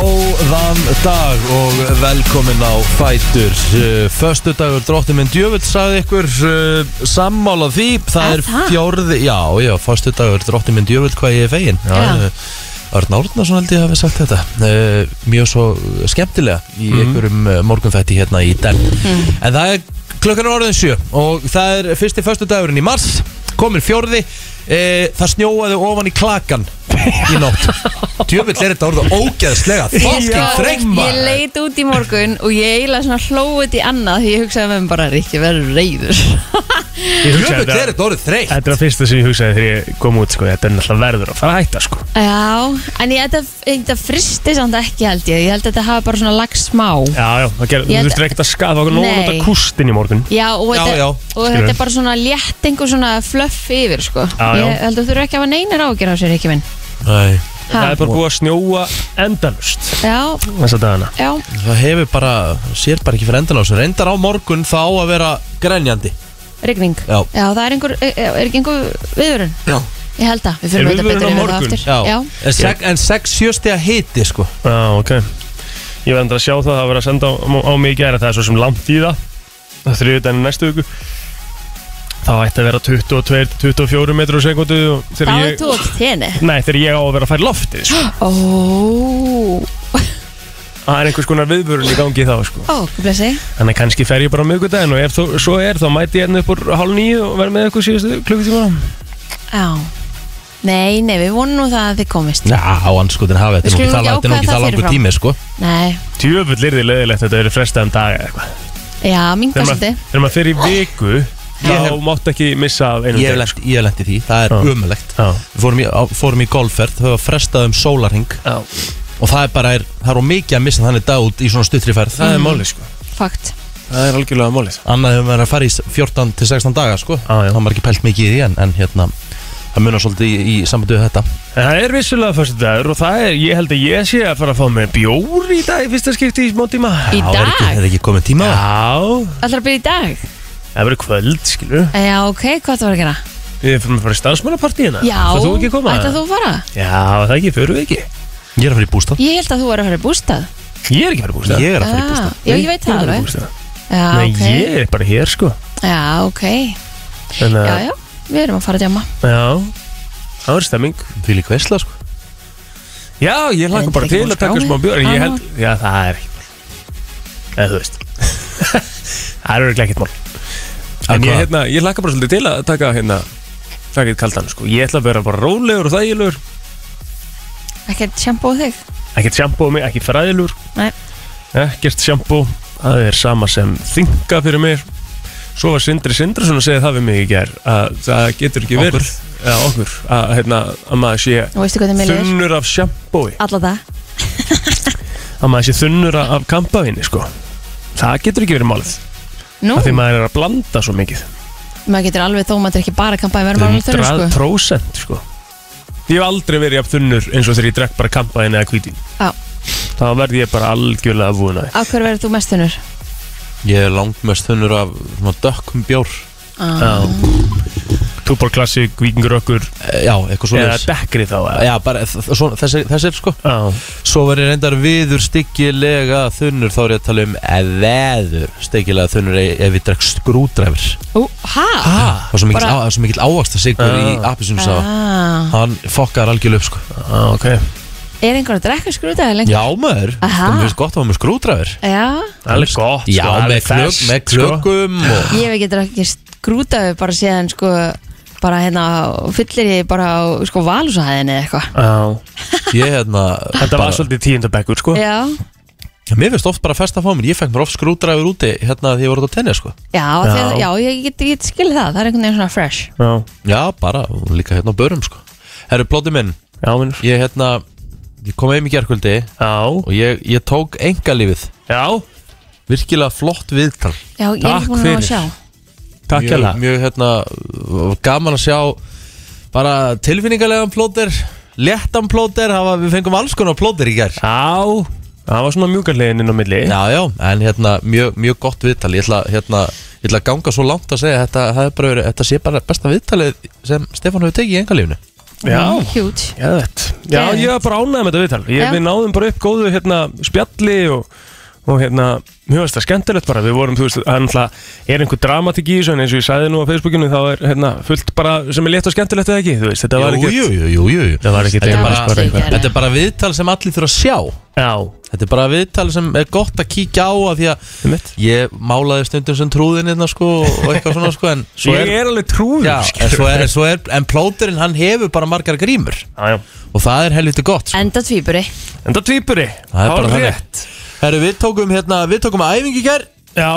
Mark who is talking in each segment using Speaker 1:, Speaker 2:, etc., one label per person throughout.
Speaker 1: Góðan dag og velkomin á Fætur Föstu dagur dróttin minn djöfull sagði ykkur uh, sammála því Það
Speaker 2: Er
Speaker 1: er
Speaker 2: það?
Speaker 1: fjórði, já, já, föstu dagur dróttin minn djöfull hvað ég er fegin eh,
Speaker 2: Já.
Speaker 1: Örn Árnason held ég hafi sagt þetta uh, Mjög svo skemmtilega
Speaker 2: Mhm.
Speaker 1: í einhverjum uh, morgunfætti hérna í dag En það er klukkan er orðin sjö og það er fyrsti föstu dagurinn í mars Komin fjórði Uh, það snjóaði ofan í klakan í nótt Djöfull er þetta orðið ógeðslega Fokkin
Speaker 2: Sko,
Speaker 1: þreytt
Speaker 2: Ég
Speaker 1: maður
Speaker 2: leit út í morgun og ég eiginlega svona hlóið í annað því ég hugsaði með mér bara Rikki verður reyður
Speaker 3: Ég hugsaði
Speaker 1: Djöfull er
Speaker 3: þetta
Speaker 1: þetta orðið þreytt
Speaker 3: Þetta er að fyrsta sem ég hugsaði þegar ég kom út sko, Þetta er náttúrulega verður að fara að hætta sko.
Speaker 2: Já, en ég þetta, þetta fristi samt ekki held ég, ég held að þetta hafa bara svona lag smá
Speaker 3: Já, já, það gerði,
Speaker 2: Ég-
Speaker 3: þú þurftir ekkert að skafa okkur
Speaker 2: Nei.
Speaker 3: nóg út kústin í morgun
Speaker 2: Já, og,
Speaker 1: Já,
Speaker 2: þetta,
Speaker 1: já.
Speaker 2: og
Speaker 3: Skilur.
Speaker 2: þetta er bara svona létting og svona fluff yfir sko
Speaker 3: Já, já.
Speaker 2: Ég held að þú þurfa ekki að hafa neinar ágjör á sér ekki minn
Speaker 1: Nei,
Speaker 3: Það er bara búið að snjóa endalust
Speaker 2: Já,
Speaker 3: Þessa dagana
Speaker 2: já,
Speaker 1: það hefur bara, sér bara ekki fyrir endan á þessu Reyndar á morgun þá að vera grenjandi
Speaker 2: rigning
Speaker 1: Já.
Speaker 2: það er, einhver, er er ekki einhver viðurinn
Speaker 1: Já,
Speaker 2: Ég held að, við fyrir
Speaker 3: Er viðvörun á morgun?
Speaker 2: aftur
Speaker 1: já.
Speaker 2: já.
Speaker 1: En, seg, en sex sjösti að hiti sko
Speaker 3: Já, ok Ég verði endur að sjá það, það var að senda á, á mig í gæra Það er svo sem langt í það Það er þriðudaginn næstu viku Þá ætti að vera 22-24 metrur á sekundu og
Speaker 2: Þá
Speaker 3: þegar
Speaker 2: er
Speaker 3: ég,
Speaker 2: þú á tenni
Speaker 3: Nei, þegar ég á að vera að færa loftið sko.
Speaker 2: Ó,
Speaker 3: Það er einhvers konar viðvörun í gangi þá sko.
Speaker 2: ó, blessi
Speaker 3: Þannig að kannski fer ég bara á miðgudaginn og ef þú, svo er þá mæti ég hérna upp úr hálf nýju og verð með eitthvað síðustu klukkutíma
Speaker 2: Já Nei, nei, við vonum nú það að þið komist
Speaker 1: Já, anskutin hafi
Speaker 2: Við
Speaker 1: þetta er nú
Speaker 2: skulum
Speaker 1: ekki
Speaker 2: ekki
Speaker 1: það þetta er nú ekki
Speaker 2: ákveða
Speaker 1: það
Speaker 2: það
Speaker 1: langur
Speaker 2: fyrirfram.
Speaker 1: tími sko
Speaker 2: Nei,
Speaker 3: Tjöfull er því leiðilegt þetta verið frestaðan dag eða eitthvað
Speaker 2: já, minga
Speaker 3: Þegar
Speaker 2: svolítið
Speaker 3: maður- Þegar maður fer í viku
Speaker 1: Ég
Speaker 3: þá máttu ekki missa af einum
Speaker 1: Ég hef
Speaker 3: dag,
Speaker 1: lent- ég hef lent í því, það er
Speaker 3: Já.
Speaker 1: umulegt
Speaker 3: Já.
Speaker 1: Við fórum í, á, fórum í golfferð, þau var frestað um sólarhing
Speaker 3: Já,
Speaker 1: og það er bara, er, það er of mikið að missa þannig dag út í svona stuttri ferð
Speaker 3: það er mólið sko
Speaker 2: Fakt
Speaker 3: Það er algjörlega mólið
Speaker 1: Annað hefur verið að fara í 14 til 16 daga sko
Speaker 3: Já, já.
Speaker 1: Það var ekki pælt mikið í því en, en hérna Það munar svolítið í, í sambandi við þetta
Speaker 3: En það er vissulega fyrstu dagur og það er, ég held að ég sé að fara að fá með bjór í dag í fyrsta skipti í smá tíma
Speaker 2: Í
Speaker 1: Það er
Speaker 2: dag?
Speaker 1: ekki, það er ekki komið tíma á það.
Speaker 3: Já,
Speaker 2: Ætlar að byrja í dag?
Speaker 3: það verður kvöld, skilur
Speaker 2: Já, ok, hvað það var að gera?
Speaker 3: Við fyrir að fara í stansmannapartíina
Speaker 2: Já,
Speaker 3: Það þú ekki að koma
Speaker 2: ætlar þú að fara?
Speaker 3: Já, það ekki, fyrir við ekki
Speaker 1: Ég er að fara í bústað
Speaker 2: Ég held að þú var að fara í bústað
Speaker 3: Ég er ekki að fara í bústað
Speaker 1: Ég er að fara í bústað
Speaker 2: Já, ég veit það
Speaker 3: er
Speaker 2: alveg
Speaker 3: bústað.
Speaker 2: Já,
Speaker 3: Nei,
Speaker 2: ok
Speaker 3: ég er bara hér sko
Speaker 2: Já, ok Já,
Speaker 3: Þannig að,
Speaker 2: já, við erum að fara að djama
Speaker 3: já Það er stemming
Speaker 1: Því líka veisla sko
Speaker 3: Já, ég
Speaker 2: Ég
Speaker 3: hlaka bara
Speaker 2: veit ekki
Speaker 3: til að
Speaker 2: hvað
Speaker 3: taka
Speaker 2: skrá
Speaker 3: smá
Speaker 2: er.
Speaker 3: bjór en
Speaker 2: Já.
Speaker 3: Ég held, já það er ekki mál Eða þú veist Það er örugglega ekkert mál En ég,
Speaker 1: hvað?
Speaker 3: hérna, ég hlaka bara svolítið til að taka hérna Taka eitt kaldan sko Ég ætla að vera bara rólegur og þægilegur
Speaker 2: Ekkert sjampo á þig?
Speaker 3: Ekkert sjampó á mig, ekki fræðilegur
Speaker 2: Nei
Speaker 3: Ekkert sjampó Það er sama sem þinga fyrir mér Svo var Sindri Sindrason að segja það við mig í gær að það getur ekki verið
Speaker 1: Okkur.
Speaker 3: Já, okkur að, hérna, að maður sé
Speaker 2: Og veistu hvað það með liður?
Speaker 3: þunnur af sjampói
Speaker 2: Alla það
Speaker 3: að maður sé þunnur af- af kampavíni sko. það getur ekki verið málið
Speaker 2: Nú,
Speaker 3: af því maður er að blanda svo mikið
Speaker 2: maður getur alveg þó maður er ekki bara kampaði verður maður alveg þurr,
Speaker 3: 100% sko. ég hef aldrei verið jafn þunnur eins og þegar ég drekk bara kampavíni eða kvítin
Speaker 2: Já.
Speaker 3: þá verð ég bara algjörlega vúin að
Speaker 2: sko Á hverju verður þú mest þunnur?
Speaker 1: Ég er langmest þunnur af svona dökkum bjór
Speaker 2: Ah.
Speaker 3: Túbor Classic, Vikingur okkur
Speaker 1: Eh, Já, eitthvað svona
Speaker 3: eða dekri þá eða.
Speaker 1: Já, bara þ- þ- svona, þessi, þessi sko
Speaker 3: Já.
Speaker 1: Svo var ég reyndar viður styggilega þunnur Þá er ég að tala um eh, veður styggilega þunnur e- ef ég drekk skrúdræfur
Speaker 2: Ú, hæ?
Speaker 1: Það er svo mikill,
Speaker 2: Bara-
Speaker 1: á- það er svo mikill ávaksta sigur í
Speaker 3: Ah.
Speaker 1: appisunsafa
Speaker 2: Ah.
Speaker 1: Hann fokkar algjörlega upp sko
Speaker 3: Já, ok
Speaker 2: Er einhver að drekka skrútaði lengur?
Speaker 1: Já maður,
Speaker 2: Aha.
Speaker 1: það er gott að hafa með skrúdræfur
Speaker 2: Já,
Speaker 3: það er gott
Speaker 1: Já,
Speaker 3: sko, það
Speaker 1: með,
Speaker 3: er
Speaker 1: klök,
Speaker 3: ferskt,
Speaker 1: með klökum og
Speaker 2: ég hef ekki drekka skrútaði bara síðan sko bara hérna fyllir ég bara á sko valúsahæðinni eða eitthvað
Speaker 3: sko. Já.
Speaker 1: Ég hérna
Speaker 3: þetta
Speaker 1: bara,
Speaker 3: var svolítið tíundabekkur sko.
Speaker 2: Já,
Speaker 1: Mér finnst oft bara fest að fá mér Ég fekk mér oft skrúdræfur úti Hérna því ég voru út á tenni sko
Speaker 2: já, já. Þegar,
Speaker 3: Já.
Speaker 2: já ég get, ég get skil það, það er einhvern veginn svona fresh
Speaker 3: Já.
Speaker 1: Já, bara líka hérna á börum sko Herru, plóti minn
Speaker 3: Já, vinur.
Speaker 1: Ég hérna Ég kom heim í gerkvöldi
Speaker 3: Já.
Speaker 1: Og ég, ég tók engalífið
Speaker 3: Já.
Speaker 1: Virkilega flott viðtal
Speaker 2: Já, ég er
Speaker 3: Takk
Speaker 2: ekki búin að ná að
Speaker 3: fyrir.
Speaker 2: sjá
Speaker 3: Takk
Speaker 1: Mjög,
Speaker 3: hérlega
Speaker 1: mjög hérna Gaman að sjá Bara tilfinningarlegan plóter Léttan plóter hafa, Við fengum alls konar plóter í ger
Speaker 3: Já, það var svona mjúkarlegin inn á milli
Speaker 1: Já, já En hérna Mjög, mjög gott viðtal Ég ætla hérna Ég ætla að ganga svo langt að segja Þetta, það er bara, verið- þetta sé bara besta viðtalið sem Stefán hefur tekið í engalífinu
Speaker 3: Já.
Speaker 2: Huge
Speaker 3: Geðvett. Já, ég var bara ánægð með þetta viðtal ég,
Speaker 2: Já.
Speaker 3: Við náðum bara upp góðu hérna, spjalli og, og hérna, mjög veist það skemmtilegt bara Við vorum, þú veist, það er náttúrulega er einhver dramatik í þessu en eins og ég sagði nú á Facebookinu þá er hérna, fullt bara sem er létt og skemmtilegt eða ekki, þú veist, þetta var
Speaker 1: Jú,
Speaker 3: ekki
Speaker 1: jú, jú, jú, jú.
Speaker 3: Það var ekki
Speaker 1: Þetta er
Speaker 2: Já,
Speaker 1: bara-
Speaker 2: skilja, já.
Speaker 1: Þetta er bara viðtal sem allir þurfa að sjá
Speaker 3: Já,
Speaker 1: Þetta er bara viðtal sem er gott að kíkja á af Því að
Speaker 3: um mitt
Speaker 1: ég málaði stundum sem trúðin hérna sko og eitthvað svona sko en svo
Speaker 3: Ég
Speaker 1: er,
Speaker 3: er alveg trúður
Speaker 1: já, en, svo er, en svo er en plóterinn hann hefur bara margar grímur
Speaker 3: já, já.
Speaker 1: og það er helviti gott sko.
Speaker 2: Enda tvíburi
Speaker 3: En það tvýpuri,
Speaker 1: það er bara þannig Herru, við tókum hérna við tókum að æfingi gær
Speaker 3: Já,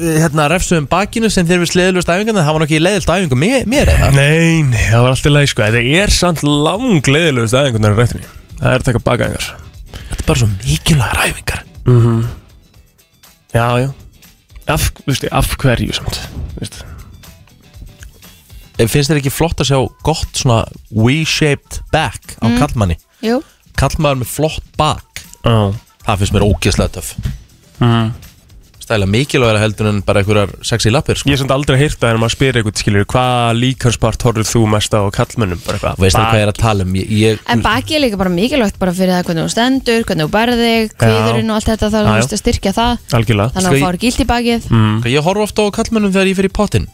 Speaker 1: við, hérna refsum bakinu sem þeir við sleðilust æfingarna það var nú ekki leiðilt æfingu mér, mér eða
Speaker 3: nei, nei, það var alltaf leið sko Það er samt langleiðilegust aðeinkunar í rættinni Það er að taka bakaðingar
Speaker 1: þetta er bara svo mikilvægar æfingar Mhm.
Speaker 3: Já, já Af, þú veist, af hverju samt þú veist.
Speaker 1: Eh, finnst þér ekki flott að sjá gott svona V-shaped back á kallmanni
Speaker 2: Mm. Jú
Speaker 1: kallmaður með flott bak
Speaker 3: Já,
Speaker 1: það finnst mér ógeðslega töf
Speaker 3: Mhm.
Speaker 1: stæla mikilvægara heldur en bara einhverjar sexy lappir sko.
Speaker 3: Ég hef samt aldrei heyrt það en maður spyrir eitthvað skilur Hvað líkanspart horfður þú mest á kallmönnum? Bara eitthvað
Speaker 1: veist það
Speaker 3: bak-
Speaker 1: hvað ég er að tala um ég, ég,
Speaker 3: Mm.
Speaker 2: En baki er líka bara mikilvægt bara fyrir það hvernig þú stendur, hvernig þú berði, kviðurinn og allt þetta þá er
Speaker 3: Já,
Speaker 2: þú
Speaker 3: já.
Speaker 2: veist að styrkja það
Speaker 3: Algjörlega
Speaker 2: þannig að
Speaker 1: Sko,
Speaker 2: þú
Speaker 1: ég-
Speaker 2: fáir gilt í bakið
Speaker 1: mm. ég horf ofta á kallmennum þegar ég fer í pottin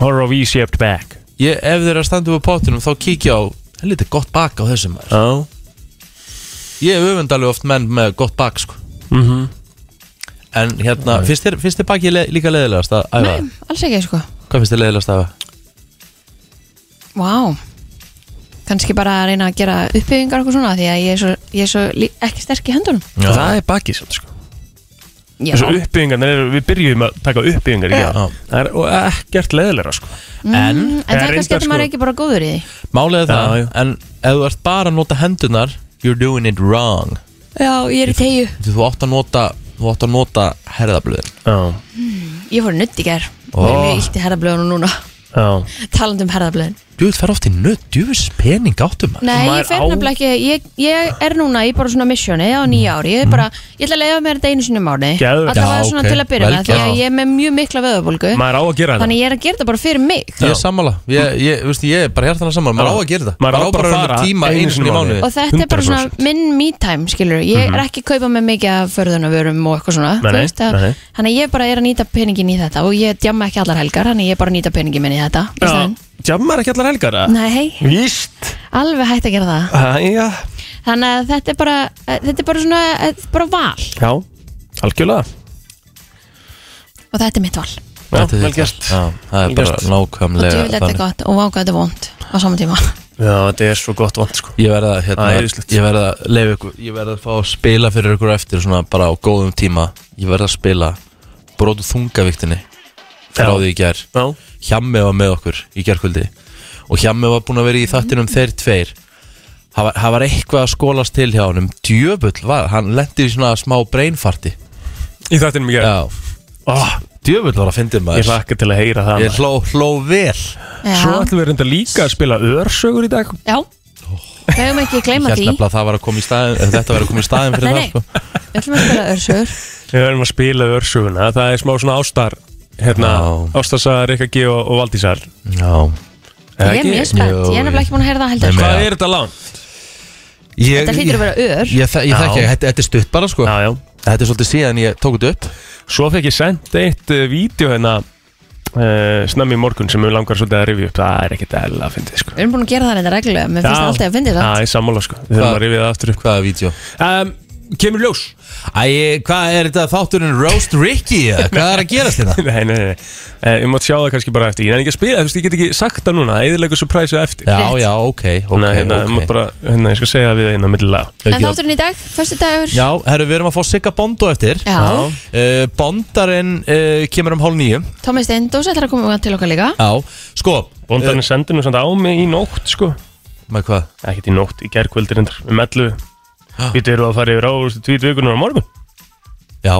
Speaker 3: Horror of E-shaped back
Speaker 1: ég, ef þeir eru að standa upp á pottinum þá kíkja á það er lítið gott bak á þessum maður
Speaker 3: Já
Speaker 1: ég hef öfundalegu oft menn með gott bak sko.
Speaker 3: Mhm.
Speaker 1: en hérna finnst þér, finnst þér baki le, líka leiðilegast að æfa
Speaker 2: Nei, alls ekki sko
Speaker 1: hvað finnst þér leiðilegast að æfa
Speaker 2: Vá kannski bara að reyna að gera uppbyggingar og eitthvað svona því að ég er svo, ég er svo lí- ekki sterk í hendunum
Speaker 1: Já.
Speaker 3: Það er bakið samt sko
Speaker 2: Já,
Speaker 3: Þessu uppbyggingarnar eru, við byrjum að taka uppbyggingar í
Speaker 2: Já. Mm,
Speaker 3: gegn. Það er og ekkert leðilega sko
Speaker 1: en
Speaker 2: en það
Speaker 3: Ég
Speaker 2: er
Speaker 3: reyndar,
Speaker 2: kannski að maður
Speaker 3: sko-
Speaker 2: er ekki bara góður í því
Speaker 1: Málega það,
Speaker 3: Já, já.
Speaker 1: en ef þú ert bara að nota hendunar You're doing it wrong
Speaker 2: Já, ég er í tegju
Speaker 1: Þú átt að nota, þú átt að nota herðablöðin
Speaker 3: Já,
Speaker 2: Hmm, Ég fór í nudd í ger
Speaker 1: Ó.
Speaker 2: og ég ítti herðablöðunum núna
Speaker 3: já
Speaker 2: talandi um herðablöðun
Speaker 1: Þú veit, fer oft í nutt, þú veist pening áttum maður
Speaker 2: Nei,
Speaker 3: Maður
Speaker 2: ég fer
Speaker 3: á-
Speaker 2: nefnilega ekki ég, ég er núna í bara svona missioni á nýja ári Ég er bara, ég ætla að leiða mér þetta einu sinni um mánu
Speaker 3: Geðveikt.
Speaker 2: Alltaf
Speaker 1: Já,
Speaker 2: var svona
Speaker 1: ok.
Speaker 2: til að byrja
Speaker 1: Vel
Speaker 2: með Því að
Speaker 1: gert.
Speaker 2: ég er með mjög mikla vöðabólgu
Speaker 3: Maður á að gera þetta
Speaker 2: Þannig ég er að gera þetta bara fyrir mig
Speaker 1: Ég er sammála, ég, ég, þú veist, ég er bara hjartana sammála Maður á
Speaker 3: Já.
Speaker 1: að gera þetta
Speaker 3: Maður á
Speaker 1: Maður
Speaker 3: bara að
Speaker 1: vera með
Speaker 3: fara
Speaker 1: tíma einu sinni í mánuði
Speaker 2: Og þetta er bara
Speaker 3: 100%.
Speaker 2: svona minn me-time, skilur Ég er ekki að kaupa með mikið af förðunavörum og eitthvað svona
Speaker 3: Mhm. Nei,
Speaker 2: þú
Speaker 3: nei,
Speaker 2: veist að-
Speaker 3: nei, nei.
Speaker 2: Þannig að ég bara er að nýta peningin í þetta Og ég djamma ekki allar helgar, þannig að ég er bara að nýta peningin minn í þetta í staðinn.
Speaker 3: Jammar ekki allar helgar að
Speaker 2: Nei,
Speaker 3: Víst
Speaker 2: alveg hægt að gera það
Speaker 3: Æja
Speaker 2: Þannig að þetta er bara, þetta er bara svona, eh, bara val
Speaker 3: Já, algjörlega
Speaker 2: Og þetta er mitt val
Speaker 3: Já,
Speaker 1: Þetta er
Speaker 3: vel
Speaker 1: þitt.
Speaker 3: gert
Speaker 1: Já, Það er
Speaker 3: Vel
Speaker 1: bara
Speaker 3: gert.
Speaker 2: og
Speaker 1: nákvæmlega
Speaker 2: djúvill þetta er
Speaker 1: þannig.
Speaker 2: gott og vákað þetta er vond á sama tíma
Speaker 3: Já, þetta er svo gott vant sko
Speaker 1: Ég verða hérna,
Speaker 3: Það er yndislegt.
Speaker 1: ég verða að leifa ykkur Ég verða að fá að spila fyrir ykkur eftir Svona bara á góðum tíma Ég verða að spila brotu þungaviktinni Frá
Speaker 3: Já.
Speaker 1: því í gær
Speaker 3: Já,
Speaker 1: Hjammi var með okkur í gerkvöldi og Hjammi var búinn að vera í þattinum þeir tveir það var, það var eitthvað að skólast til hjá honum djöfull var, hann lendi í svona smá brainfarti
Speaker 3: í þættinum í gerð
Speaker 1: já,
Speaker 3: oh,
Speaker 1: djöfull var að fyndi
Speaker 3: Ég
Speaker 1: maður
Speaker 3: hlakka til að heyra það
Speaker 1: ég hló, hló vel
Speaker 2: Já.
Speaker 3: Svo ætlum við reynda líka að spila örsögur í dag
Speaker 2: Já, við höfum ekki að gleyma
Speaker 3: Hérna
Speaker 1: Hélt
Speaker 2: því
Speaker 1: nefnilega að það var að koma í staðin þetta var að koma í staðin
Speaker 2: Nei,
Speaker 1: fyrir
Speaker 2: nei,
Speaker 1: það sko.
Speaker 2: við ætlum að spila örsögur
Speaker 3: Við verðum að spila örsöguna Það er smá svona ástar Hérna,
Speaker 1: Já.
Speaker 3: ástarsaðar, Rikka G og, og Valdísar
Speaker 1: já
Speaker 2: Ég er mjög spennt, ég er nefnilega ekki búin að heyra það heldur
Speaker 1: Nei,
Speaker 2: sko.
Speaker 1: með-
Speaker 3: Hvað er þetta lán?
Speaker 1: ég,
Speaker 2: Þetta hlýtur að vera ör
Speaker 1: ég, ég, þek- ég þekki ekki, þetta, þetta er stutt bara sko.
Speaker 3: Já, já
Speaker 1: þetta er svolítið síðan ég tók þetta upp
Speaker 3: Svo fekk ég sendt eitt uh, vídeo hérna uh, Snemmi í morgun sem við langar svolítið að rifja upp Það er ekkert eðla að fyndi sko
Speaker 2: Við erum búin að gera það reynda reglulega Mér finnst
Speaker 3: Já.
Speaker 2: það alltaf að fyndi
Speaker 3: Já,
Speaker 2: það
Speaker 3: ég sammála sko Við
Speaker 1: Hvað?
Speaker 3: þurfum að rifja það aftur upp
Speaker 1: hvaða vídeo
Speaker 3: um, Kemur ljós
Speaker 1: Æ, hvað er þetta þátturinn Roast Ricky eða? hvað er að gerast hérna? þetta
Speaker 3: Nei, nei, nei uh, Ég mátt sjá það kannski bara eftir Ég er ekki að spila, þú veist, ég get ekki sagt það núna Eðilegu surprise eftir
Speaker 1: Já,
Speaker 2: Rétt.
Speaker 1: já, ok, ok,
Speaker 3: Þannig að hérna, ég
Speaker 1: ok
Speaker 3: mátt bara, hérna, ég skal segja við það inn á millilega
Speaker 2: En þátturinn í dag, förstu dagur
Speaker 1: Já, herru, við erum að fá Sigga Bondo eftir
Speaker 2: Já.
Speaker 1: Eh, Bondarinn uh, kemur um hálf nýju
Speaker 2: Tómi Steindós ætlar að koma til okkar líka
Speaker 1: Já, sko
Speaker 3: Bóndarinn sendur nú samt á mig í nótt, sko
Speaker 1: eh, Með hvað?
Speaker 3: Ekkert í nótt, í gerkvöldir endur, um 11 Við erum að fara yfir ávustu tvít vikunar á morgun
Speaker 1: Já,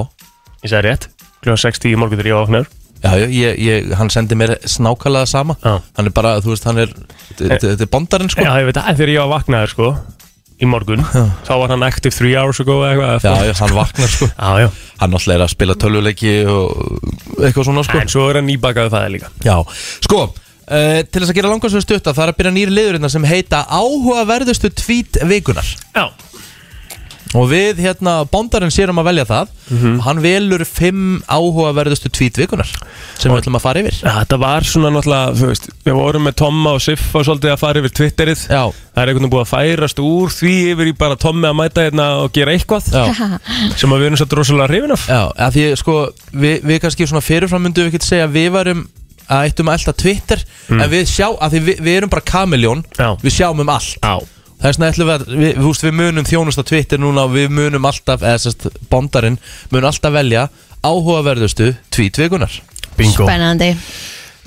Speaker 3: Ég sagði rétt, kljóða 6.10 í morgun þegar ég ofnar
Speaker 1: já, já ég, ég, hann sendi mér snákalega sama
Speaker 3: Já.
Speaker 1: Hann er bara, þú veist, hann er Þetta er Bondarinn, sko
Speaker 3: Eh. Já, ég veit að þegar ég var vaknaður, sko Í morgun, þá var hann active 3 hours ago sko, eða eitthvað
Speaker 1: Já, já, hann vaknar, sko
Speaker 3: já, já
Speaker 1: Hann náttúrulega er að spila tölvuleiki og eitthvað svona, sko
Speaker 3: En svo er hann íbakaði það líka
Speaker 1: Já, sko uh, Til þess að gera langar sem stutta Það er að byrja nýri liðurinnar sem heita Áhugaverðustu tvít vikunar
Speaker 3: Já,
Speaker 1: Og við hérna, bóndarinn sérum að velja það
Speaker 3: Mhm.
Speaker 1: Og hann velur fimm áhugaverðustu tvít vikunar Sem við ætlum að fara yfir
Speaker 3: Já, þetta var svona náttúrulega, þú veist, við vorum með Tomma og Siffa svolítið að fara yfir Twitterið
Speaker 1: Já.
Speaker 3: Það er einhvern veginn búið að færast úr því yfir í bara Tommi að mæta hérna og gera eitthvað
Speaker 1: Já.
Speaker 3: Sem að við erum svolítið rosalega hrifin af
Speaker 1: Já, að því sko við, við kannski svona fyrirfram myndum við ekki segja að við varum að eittum að elda Twitter en við sjá, að því við, við erum bara kamiljón
Speaker 3: Hmm. Já.
Speaker 1: við sjáum um allt
Speaker 3: Já
Speaker 1: Það er svona ætlum við að, við, við, húst, við munum þjónust á Twitter núna og við munum alltaf, eða sérst bondarinn mun alltaf velja áhugaverðustu tweet vikunar
Speaker 3: Bingo
Speaker 2: Spennandi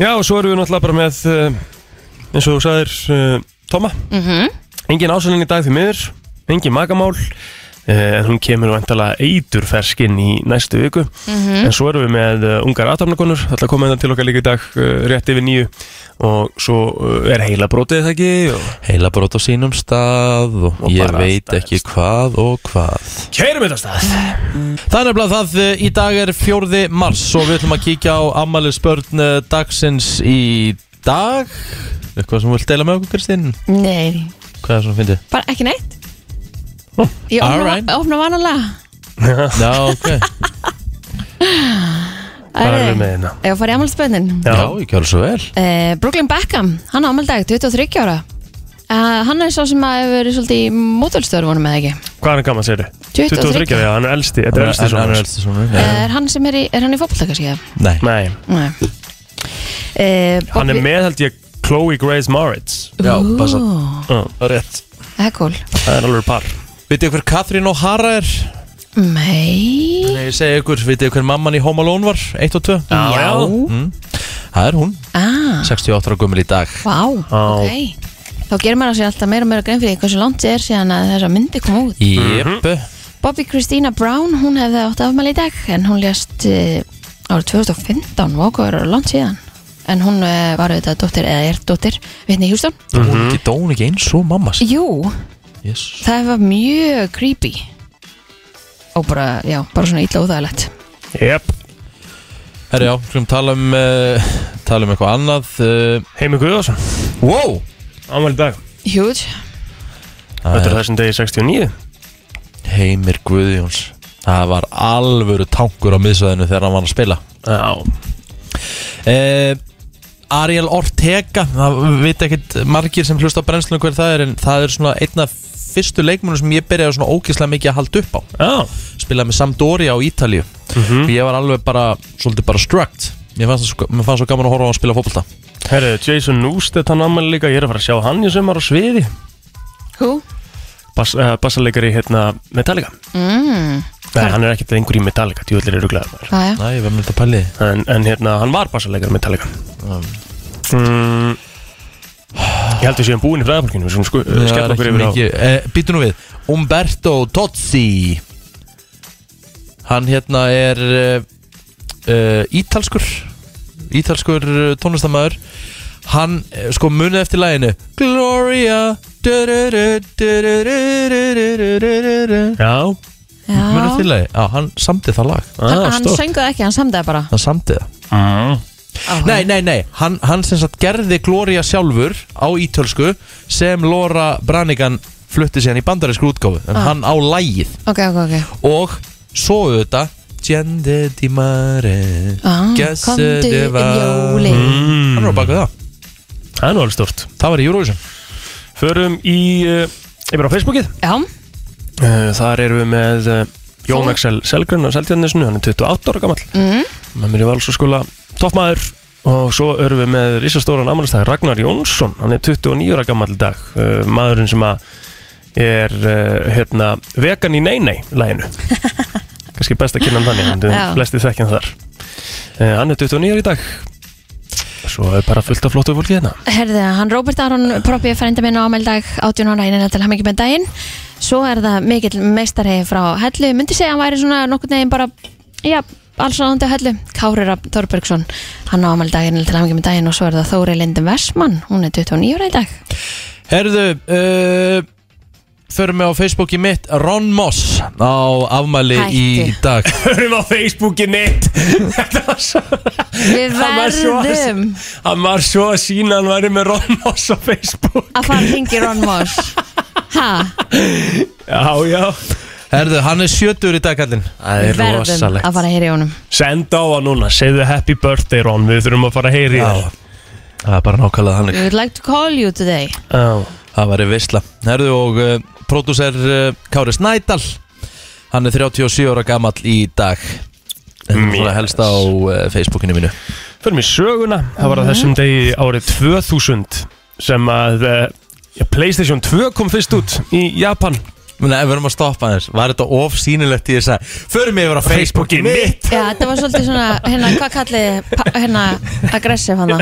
Speaker 3: Já, og svo erum við náttúrulega bara með, uh, eins og þú sagðir, uh, Tomma
Speaker 2: Mhm.
Speaker 3: Engin ásælinn í dag því miður, engin magamál eh, En hún kemur vantala eitur ferskinn í næstu viku En svo erum við með eh, ungar aðtapnakonur Það ætla að koma þetta til okkar líka í dag eh, rétt yfir nýju Og svo eh, er heila brótið það ekki og...
Speaker 1: Heila brot á sínum stað og,
Speaker 3: Og
Speaker 1: ég
Speaker 3: bara
Speaker 1: veit
Speaker 3: stað-
Speaker 1: ekki hvað og hvað
Speaker 3: Kærum þetta stað
Speaker 1: Það er nefnilega það, eh, í dag er fjórði mars og við ætlum að kíkja á ammali spörn dagsins í dag Eitthvað sem þú vilt deila með okkur Kristín?
Speaker 2: Nei,
Speaker 1: Hvað er svona að fyndið?
Speaker 2: bara ekki neitt Ég opna,
Speaker 1: Alright.
Speaker 2: opna vanalega
Speaker 1: Já, ok
Speaker 3: Hvað erum við með hérna?
Speaker 2: Ef að fara í afmælspönnin
Speaker 3: Já,
Speaker 1: Já, ég kjálf svo vel
Speaker 2: uh, Brooklyn Beckham, hann á afmældag 23 ára uh, Hann er sá sem að hefur verið svolítið í mótölstörfunum eða ekki
Speaker 3: hvað er hann gaman, segir
Speaker 2: 23.
Speaker 3: 23, já, hann er elsti, þetta er elsti
Speaker 1: Hann- hann
Speaker 3: sonur
Speaker 1: er
Speaker 3: hans.
Speaker 1: elsti sonur
Speaker 2: ja.
Speaker 1: já.
Speaker 2: Eh, Er hann sem er í, er hann í fótbolta kannski? eða?
Speaker 1: Nei,
Speaker 3: Nei,
Speaker 2: Nei uh,
Speaker 3: hann er með held ég Chloe Grace Moritz
Speaker 1: já, bara svo
Speaker 2: Það
Speaker 3: Já,
Speaker 1: Rétt
Speaker 2: er cool
Speaker 3: Það er alveg par
Speaker 1: Vitið hver Katrín O'Hara er?
Speaker 2: Nei
Speaker 1: Nei, ég segi ykkur, vitið hver mamman í Home Alone var? 1 og 2
Speaker 3: já.
Speaker 1: Það er hún,
Speaker 2: Ah,
Speaker 1: 68 ára gömul í dag
Speaker 2: vá,
Speaker 3: Á.
Speaker 2: ok Þá gerir maður sér alltaf meira og meira grein fyrir því hversu langt er síðan að þessa myndi kom út
Speaker 1: Jep
Speaker 2: Bobby Christina Brown, hún hefði átt afmæli í dag en hún lést uh, árið 2015, vokur langt síðan en hún uh, var auðvitað dóttir eða er dóttir, Whitney Houston
Speaker 1: Hún ekki dóun ekki eins og mamma sín.
Speaker 2: Jú,
Speaker 1: Yes.
Speaker 2: það var mjög creepy og bara, já, bara svona illa óþægilegt
Speaker 3: Jep,
Speaker 1: Herra já, skulum tala um uh, tala um eitthvað annað uh,
Speaker 3: Heimi Guðarsson,
Speaker 1: Wow
Speaker 3: ámæli dag
Speaker 2: Huge,
Speaker 3: Þetta er þessum degi 69
Speaker 1: Heimir Guðjóns Það var alvöru tankur á miðsvæðinu þegar hann var að spila
Speaker 3: Já,
Speaker 1: uh, Ariel Ortega það veit ekkit margir sem hlusta á brennslunum hver það er en það er svona einna fyrstu leikmunu sem ég byrjaði svona ógislega mikið að halda upp á
Speaker 3: já, Mhm.
Speaker 1: spilaði með Sampdoria á Ítalíu og ég var alveg bara, svolítið bara struckt Mér fannst, það svo- mér fannst svo gaman að horfa á hann að spila fótbolta
Speaker 3: herru, Jason Newsted hann ámæli líka, ég er að fara að sjá hann í sumar á sviði
Speaker 2: who?
Speaker 3: Bass, uh, Bassaleikari hérna Metallica
Speaker 2: Mm,
Speaker 3: Nei, hann er ekkert einhver í Metallica, djúðlir eru glæðar
Speaker 2: það er
Speaker 1: Næ, ég var myndið að pæli Um. því.
Speaker 3: en, en hérna, hann var bassaleikari Metallica mm. Ég held við séum búin í fræðabalkinu, við skulum sku-
Speaker 1: Það
Speaker 3: uh, skella
Speaker 1: er
Speaker 3: okkur
Speaker 1: ekki
Speaker 3: yfir á
Speaker 1: mikið. Eh, Býtu nú við Umberto Tozzi Hann hérna er uh, uh, Ítalskur Ítalskur eh, tónlistamæður Hann eh, sko munið eftir læginu Gloria Munið
Speaker 3: Já,
Speaker 1: eftir
Speaker 2: Já,
Speaker 1: lægi Já, hann samdi það lag
Speaker 2: hann,
Speaker 3: ah,
Speaker 2: hann
Speaker 3: stórt
Speaker 2: söngu það ekki, hann samdaði bara
Speaker 1: Hann samdi það
Speaker 3: Mm.
Speaker 2: Áhuga.
Speaker 1: Nei, nei, nei, hann, hann sem sagt gerði Gloria sjálfur á ítölsku sem Laura Branigan flutti síðan í bandarísku útgáfu en
Speaker 2: Ah.
Speaker 1: hann á lægið
Speaker 2: Ok, ok, ok
Speaker 1: og svo auðvitað Gjende di mare
Speaker 2: ah,
Speaker 1: Guess
Speaker 2: Komdu
Speaker 1: it
Speaker 2: um
Speaker 1: var-
Speaker 2: jóli
Speaker 1: Hann
Speaker 3: Mm.
Speaker 1: var á bakið það
Speaker 3: Það er nú alveg stórt
Speaker 1: Það var í Eurovision
Speaker 3: Förum í, uh, yfir á Facebookið
Speaker 2: Já,
Speaker 3: uh, Þar erum við með uh, Jón Axel Selgrun á Seltjarnisnu, hann er 28 ára gammal
Speaker 2: mm,
Speaker 3: með mér í valsaskóla toppmaður og svo erum við með risastóran amalistag Ragnar Jónsson, hann er 29 ára gammal í dag, uh, maðurinn sem að er uh, hérna vegan í nei-nei læginu kannski best að kynna hann þannig en
Speaker 2: Já.
Speaker 3: þau flesti þekkja hann þar uh, hann er 29 ára í dag svo er bara fullt af flottu fólki hérna
Speaker 2: herðu, hann Róbert Aron propið frændi minn á ámeldag 18 ára innan til hamingi með daginn Svo er það mikill meistari frá Hellu Myndi segja að hann væri svona nokkurn veginn bara Já, alls ráðandi á Hellu Kári Rapp Þorbergsson Hann á ámeldag innan til hamingi með daginn Og svo er það Þóri Lindin Vessmann Hún er 29 ára í dag
Speaker 1: Herðu uh, förum við á Facebooki mitt Ron Moss á afmæli í
Speaker 2: Hættu.
Speaker 1: dag
Speaker 3: Hörum á Facebooki mitt Þetta var svo
Speaker 2: Við
Speaker 3: Hann var svo-
Speaker 2: verðum
Speaker 3: Hann var svo að sína hann væri með Ron Moss á Facebook
Speaker 2: að fara hringi Ron Moss Ha,
Speaker 3: Já, já
Speaker 1: Herðu, hann er sjötur í dag kallinn
Speaker 3: Það
Speaker 2: við verðum að fara að heyra í honum
Speaker 3: Senda á hann núna, segðu happy birthday Ron Við þurfum að fara að heyri
Speaker 1: Já, það er bara nákvæmlega þannig
Speaker 2: We would like to call you today
Speaker 3: Já,
Speaker 1: Það væri veistla Herðu og uh, pródúser uh, Kári Snædal Hann er 37 ára gamall í dag Þetta er svona
Speaker 3: Yes.
Speaker 1: helst á uh, Facebookinu mínu
Speaker 3: förum í söguna Það var að þessum degi árið 2000 sem að uh, Playstation 2 kom fyrst út í Japan
Speaker 1: Nei, við erum að stoppa aðeins Var þetta of sýnilegt í þess að Förum yfir á Facebooki
Speaker 3: Facebooki
Speaker 1: mitt
Speaker 3: mitt
Speaker 2: Já, þetta var svolítið svona, hérna, hvað kallið þið? Pa- hérna, aggressiv hana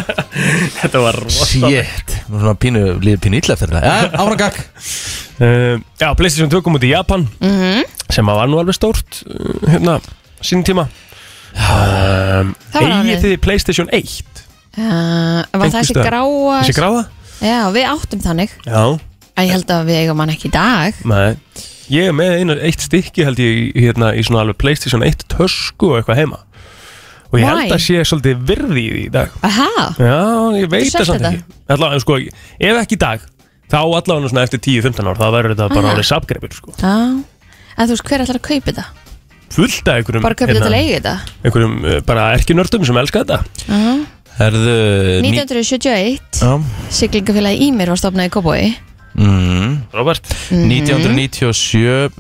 Speaker 3: Þetta var rosalega
Speaker 1: Sjétt Svona pínu, líður pínu illa eftir þetta Já, áfram gag
Speaker 3: uh, Já, Playstation 2 kom út í Japan
Speaker 2: Mhm.
Speaker 3: sem að var nú alveg stórt uh, hérna, sín tíma um,
Speaker 2: Það var
Speaker 3: Eigið
Speaker 2: árið.
Speaker 3: þið PlayStation 1?
Speaker 2: uh, Var það
Speaker 3: Einhvers
Speaker 2: þessi
Speaker 3: staðar.
Speaker 2: gráa
Speaker 3: Þessi gráða?
Speaker 2: Já, við áttum þannig
Speaker 3: Já,
Speaker 2: En ég held að við eigum hann ekki í dag
Speaker 3: nei Ég er með einu, eitt stykki held ég í- hérna, í svona alveg Playstation 1 tösku og eitthvað heima og ég held
Speaker 2: Why?
Speaker 3: að sé svolítið virði í því í dag
Speaker 2: Aha,
Speaker 3: Já, ég veit
Speaker 2: Getur
Speaker 3: það
Speaker 2: sagt
Speaker 3: samt
Speaker 2: þetta?
Speaker 3: ekki allavega, sko, Ef ekki í dag, þá allavega svona eftir 10-15 ár, þá verður þetta bara
Speaker 2: Aha.
Speaker 3: árið sapgreipur sko.
Speaker 2: já En þú veist, hver ætlar að kaupa þetta?
Speaker 3: fullt af einhverjum, hérna,
Speaker 2: Bara kaupa þetta til að eiga þetta?
Speaker 3: einhverjum uh, bara erkinördum sem elska þetta
Speaker 2: Uh,
Speaker 1: Herðu ný-
Speaker 2: 1971
Speaker 1: Já.
Speaker 2: Siglingafélagi Ímir var stofnað í Kópói
Speaker 1: Mm.
Speaker 3: Robert,
Speaker 1: 1997 uh,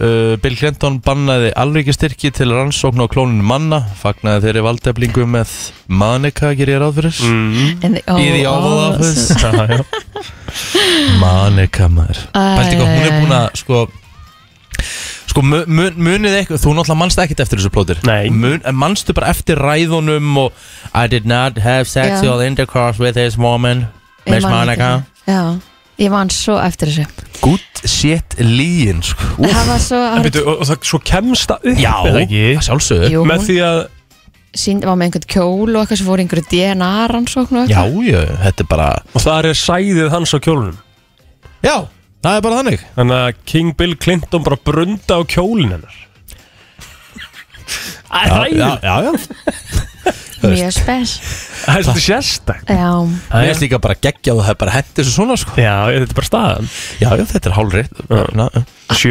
Speaker 1: Bill Clinton bannaði alríkistyrki til rannsókn á klónin manna fagnaði þeirri valdeflingu með Manika, ger ég ráð fyrir
Speaker 3: mm.
Speaker 2: In the
Speaker 1: Mhm. í því Oval Office
Speaker 3: já, já.
Speaker 1: Manika maður Pælti hvað, hún er búin að sko Sko mu- mun- munið eitthvað, þú náttúrulega manst ekkert eftir þessu plótir
Speaker 3: Nei.
Speaker 1: Mun, en Manstu bara eftir ræðunum og I did not have sexual intercourse with this woman Miss Monica
Speaker 2: Já, ég man svo eftir þessu
Speaker 1: Good shit líin sko. Úff.
Speaker 2: Það var svo
Speaker 3: En
Speaker 2: árið
Speaker 3: byrju, og, og það svo kemst það upp
Speaker 1: Já,
Speaker 3: eða ekki?
Speaker 1: að sjálfsögðu
Speaker 2: Jú,
Speaker 3: Með
Speaker 2: hún
Speaker 3: því að
Speaker 2: sínd, var með einhvern kjól og eitthvað sem fór í einhverju DNA-rannsókn og
Speaker 1: Já,
Speaker 2: eitthvað
Speaker 1: já, þetta er bara
Speaker 3: Og það er sæðið hans á kjólunum
Speaker 1: Já, það er bara þannig
Speaker 3: Þannig að King Bill Clinton bara brunda á kjólun hennar Það er ræðilegt
Speaker 1: já, já. þú veist.
Speaker 2: Mjög spes
Speaker 3: Það er svolítið sérstak
Speaker 2: Já,
Speaker 1: Mér finnst líka bara geggja og það er bara hendi þessu svona sko.
Speaker 3: Já, þetta er bara staðan
Speaker 1: Já, já, þetta er hálfrið Já,
Speaker 3: 7.24,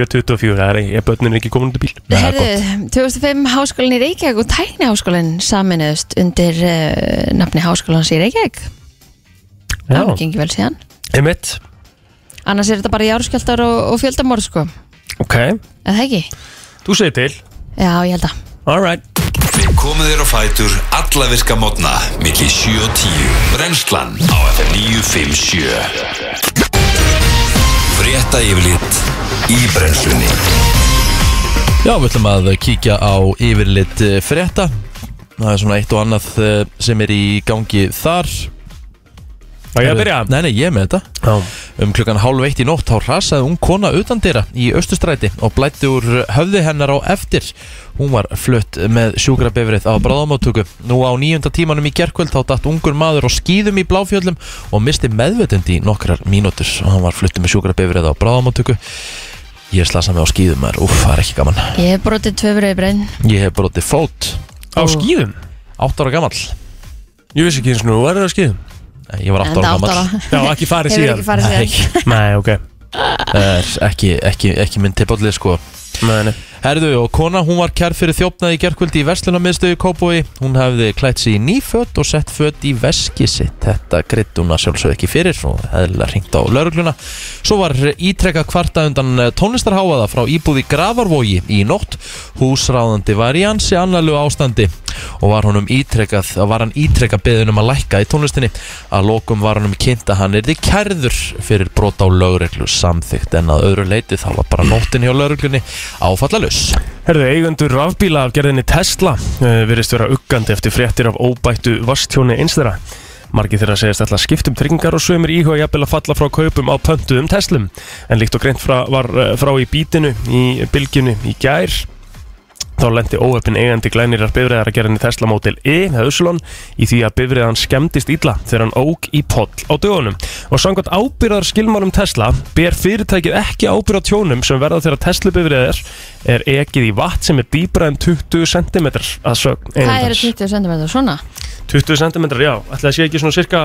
Speaker 3: það er ekki, er börnin ekki komin út í bíl
Speaker 1: Nei, það er
Speaker 2: herðu, 2005 háskólinn í Reykjavík og tækniháskólinn saminuðust undir uh, nafni háskólans í Reykjavík Það var gengið vel síðan
Speaker 3: emitt
Speaker 2: Annars er þetta bara járskjaldar og, og fjöldamorð sko
Speaker 3: Ok,
Speaker 2: Eða ekki?
Speaker 3: þú segir til
Speaker 2: Já, ég held að
Speaker 3: Alright
Speaker 4: Við komum þér á fætur alla virka mótna milli 7 og 10 Brenslan á FM 957 Frétta yfirlit í brennslunni
Speaker 1: Já, við ætlum að kíkja á yfirlit eh, frétta Það er svona eitt og annað eh, sem er í gangi þar
Speaker 3: Á ég að byrja?
Speaker 1: Nei, nei, ég er með þetta
Speaker 3: Já
Speaker 1: Um klukkan hálf eitt í nótt þá rasaði hún kona utan dyra í Östustræti og blætti úr höfði hennar á eftir. Hún var flutt með sjúkrabifrið á bráðamáttöku. Nú á nýjunda tímanum í gerkvöld þá datt ungur maður á skýðum í bláfjöllum og misti meðvetund í nokkrar mínútur og hann var flutt með sjúkrabifrið á bráðamáttöku. Ég slasa mig á skýðum maður, úff, það er ekki gaman.
Speaker 2: Ég hef brotið tvö bröðbrein
Speaker 1: Ég hef brotið fót,
Speaker 3: Á skýðum?
Speaker 1: 8 ára gamall.
Speaker 3: Ég vissi ekki eins og nú, var það á skýðum?
Speaker 1: Nei, Ég var 8
Speaker 2: Enda
Speaker 1: ára
Speaker 2: átt ára
Speaker 1: gamall.
Speaker 3: Já, ekki farið
Speaker 2: Hefur
Speaker 3: síðan
Speaker 2: ekki farið síðan
Speaker 3: Nei, ok
Speaker 1: Það er ekki, ekki, ekki minn tippallið sko.
Speaker 3: Nei, nei
Speaker 1: Herðu og kona, hún var kær fyrir þjófnaði í gerkvöldi í verslunarmiðstöðu í Kópói Hún hefði klætt sig í nýföt og sett föt í veski sitt Þetta gritt hún að sjálfsög ekki fyrir og hefðilega hringt á laurugluna Svo var ítrekka kvarta undan eh, tónlistarháaða frá íbúði Gravarvogi í nótt Húsráðandi var í ansi annarlu ástandi og var honum ítrekkað, var hann ítrekka beðin um að lækka í tónlistinni að lokum var hann um kynnt að hann erði kærður fyrir brot á lögreglu samþygt en að öðru leiti þá var bara nóttin hjá lögreglunni áfallalus
Speaker 3: Herðu, eigendur rafbíla af gerðinni Tesla uh, virðist vera uggandi eftir fréttir af óbættu vastjóni eins þeirra. Margir þeirra segist alltaf skipt um tryggingar og sömur íhuga jafnvel að falla frá kaupum á pöntuðum Teslum. En líkt og greint frá, var eh, frá í bítinu í bylginu í gær Þá lendi óhefnin eigandi glænirar bifræðar að gera henni Tesla Model E með Össulón í því að bifræðan skemmtist illa þegar hann óg í poll á dögunum. Og samkvæmt ábyrðar skilmálum Tesla ber fyrirtækið ekki ábyrð á tjónum sem verða þegar Tesla bifræðar er ekið í vatn sem er dýbra en 20 cm að sögn
Speaker 2: Hvað eru
Speaker 3: eigandans.
Speaker 2: 20 cm svona?
Speaker 3: 20 cm, já, ætla að sé ekki svona cirka,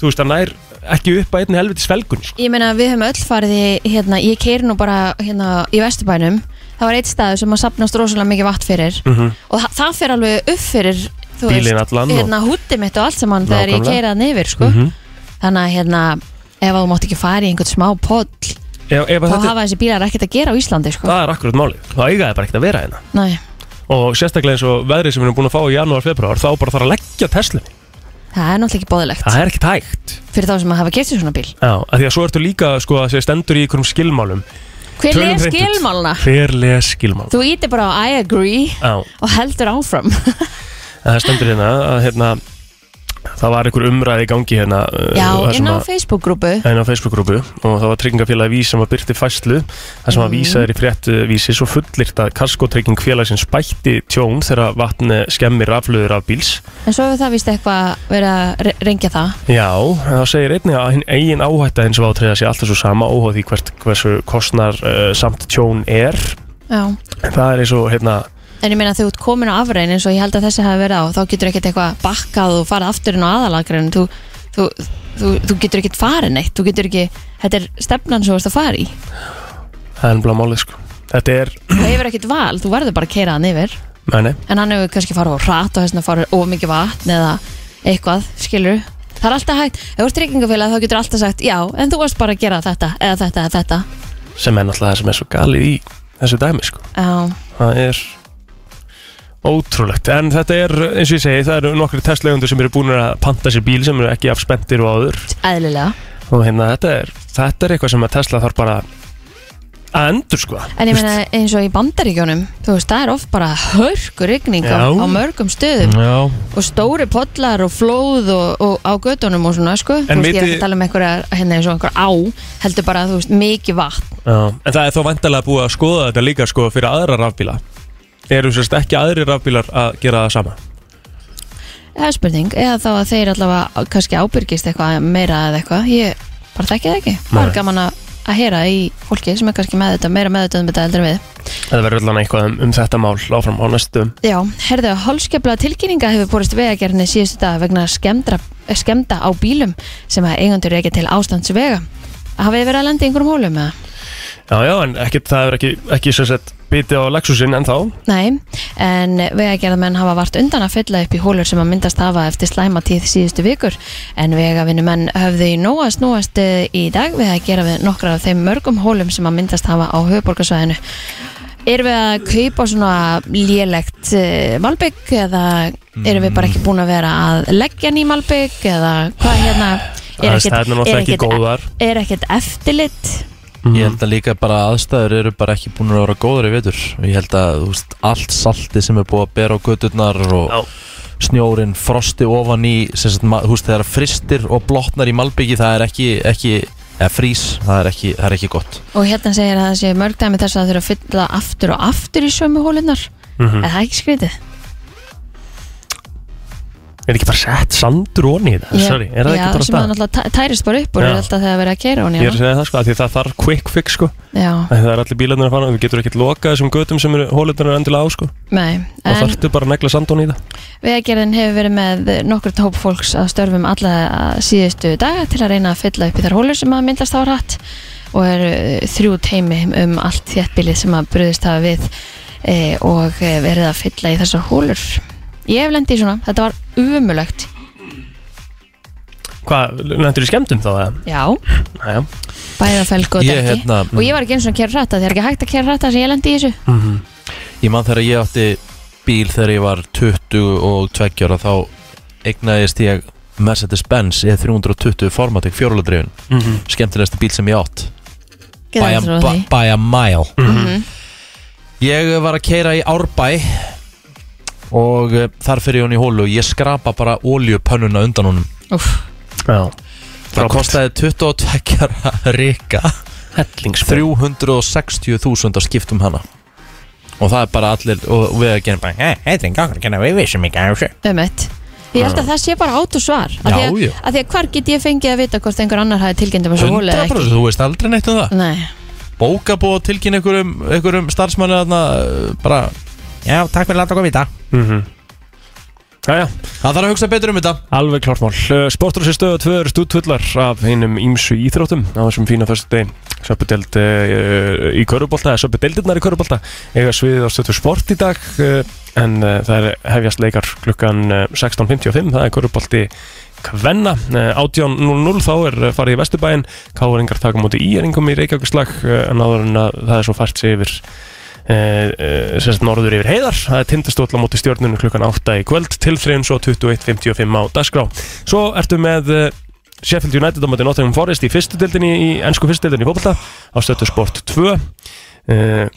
Speaker 3: þú veist, það nær ekki upp að einni helvitis felgun, sko.
Speaker 2: Ég meina við höfum öll farið í, hérna, ég keiri nú bara hérna í Vesturbænum Það var eitt staður sem að sapnast rosalega mikið vatn fyrir
Speaker 3: Mhm.
Speaker 2: Og það, það fer alveg upp fyrir, þú
Speaker 3: Bílinn
Speaker 2: veist,
Speaker 3: allan og-
Speaker 2: hérna húttið mitt og allt saman Þegar ég
Speaker 3: Nákvæmlega.
Speaker 2: keiri það neyfir, sko
Speaker 3: Mhm.
Speaker 2: Þannig að hérna, ef að þú mátt ekki fara í einhvern smá poll
Speaker 3: Ef, ef að
Speaker 2: Þá
Speaker 3: þetta,
Speaker 2: hafa þessi bílar ekkert að gera á Íslandi, sko
Speaker 3: það er akkurat málið, þá eiga það bara ekkert að vera hérna.
Speaker 2: Næ,
Speaker 3: og sérstaklega eins og veðrið sem við erum búin að fá í janúar, februar, þá bara þarf að leggja Tesla
Speaker 2: það er náttúrulega ekki bóðilegt
Speaker 3: það er ekkert hægt
Speaker 2: Fyrir þá sem að hafa keitt í svona bíl
Speaker 3: Já, af því að svo ertu líka sko að segja stendur í einhverjum skilmálum
Speaker 2: Hver
Speaker 3: Tölum
Speaker 2: les
Speaker 3: hreint út.
Speaker 2: skilmálna?
Speaker 3: hver les skilmál
Speaker 2: Þú ítir bara á I agree
Speaker 3: Já,
Speaker 2: og heldur áfram
Speaker 3: Eh, en það stendur hérna að hérna það var einhver umræði í gangi hérna uh,
Speaker 2: Já,
Speaker 3: það sem
Speaker 2: inn á
Speaker 3: að-
Speaker 2: Facebook-grúpu
Speaker 3: inn á Facebook-grúpu og það var tryggingafélagi Vís sem að byrti fæslu það sem að
Speaker 2: Mm.
Speaker 3: Vísa er í frétt uh, Vísi svo fullirt að kaskotrygging félagsins bætti tjón þegar vatni skemmir raflöður af bíls
Speaker 2: En svo hefur það vist eitthvað verið að re- rengja það
Speaker 3: Já, en það segir einnig að hinn eigin áhætta hins vátriða sé alltaf svo sama óháð því hvert, hversu kostnar uh, samt tjón er
Speaker 2: Já.
Speaker 3: En það er eins og hérna
Speaker 2: En ég meina þegar þú ert komin á afræðin eins og ég held að þessi hafi verið á þá getur ekkert eitthvað bakkað og farið aftur inn á aðalagræðin þú, þú, þú, þú getur ekkert farið neitt þú getur ekki, þetta er stefnan sem þú ert að fara í
Speaker 3: það er ennblá málið sko Þetta er,
Speaker 2: þú hefur ekkert val, þú verður bara að keira hann yfir
Speaker 3: nei, nei,
Speaker 2: en hann hefur kannski farið á rætt og þess að farið of mikið vatn eða eitthvað, skilur það er alltaf hægt, ef þú ert tryggingafélag þá getur alltaf sagt já, en þú varst bara að gera þetta eða þetta eða þetta
Speaker 3: sem er náttúrulega það sem er svo galið í þessu dæmi sko
Speaker 2: já,
Speaker 3: Það er ótrúlegt En þetta er, eins og ég segi, það eru nokkri testlegundur sem eru búin að panta sér bíl sem eru ekki afspendir og áður
Speaker 2: eðlilega
Speaker 3: Og hérna, þetta er, þetta er eitthvað sem að Tesla þarf bara að endur sko
Speaker 2: En ég meina eins og í bandaríkjónum þú veist, það er oft bara hörku rigning á,
Speaker 3: Já. Mm.
Speaker 2: á mörgum stöðum
Speaker 1: Já,
Speaker 2: og stóri pollar og flóð og, og á gödunum og svona, sko
Speaker 3: En
Speaker 2: þú veist, ég er
Speaker 3: vitið-
Speaker 2: ekki að tala um einhverja, hérna eins og einhverja á heldur bara, þú veist, mikið vatn
Speaker 3: Já, en það er þá vandalega búið að skoða þetta líka sko fyrir aðra rafbíla Eru sérst ekki aðri rafbílar að gera það sama
Speaker 2: Það er spurning, eða þá að þeir allavega kannski ábyrgist eitthvað meira eða eitthvað ég bara þekki það ekki, bara
Speaker 3: Nei.
Speaker 2: gaman að að heyra í fólki sem er kannski með þetta meira með þetta en þetta heldur en við
Speaker 3: Það verður allan eitthvað um, um þetta mál áfram á næstu
Speaker 2: Já, herðu, holskefla tilkynninga hefur borist vegagerðinni síðustu dag vegna skemmdra, eh, skemmda á bílum sem að eigandur ekki til ástandsvega. Hafið þið verið að lenda í einhverjum hólum eða?
Speaker 3: Já, já, en ekkit, það er ekki, ekki sérst biti á Lexusin en þá
Speaker 2: Nei, en vegagerðamenn hafa vart undan að fylla upp í hólur sem að myndast hafa eftir slæma tíð síðustu vikur en vegavinnumenn höfðu í nóg að snúast eh, í dag við að gera við nokkra af þeim mörgum hólum sem að myndast hafa á höfuborgarsvæðinu. Erum við að kaupa svona lélegt eh, malbygg eða erum við bara ekki búin að vera að leggja ný malbygg eða hvað hérna
Speaker 3: Það er stærnum náttúrulega ekki góðar
Speaker 2: er ekkert eftirlit
Speaker 1: ég held að líka bara aðstæður eru bara ekki búin að vera góður í vetur Ég held að þú veist, allt salti sem er búið að bera á gödurnar og
Speaker 3: Já.
Speaker 1: snjórin, frosti ofan í sem sagt, ma- þú veist, þegar fristir og blotnar í malbyggi það er ekki, ekki eða frís, það er ekki, það er ekki gott
Speaker 2: Og hérna segir að það sé mörg dæmi þess að það þurfa að fylla aftur og aftur í sömu hólinnar
Speaker 3: Mhm.
Speaker 2: Er það ekki skrítið?
Speaker 3: Er ekki bara sett sandur onni í það? Sorry, er það
Speaker 2: já,
Speaker 3: ekki bara
Speaker 2: sem það
Speaker 3: það?
Speaker 2: náttúrulega tæ- tærist bara upp og
Speaker 3: Já.
Speaker 2: er alltaf þegar að vera að keira hún
Speaker 3: Ég er að segja það sko, af því að það þarf quick fix sko
Speaker 2: Já,
Speaker 3: Af því Það er allir bílarnir að fara, við getur ekkert lokað þessum götum sem eru hólutunar endilega á sko
Speaker 2: nei
Speaker 3: Og
Speaker 2: En
Speaker 3: þarftu bara að negla sand onni í það
Speaker 2: vegagerðin hefur verið með nokkur hóp fólks að störfum alla síðustu daga til að reyna að fylla upp í þar hólur sem að myndast á rætt og eru eh, þrjú teimi um allt þéttbilið sem að bröðist hafa við e, og eh, verið að fylla í þessar hólur Ég hef lendið í svona, þetta var umulögt
Speaker 3: Hvað, lendur í skemmtum þá það?
Speaker 2: Já,
Speaker 3: Næja,
Speaker 2: bæða felgu og
Speaker 1: Ég,
Speaker 2: dekki
Speaker 1: hérna,
Speaker 2: og ég var ekki eins og að kera rætta það er ekki hægt að kera rætta sem ég lendi í þessu
Speaker 1: Ég man þegar ég átti bíl þegar ég var 22 ára þá eignaðist ég Mercedes-Benz E E320 Formatic fjóruladrifin skemmtilegasti bíl sem ég átt
Speaker 2: Getur
Speaker 1: by a,
Speaker 2: aldrei
Speaker 1: by,
Speaker 2: orðið
Speaker 1: by a mile
Speaker 2: því.
Speaker 1: Ég var að keira í Árbæ og eh, þar fyrir ég hún í hólu og ég skrapa bara óljupönnuna undan honum
Speaker 2: Úff.
Speaker 3: já
Speaker 1: Það
Speaker 3: Frábært.
Speaker 1: kostaði 22 ríka
Speaker 3: Hellingsbrú
Speaker 1: 360.000 að skiptum hana og það er bara allir og og við að gera bara "Eh, hei, hei, drengi, okkur, kenna við vissum ekki af þessu
Speaker 2: Ömmett Ég held að það sé bara autosvar Af því að-
Speaker 1: Já, já.
Speaker 2: af Því að hvar get ég fengið að vita hvort einhver annar hafi tilgjendum þessu hólu eða ekki
Speaker 1: 100% þú veist aldrei neitt um það
Speaker 2: Nei,
Speaker 1: bóka búið að tilkynna einhverjum, einhverjum starfsmanni þarna uh, bara já, takk fyrir að láta okkur vita
Speaker 3: Mhm. Jæja,
Speaker 1: það þarf að hugsa betur um þetta
Speaker 3: alveg klart mál Eh, Sportur sér stöðu tvöður stúdfullar af hinnum ímsu íþróttum á þessum fína fyrstu degin Söpudeld uh, í Körubolta eða Söpudeldirnar í Körubolta eiga sviðið á stöðu sport í dag uh, en uh, það er hefjast leikar klukkan eh, 16.55 það er Körubolti Kvenna, eh, 18.00 þá er eh, farið í Vesturbæin Káringar taka á móti í eringum í Reykjavíkslag en áður en að það er svo fært sig yfir eh, eh, sem sagt norður yfir heiðar það er tindastóll á móti stjórnunum klukkan 8 í kvöld tilþreyjum svo 21.55 á dagskrá svo ertu með eh, Sheffield United á móti Nottingham Forest í fyrstu dildinni í ennsku fyrstu dildinni í fólkvölda á stöttu sport 2 eh,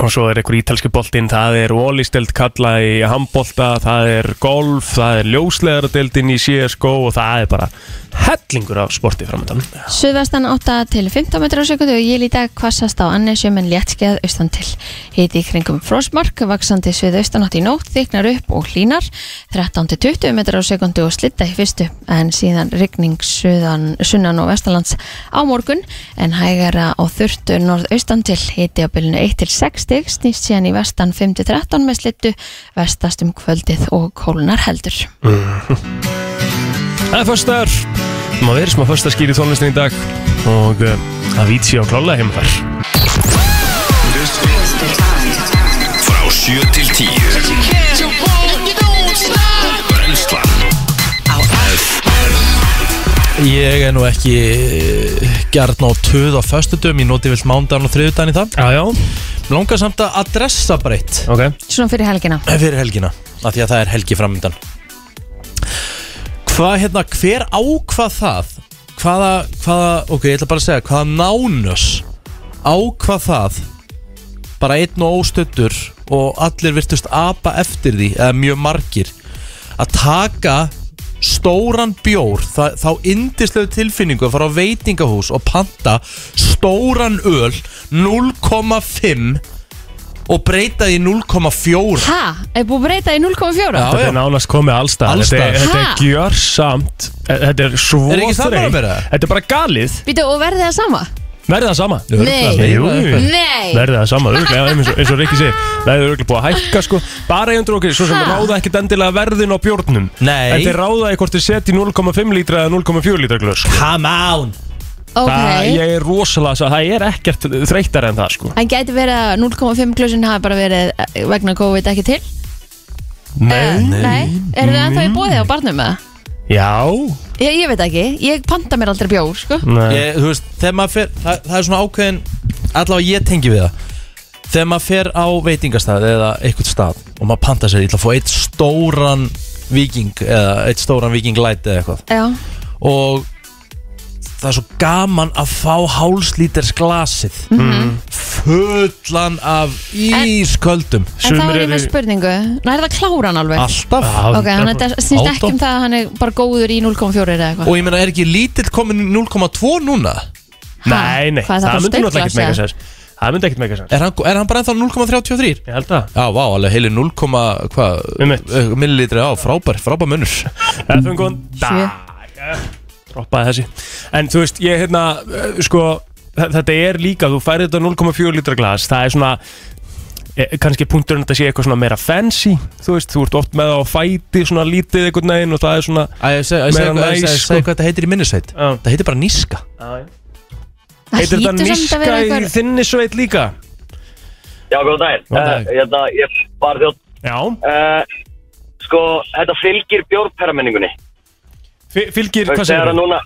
Speaker 3: og svo er einhver ítalski boltinn það er volisteld kalla í handbolta það er golf, það er ljóslegaradildin í CSGO og það er bara hellingur af sporti framöndan
Speaker 2: Suðvestan 8 til 15 metrar á sekundu og ég líta hvassast á annesjum en léttskeiðað austan til. Hiti í kringum frosmark, vaksandi suð austanátt í nótt, þyknar upp og hlínar, 13 til 20 metrar á sekundu og slitta í fyrstu en síðan rigning suðan, sunnan og vestalands á morgun en hægara og þurftu norðaustan til hiti á bylunu 1 til 6 stig, snýst síðan í vestan 5 til 13 með slittu, vestast um kvöldið og kólunar heldur.
Speaker 3: Það er föstaðar Má verið smá föstaskýri tónlistin í dag Og uh, Avicii og Klála heima þar
Speaker 4: Frá 7 til 10 Brennslan Á
Speaker 1: ég er nú ekki eh, gjarn á töð á föstudum ég noti vilt mándan og þriðudan í það
Speaker 3: Já, já
Speaker 1: langar samt að adressa breytt
Speaker 3: Ok
Speaker 2: Svona fyrir helgina.
Speaker 1: Eh, fyrir helgina af því að það er helgi framöndan hvað hérna, hver ákvað það hvaða, hvaða ok, ég ætla bara að segja, hvaða nánus ákvað það bara einn og óstöttur og allir virtust apa eftir því eða mjög margir að taka stóran bjór það, þá indislegu tilfinningu að fara á veitingahús og panta stóran öl 0,5 og breyta því í 0,4
Speaker 2: Ha? Er búið að breyta í 0,4?
Speaker 1: Já,
Speaker 3: Þetta er nánast komið allstað
Speaker 1: Alls
Speaker 3: Þetta er,
Speaker 1: staðar.
Speaker 3: þetta er
Speaker 2: Ha?
Speaker 3: gjörsamt Eh, Þetta er svo
Speaker 1: Er ekki sammála
Speaker 3: þreytt.
Speaker 1: mér það?
Speaker 3: Þetta er bara galið
Speaker 2: Býtu, og verði það sama?
Speaker 3: Verði það sama
Speaker 2: Nei.
Speaker 3: Jú
Speaker 2: Nei.
Speaker 3: Verði það sama Örglega eins og, eins og Rikki segir Það er örglega búið að hækka sko Bara einhundur okkur Svo sem
Speaker 2: Ha?
Speaker 3: ráða ekkit endilega verðin á bjórnum
Speaker 1: Nei.
Speaker 3: Þetta er ráða í hvort þið setji 0,5 lítra eða 0,4 lítra glös sko.
Speaker 1: Come on
Speaker 2: Ok,
Speaker 3: Það ég er rosalega svo Það er ekkert þreyttar en það sko
Speaker 2: en gæti verið að 0,5 glösin hafi bara verið eh, vegna COVID ekki til?
Speaker 3: Nei
Speaker 2: nei. Er það
Speaker 3: Mm.
Speaker 2: ennþá í bóði á barnum með það?
Speaker 3: Já
Speaker 2: Ég, ég veit ekki, ég panta mér aldrei bjór, sko
Speaker 3: Nei.
Speaker 1: ég, Þú veist, þegar maður fer það, það er svona ákveðin, allavega ég tengi við það Þegar maður fer á veitingastað eða eitthvað stað og maður panta sér, ég ætla að fá eitt stóran viking eða eitt stóran viking light eða eitthvað
Speaker 2: Já,
Speaker 1: og það er svo gaman að fá hálslíters glasið
Speaker 2: Mhm.
Speaker 1: fullan af ísköldum
Speaker 2: en þá
Speaker 3: Sumir
Speaker 2: er ég með
Speaker 3: eru-
Speaker 2: spurningu Næ, er það klára hann alveg?
Speaker 1: alltaf
Speaker 2: ok, hann þetta snýst ekki
Speaker 1: Ádó.
Speaker 2: um það að hann er bara góður í 0,4 eða eitthvað
Speaker 1: og ég meina er ekki lítill komin í 0,2 núna
Speaker 3: Nei, nei,
Speaker 2: Hvað er það, bara
Speaker 3: það myndi náttúrulega
Speaker 2: steinglas,
Speaker 3: ekkert mega
Speaker 2: eða?
Speaker 3: sens Það myndi ekkert mega sens
Speaker 1: er hann, er hann bara ennþá 0,33
Speaker 3: Ég held það Um
Speaker 1: Já, vá, alveg heilir 0, hvað,
Speaker 3: Einmitt.
Speaker 1: eh, millilitri á, frábær, frábær munur
Speaker 3: Það fyrir góðan
Speaker 2: Sjö.
Speaker 3: dag Droppaði þessi En þú veist, ég hérna, eh, sko þa- Þetta er líka, þú færi þetta 0,4 litra glas Það er svona eh, kannski punkturinn að þetta sé eitthvað svona meira fancy þú veist, þú ert oft með það á fæti svona lítið einhvern veginn og það er svona
Speaker 1: Æ, ég segi
Speaker 3: Meira
Speaker 1: hvað
Speaker 3: næs, sko.
Speaker 1: þetta heitir í minnisveit
Speaker 3: Já.
Speaker 1: Það heitir bara níska
Speaker 2: Það
Speaker 3: heitir
Speaker 2: hlýtur
Speaker 3: þetta
Speaker 2: samt að
Speaker 3: níska
Speaker 2: vera
Speaker 3: í
Speaker 2: eitthvað
Speaker 3: þinni sveit líka
Speaker 5: Já, góðan daginn.
Speaker 1: Góðan daginn.
Speaker 5: Eh, Hérna, ég var þjótt.
Speaker 3: Já,
Speaker 5: Uh, sko, þetta fylgir bjórperramenningunni.
Speaker 3: Fy- fylgir, hvað segir
Speaker 5: það? núna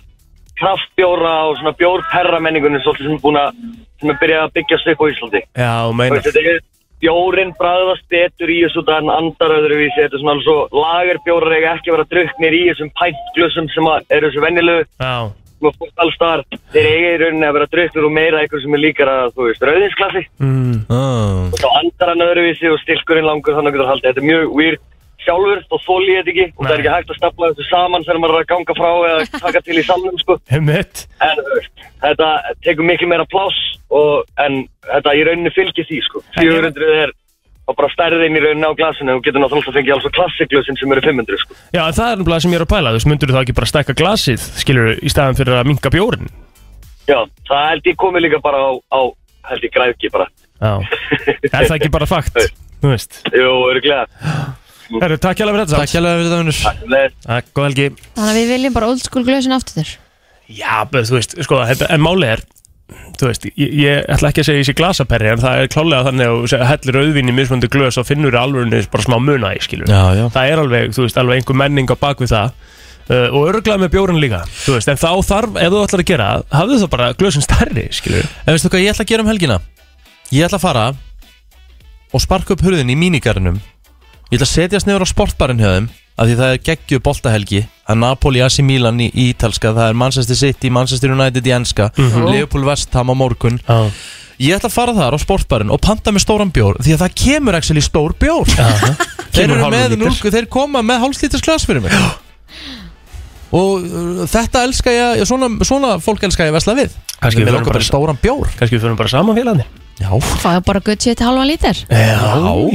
Speaker 5: kraftbjóra og svona bjórperramenningunni svolítið sem er búin að, sem er byrjað að byggja sig upp á Íslandi.
Speaker 3: Já,
Speaker 5: Þú
Speaker 3: meina
Speaker 5: veist, Þetta er bjórin bræðast betur í þessu þetta en andar öðruvísi. Þetta er svona alveg svo lagerbjórar eiga ekki að vera druknir í þessum pæntglössum sem að eru þessu venjulegu
Speaker 3: Já,
Speaker 5: sem að fólk alls staðar. Sko, Þeir eiga í rauninni að vera druknir og meira eitthvað sem er líkara, þú veist, rauðinsklassi.
Speaker 1: mm.
Speaker 5: og þá andar hann öðruvísi og stilkurinn langur þannig að getur haldið þetta er mjög weird sjálfur og þóli ég þetta ekki og það er ekki hægt að stapla þessu saman þegar maður er að ganga frá eða taka til í salnum sko.
Speaker 3: Hemmitt
Speaker 5: en þú veist, þetta tekur miklu meira pláss og, en þetta í rauninni fylgir því sko. 400 er og bara stærðin í rauninni á glasinu og getur náttúrulega að fengið alls og klassiklusin sem eru 500 sko.
Speaker 3: Já, en það er náttúrulega sem ég er að pæla Þú veist, myndur þú þá ekki bara stækka glasið Skilur í staðan fyrir að minka bjórin
Speaker 5: Já, það held ég komið líka bara á, á held ég græðki bara
Speaker 3: Já Er það ekki bara fakt? Þú veist
Speaker 5: Jú, örglega
Speaker 3: Herru, takk hjá fyrir þetta
Speaker 1: Takk hjálpa fyrir þetta, vinnur
Speaker 3: Takk, góð helgi
Speaker 2: Þannig að við viljum bara old school glösin aftur þér
Speaker 3: Já, bara, þú veist, sko, þetta, en máli er Þú veist, ég, ég ætla ekki að segja ég sé glasaperri En það er klálega þannig að þú segir, hellir auðvinni mismöndu glös og finnur alvörinu bara smá muna í skilur
Speaker 1: Já, já.
Speaker 3: Það er alveg, þú veist, alveg einhver menning á bak við það uh, Og örglega með bjórun líka Þú veist, en þá þarf, ef þú ætlar að gera það, Hafðu þá bara glösin stærri, skilur
Speaker 1: En veistu hvað ég ætla að gera um helgina? Ég ætla að fara og sparka upp hurðin í mínigarinum Ég ætla að setjast nefnir á sportbarinn hjá þeim af því það er geggju boltahelgi að Napoli, AC Milan í í ítalska það er Manchester City, Manchester United í enska Liverpool West ham á morgun
Speaker 3: Mhm. Já
Speaker 1: Ég ætla að fara þar á sportbarinn og panta með stóran bjór því að það kemur actually stór bjór Þeir
Speaker 3: Kemur
Speaker 1: eru
Speaker 3: hálfur
Speaker 1: með
Speaker 3: lítur.
Speaker 1: núlku, þeir koma með hálfslítars glas fyrir mig Og uh, þetta elska ég, svona, svona fólk elska ég að vesla við
Speaker 3: Kannski
Speaker 1: Við
Speaker 3: við
Speaker 1: okkur
Speaker 3: förum
Speaker 1: bara
Speaker 3: bara-
Speaker 1: stóran bjór
Speaker 3: Kannski við fyrir bara saman félagni
Speaker 1: Já,
Speaker 2: Fáðu bara gutt sér til halvan lítir
Speaker 1: Já.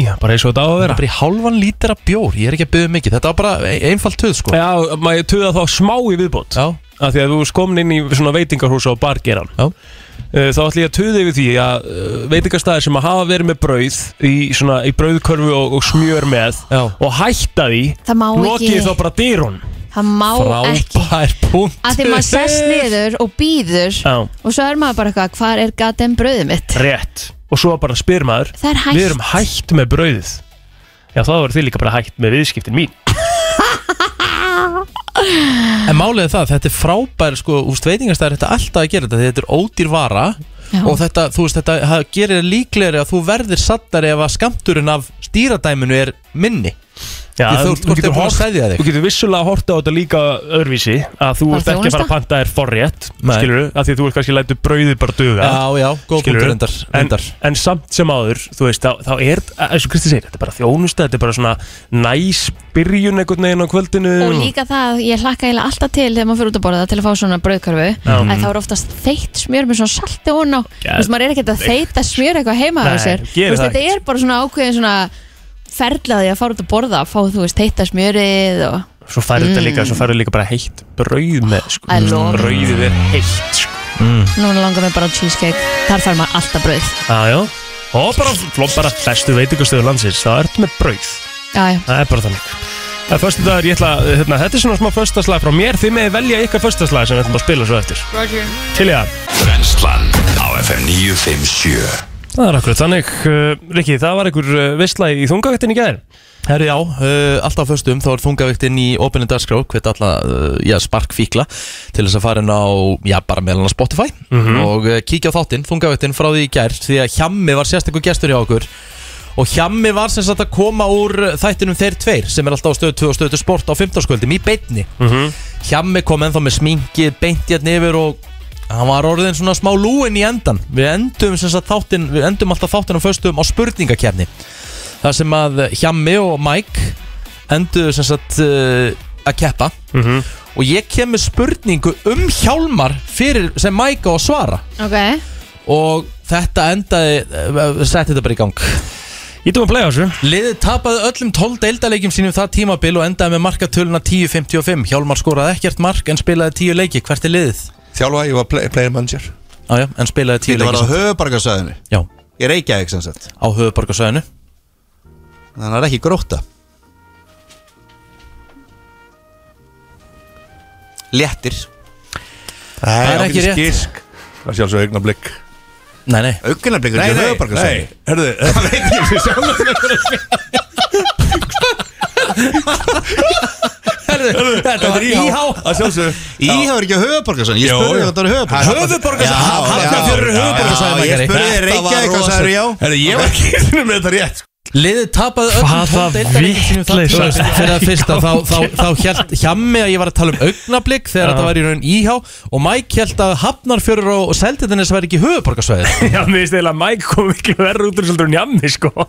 Speaker 3: já, bara eins og þetta á að vera
Speaker 1: bara í halvan lítra bjór, ég er ekki að byggja mikið þetta var bara ein- einfalt töð sko
Speaker 3: Já, maður tuða þá smá í viðbót
Speaker 1: Já.
Speaker 3: Af því að þú skomin inn í svona veitingarhúsa og bargeran
Speaker 1: Já.
Speaker 3: Eh, Þá ætlum ég að tuða yfir því að eh, veitingastæðir sem að hafa verið með brauð í, svona, í brauðkörfu og, og smjör með
Speaker 1: Já.
Speaker 3: og hætta því
Speaker 2: Það má
Speaker 3: lokið
Speaker 2: ekki.
Speaker 3: þá bara dyrun
Speaker 2: Það má ekki
Speaker 1: frábær punkt
Speaker 2: að því maður sest niður og býður
Speaker 3: Já.
Speaker 2: og svo er maður bara eitthvað, hvar er gaten bröðið mitt?
Speaker 3: Rétt Og svo bara spyr maður
Speaker 2: Það er
Speaker 3: Við erum
Speaker 2: hægt
Speaker 3: hætt með brauðið Já, þá voru þið líka bara hætt með viðskiptin mín
Speaker 1: en málið er það, þetta er frábær sko úst veitingastæðar, þetta er alltaf að gera þetta því þetta er ódýr vara
Speaker 2: Já.
Speaker 1: og þetta, þú veist, þetta það gerir líklegri að þú verðir sattari ef að skamturinn af stýradæminu er minni
Speaker 3: Já,
Speaker 1: Því þú ert- hvort er búin að
Speaker 3: horft-
Speaker 1: seðja þig.
Speaker 3: Þú getur vissulega að horta á þetta líka öðruvísi að þú
Speaker 2: Bara
Speaker 3: ert ekki að fara að
Speaker 2: þjónusta?
Speaker 3: panta þér forrétt
Speaker 1: Nei.
Speaker 3: skilur að því að þú ert kannski lætur brauðið bara duga
Speaker 1: já, já, góð
Speaker 3: skilurðu.
Speaker 1: punktur endar,
Speaker 3: en,
Speaker 1: endar.
Speaker 3: en samt sem áður, þú veist, þá, þá er eins og Kristi segir, þetta er bara þjónusta þetta er bara svona næs byrjun einhvern veginn á kvöldinu
Speaker 2: og líka það, að ég hlakka eiginlega alltaf til þegar maður fyrir út að borða til að fá svona bröðkarfu að
Speaker 3: Mm.
Speaker 2: það er oftast þeitt smjör með svona salti og ná þú
Speaker 3: Geðveikt.
Speaker 2: veist, maður er ekkert að þeita smjör eitthvað heima
Speaker 3: Nei,
Speaker 2: af sér,
Speaker 3: gerir
Speaker 2: þú veist,
Speaker 3: það
Speaker 2: þetta
Speaker 3: ekkert.
Speaker 2: er bara svona ákveðin svona ferlaði að fara út að borða að fá, þú veist, þeita smjörið og Mm.
Speaker 3: svo færðu þetta líka, svo færðu líka bara heitt brauð með, sko,
Speaker 2: I love it.
Speaker 3: brauðið er heitt sko.
Speaker 1: Mm.
Speaker 2: núna langar mig bara á cheesecake þar fær maður alltaf bröð
Speaker 3: ah, já, og bara, flott bara bestu veitingastöðu landsins, þá ertu með brauð
Speaker 2: já, já,
Speaker 3: Það er bara þannig Það er förstu dagur, ég ætla að, hérna, þetta er svona smá förstaslag frá mér Þið meði velja ykkar förstaslag sem við ætlum að spila svo eftir Til ég að,
Speaker 4: Brennslan á FM 957
Speaker 3: það er akkurat þannig uh, Rikki, það var einhver uh, vissla í þungavættin í gæðir
Speaker 1: Herri já, uh, alltaf föstum þá er þungaviktinn í opinni dagskrá hvert alltaf, uh, já, sparkfíkla til þess að fara inn á, já, bara meðlan á Spotify og uh, kíkja á þáttinn þungaviktinn frá því í gær, því að Hjammi var sérstakur gestur hjá okkur og Hjammi var sem sagt að koma úr þættinum þeir tveir sem er alltaf á stöðu 2 og stöðu sport á 15 í beinni Hjammi kom ennþá með sminkið beint hérna yfir og hann var orðin svona smá lúin í endan við endum, sem sagt, þáttin, við endum alltaf þáttin á föstum á spurningakefni þar sem að Hjammi og Mike enduðu sem sagt uh, að keppa
Speaker 3: Mhm.
Speaker 1: og ég kem með spurningu um hjálmar fyrir sem Mike á að svara
Speaker 2: ok
Speaker 1: og þetta endaði, uh, setti þetta bara í gang
Speaker 3: Ítum að playa þessu
Speaker 1: Liðið tapaði öllum 12 deildaleikjum sínum það tímabil og endaði með markatöluna 10.55 Hjálmar skoraði ekkert mark en spilaði 10 leiki, hvert er liðið?
Speaker 6: Þjálfa, ég var play, player manager
Speaker 1: Ah, já, en spilaði 10
Speaker 6: Þetta var
Speaker 1: leiki
Speaker 6: á
Speaker 1: samt.
Speaker 6: höfubarkasæðinu
Speaker 1: Já,
Speaker 6: Ég reykja ekki sem sagt
Speaker 1: á höfuborgarsöðinu
Speaker 6: Þannig að það er ekki gróta Léttir
Speaker 1: Það er ekki rétt.
Speaker 7: Gisk Það sé alveg augnablik
Speaker 1: Nei, nei,
Speaker 6: Augunarblik er
Speaker 7: Nei,
Speaker 6: ekki
Speaker 7: nei, nei
Speaker 6: höfubarkasæðinu
Speaker 7: Herðu Það veit ég sem sjálf
Speaker 1: þetta var íhá
Speaker 7: Það sjálfsög
Speaker 6: Íhá er ekki á höfubarkasæðinu Ég
Speaker 7: Jó,
Speaker 6: spurði
Speaker 7: jó.
Speaker 6: hvort það er höfubarkasæðinu Já,
Speaker 1: Höfuborgarsöðinu,
Speaker 6: já,
Speaker 1: Hafnarfjörður er
Speaker 6: já,
Speaker 1: höfuborgarsöðinu
Speaker 6: já, ég spurði
Speaker 1: Þetta var
Speaker 6: reykja eitthvað
Speaker 1: rosa-
Speaker 6: sæður já
Speaker 7: Herðu ég var ekki einu sinni með þetta rétt
Speaker 1: Liðið tapaði öllum
Speaker 3: Hvaða
Speaker 1: deildarleikjum sínum þar-
Speaker 3: vitleysa.
Speaker 1: Þú veist, Fyrir að fyrsta þá, þá, þá, þá hjælt hjammi að ég var að tala um augnablik þegar
Speaker 3: Já.
Speaker 1: þetta var í raun íhá og Mike hjælt að hafnarfjörur og, og seldinnes væri ekki sko. höfuborgarsvæðið
Speaker 3: Já, mér finnst eiginlega að Mike kom miklu verður út úr svolítið en Jammi, sko Hva,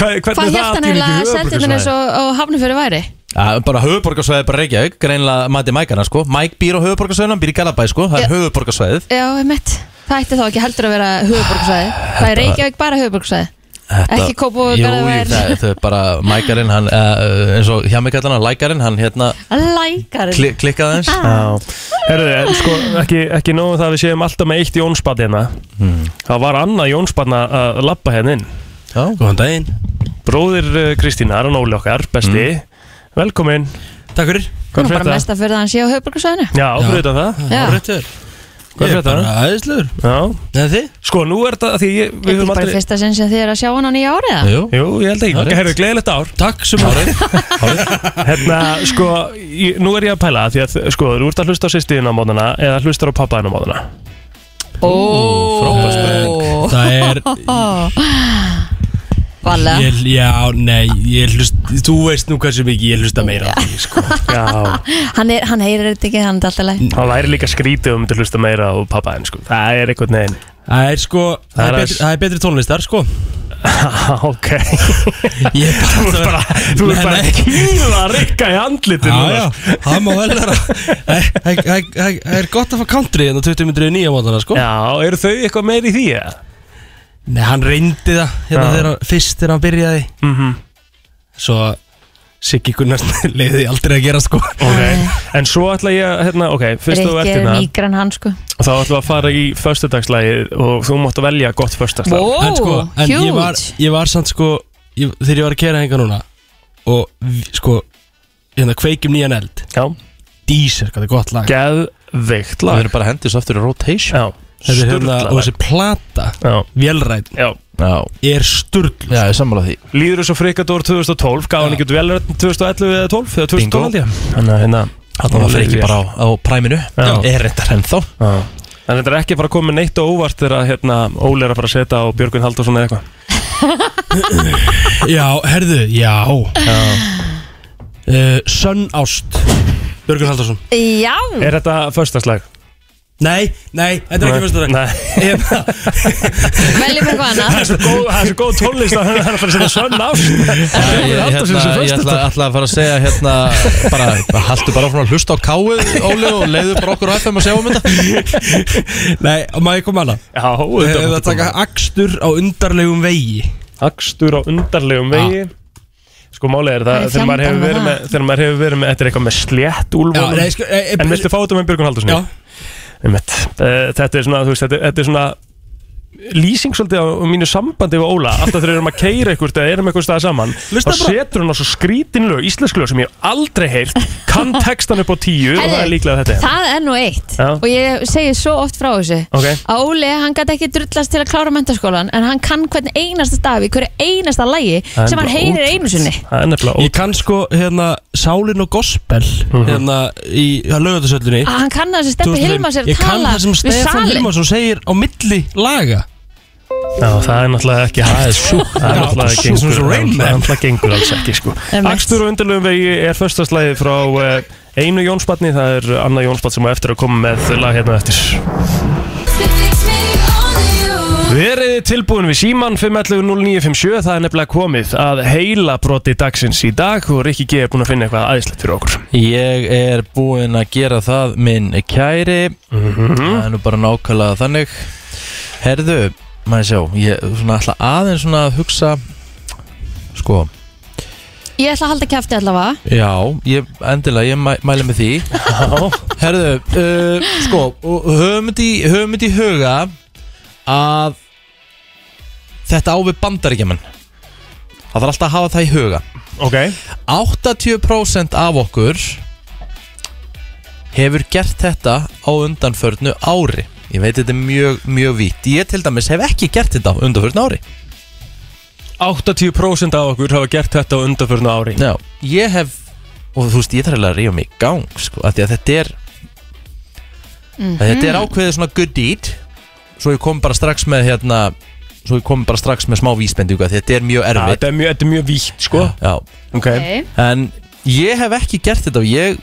Speaker 3: Hvernig
Speaker 2: Hvað
Speaker 3: það
Speaker 2: hjælt hann
Speaker 3: atvinnu
Speaker 2: eiginlega
Speaker 3: ekki
Speaker 2: að seldinni
Speaker 3: höfuðborgarsvæði?
Speaker 2: eins og, og hafnafjöru væri?
Speaker 1: Já, bara höfuborgarsvæðið bara Reykjavík, greinlega mati Mækana sko Mæk býr á höfuborgarsvæðinu, hann býr í Galabæ sko Það er
Speaker 2: Já.
Speaker 1: höfuborgarsvæðið
Speaker 2: Já, mitt. Það ætti þá ekki heldur að vera höfuborgsvæði. Það er Reykjavík bara höfuborgsvæði. Ekki Kópavogur,
Speaker 1: Jú, jú,
Speaker 2: Garðabær.
Speaker 1: það það er bara Mækarinn, hann, uh, eins og hjámyggallana, lækarinn, hann hérna
Speaker 2: Lækar.
Speaker 1: kli, klikkaði hans
Speaker 3: Já, herruðu, en sko, ekki, ekki nóg um það að við séum alltaf með eitt Jónsbarn hérna Það var annað Jónsbarn að- að labba hérna inn
Speaker 1: Já,
Speaker 8: Góðan daginn
Speaker 3: Bróðir uh, Kristín Aron Óli okkar, besti Velkomin,
Speaker 8: Takk fyrir
Speaker 3: hvað
Speaker 2: Nú
Speaker 3: er
Speaker 2: bara
Speaker 3: fyrir það?
Speaker 2: mesta fyrir það hann sé á höfuborgsvæðinu.
Speaker 3: Já, fyrir utan það,
Speaker 2: Já.
Speaker 8: Réttur
Speaker 3: hvað er fyrir það?
Speaker 8: Æðislegur
Speaker 3: Já,
Speaker 8: Eða þið?
Speaker 3: sko, nú er þetta, af því ég,
Speaker 2: Er
Speaker 3: við
Speaker 2: þetta
Speaker 3: höfum
Speaker 2: ekki bara í
Speaker 3: aldrei
Speaker 2: fyrsta sinn sem þið er að sjá hann á nýja árið? eða?
Speaker 1: jú
Speaker 3: Jú, ég held
Speaker 1: Það er
Speaker 3: ekki,
Speaker 1: rétt.
Speaker 3: herru, gleðilegt ár
Speaker 8: Takk sem árið
Speaker 3: Hérna, sko, ég, nú er ég að pæla því að, sko, þú ert að hlusta á sýstiðin á móðuna eða hlustar á pappaðin á móðuna
Speaker 8: Frábær spurning Það er
Speaker 2: Valega.
Speaker 8: ég, Já, nei Ég hlust Þú veist nú hversu mikið Ég hlusta meira á því, sko.
Speaker 3: Já,
Speaker 2: Hann, er, hann heyrir þetta ekki, hann er alltaf leið.
Speaker 3: Það væri líka skrítið um að hlusta meira á pappaðin sko. Það er eitthvað neginn
Speaker 8: Það er sko Það
Speaker 3: Það er
Speaker 8: er
Speaker 3: að-
Speaker 8: betri, það er betri tónlistar, sko
Speaker 3: Ok
Speaker 8: Ég er bara
Speaker 3: Þú ert bara, þú ert
Speaker 8: Nei,
Speaker 3: bara
Speaker 8: nei.
Speaker 3: að kýla að rikka í andlitinu
Speaker 8: Já, já, það má vel vera Það það- það- það er gott að fá country hérna, en á 20 myndir í nýja mótana, sko
Speaker 3: já, eru þau eitthvað meira í því? eða?
Speaker 8: Nei, hann reyndi það hérna
Speaker 3: Já.
Speaker 8: þegar hann, fyrst þegar hann byrjaði Svo Siggi Gunnars leiði því aldrei að gera, sko
Speaker 3: Ok, en svo ætla ég að, hérna, ok, fyrst þú ert
Speaker 2: Rikki er
Speaker 3: hérna
Speaker 2: mýgrann hann sko.
Speaker 3: og þá ætla að fara í föstudagslagið og þú mátt að velja gott föstudagslag
Speaker 2: Wow,
Speaker 8: en sko, en ég var,
Speaker 2: huge.
Speaker 8: ég var samt sko ég, þegar ég var að kera hengar núna og vi- sko hérna kveikjum nýjan eld
Speaker 3: Já,
Speaker 8: Deezer, hvað það er gott lag
Speaker 3: geðveikt
Speaker 1: Það
Speaker 3: lag
Speaker 1: er bara að hendis aftur í rotation
Speaker 3: Já,
Speaker 8: Þetta er hérna,
Speaker 3: sturla
Speaker 8: og
Speaker 3: lag
Speaker 8: þessi plata
Speaker 3: Já,
Speaker 8: Vélrætin
Speaker 3: já
Speaker 1: Já,
Speaker 8: er sturl
Speaker 1: já, ég sammála því
Speaker 3: Líður þessu frikadór 2012, gaf hann
Speaker 8: Já.
Speaker 3: ekki út velrönd 2011 eða 12, eða 2012
Speaker 1: Bingo.
Speaker 3: held ég Þannig að hérna
Speaker 1: Þannig var fyrir ekki bara á, á præminu
Speaker 3: Já.
Speaker 1: Er þetta ennþá?
Speaker 3: Já. En þetta er ekki að fara að koma með neitt á óvart þegar hérna, Óli er að fara að setja á Björgvin Halldórsson eða eitthvað.
Speaker 8: Já, herðu, já uh, Sönn Ást Björgun Haldarsson
Speaker 2: Já,
Speaker 3: Er þetta förstaslag?
Speaker 8: Nei, nei, þetta er ekki fyrsta dag
Speaker 3: Nei,
Speaker 8: Hérna,
Speaker 2: veljum eitthvað annað.
Speaker 3: það er svo góð, það er svo góð tónlist að hann er að fara að setja sönn á.
Speaker 1: Ég,
Speaker 3: Björgvin
Speaker 1: hérna, ég
Speaker 3: Halldórsson sem
Speaker 1: ætla,
Speaker 3: förstaslag.
Speaker 1: ætla að fara að segja hérna bara, haltu bara áfram að hlusta á káið Óli og leiðu bara okkur á FM að sjá um þetta
Speaker 8: nei, og maður koma annað
Speaker 3: Já, þetta
Speaker 8: Eða
Speaker 3: er
Speaker 8: að taka akstur á undarlegum vegi
Speaker 3: Akstur á undarlegum vegi. Sko málið er
Speaker 2: Það
Speaker 3: það,
Speaker 2: er
Speaker 3: þegar maður hefur
Speaker 2: fjandinn með
Speaker 3: verið
Speaker 2: það.
Speaker 3: með, þegar maður hefur verið með, þetta er eitthvað með slétt
Speaker 8: Já, nei,
Speaker 3: úlvónum.
Speaker 8: sko, e,
Speaker 3: En viltu fá þetta með Björgvin Halldórsson?
Speaker 8: Já,
Speaker 3: Einmitt. Eh, Þetta er svona, þú veist, þetta er- þetta er svona lýsing svolítið á á mínu sambandi við Óla, alltaf þegar við erum að keira eitthvað eða erum eitthvað staða saman
Speaker 8: Hlusta
Speaker 3: og
Speaker 8: bara.
Speaker 3: setur hann á svo skrítin lög, íslensk lög sem ég hef aldrei heyrt kann textan upp á tíu og það er
Speaker 2: Herðu,
Speaker 3: líklega þetta
Speaker 2: Það er nú eitt
Speaker 3: Já.
Speaker 2: og ég segi svo oft frá þessu
Speaker 3: Ok.
Speaker 2: að Óli, hann gæti ekki drullast til að klára mentaskólan en hann kann hvern einasta staf í hverju einasta lægi
Speaker 3: er
Speaker 2: sem hann
Speaker 3: bara
Speaker 2: heyrir
Speaker 3: ótrúlegt.
Speaker 2: einu sinni
Speaker 3: Það er nefnilega
Speaker 8: Ég kann sko hérna Sálin og Gospel
Speaker 1: Mhm.
Speaker 8: hérna í lögatarsöllinni
Speaker 2: að Ah, hann kann það sem Steppi Hilmas er
Speaker 8: Ég
Speaker 2: að
Speaker 8: kann
Speaker 2: tala
Speaker 8: það sem
Speaker 2: við
Speaker 8: Stefán
Speaker 2: salin
Speaker 8: Hilmarsson segir á milli laga
Speaker 3: ótt Já, það er náttúrulega ekki hægt Það er sjúk Það er
Speaker 8: Já,
Speaker 3: náttúrulega
Speaker 8: sjúkt.
Speaker 3: gengur
Speaker 8: Svo
Speaker 3: Það er
Speaker 8: Rain Man.
Speaker 3: náttúrulega gengur alls ekki sko
Speaker 2: Emmett.
Speaker 3: Akstur og undarlegum vegi er förstaslæði frá eh, einu Jónsbarni Það er annað Jónsbarn sem á eftir að koma með lag hérna á eftir Verið þið tilbúin við síman 511-0957, það er nefnilega komið að heila broti dagsins í dag og Rikki G er búin að finna eitthvað aðeinslegt fyrir okkur.
Speaker 1: Ég er búinn að gera það minn kæri
Speaker 3: Mhm.
Speaker 1: Það er nú bara nákvæmlega þannig Herðu, maður sjá Ég svona, ætla aðeins svona að hugsa Sko,
Speaker 2: ég ætla að halda kæfti allavega
Speaker 1: já, ég, endilega, ég mæ, mæli með því Herðu, uh, sko, og höfum þetta í- höfum þetta í huga að þetta á við bandaríkjaman Það þarf alltaf að hafa það í huga
Speaker 3: Ok.
Speaker 1: 80% af okkur hefur gert þetta á undanförnu ári ég veit þetta er mjög, mjög vítt ég til dæmis hef ekki gert þetta á undanförnu ári
Speaker 3: 80% af okkur hafa gert þetta á undanförnu ári.
Speaker 1: Já, ég hef og þú veist, ég þarf eiginlega að ríða mig í gang sko, af því að þetta er Mm.
Speaker 3: Mhm.
Speaker 1: að þetta er ákveðið svona good deed svo ég kom bara strax með hérna svo ég komi bara strax með smá vísbendingu að Þetta er mjög
Speaker 3: Ja,
Speaker 1: erfitt
Speaker 3: Þetta er mjög, þetta er mjög vítt sko
Speaker 1: Já.
Speaker 3: Ok
Speaker 2: okay.
Speaker 1: En ég hef ekki gert þetta og ég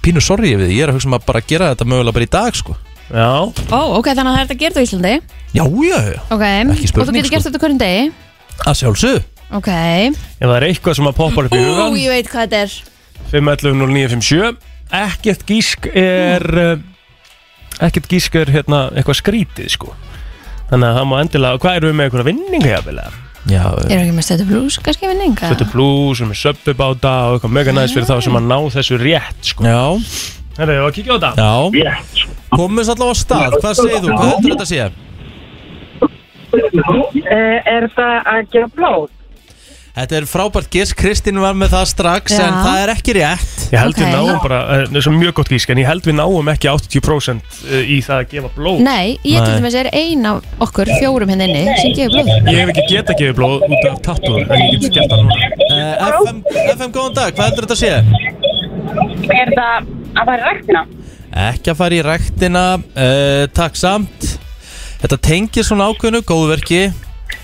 Speaker 1: pínu sorgi yfir því Ég er að hugsa um að bara gera þetta mögulega bara í dag sko
Speaker 3: Já
Speaker 2: Ó, ok, þannig að það er þetta að gera þetta á Íslandi
Speaker 1: Já, já, já,
Speaker 2: Ok,
Speaker 1: Ekki spurning,
Speaker 2: og þú getur
Speaker 1: sko.
Speaker 2: gert þetta hverjum degi
Speaker 1: að sjálfsögðu
Speaker 2: Ok,
Speaker 3: Ef það er eitthvað sem að poppa upp í
Speaker 2: ú,
Speaker 3: hugan
Speaker 2: ég veit hvað þetta er
Speaker 3: 511-0957 Ekkert gísk er mm. Ekkert gísk er hérna eitthvað skrítið sko Þannig að það má endilega Hvað erum við með einhverja vinninga jafnilega?
Speaker 1: Já,
Speaker 2: Ég er ekki með stötu blús, kannski vinninga
Speaker 3: Þetta er blues og með söppubáta og eitthvað mega næst fyrir þá sem að ná þessu rétt sko
Speaker 1: já,
Speaker 3: Þetta er að kíkja á þetta
Speaker 1: já.
Speaker 5: Yeah.
Speaker 1: Komum við allavega á stað, hvað segir þú? Hvað heldur þetta að sé?
Speaker 9: Er það að gefa blóð?
Speaker 1: Þetta er frábært giss, Kristín var með það strax
Speaker 2: Já.
Speaker 1: En það er ekki rétt
Speaker 3: Ég held
Speaker 2: Ok.
Speaker 3: við náum bara, eh, það er svo mjög gott gísk en ég held við náum ekki 80% í það að gefa blóð
Speaker 2: Nei, ég til
Speaker 1: Nei.
Speaker 2: dæmis er ein af okkur fjórum hérna inni sem gefur blóð
Speaker 3: Ég hef ekki geta gefið blóð út af tattúum en ég get gert það núna
Speaker 1: uh, FM, FM, góðan dag, hvað heldur þetta að sé?
Speaker 9: Er það að fara í ræktina?
Speaker 1: Ekki að fara í rektina, uh, takk samt Þetta tengir svona ákveðinu, góðverki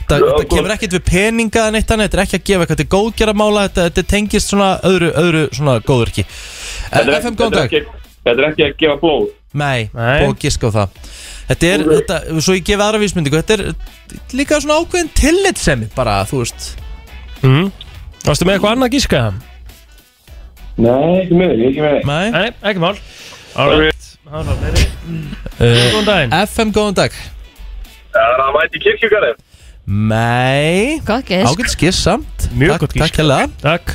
Speaker 1: Þetta, þetta kemur ekkert við peninga en eitt annað, þetta er ekki að gefa eitthvað til góðgerðamála, þetta, þetta tengist svona öðru, öðru svona góðverki. Eh, FM, góðan dag.
Speaker 5: Þetta er ekki að gefa blóð
Speaker 1: Nei,
Speaker 3: Nei.
Speaker 1: búið að giska á það Þetta er, þetta, svo ég gef aðra vísmyndingu Þetta er líka svona ákveðin tillitsemi bara, þú veist
Speaker 3: mm. Varstu með eitthvað annað gíska?
Speaker 5: Nei, ekki með, ekki með
Speaker 1: Nei.
Speaker 3: Nei, ekki mál Alright Það var fleiri.
Speaker 1: Uh,
Speaker 3: Góðan daginn
Speaker 1: FM, góðan dag
Speaker 5: Það er að mæti kirkjugarðin
Speaker 1: Nei,
Speaker 2: Góð gisk
Speaker 1: ágætt skiss samt
Speaker 3: Mjög
Speaker 1: Takk-
Speaker 3: gott gisk.
Speaker 1: Takk hérlega
Speaker 3: Takk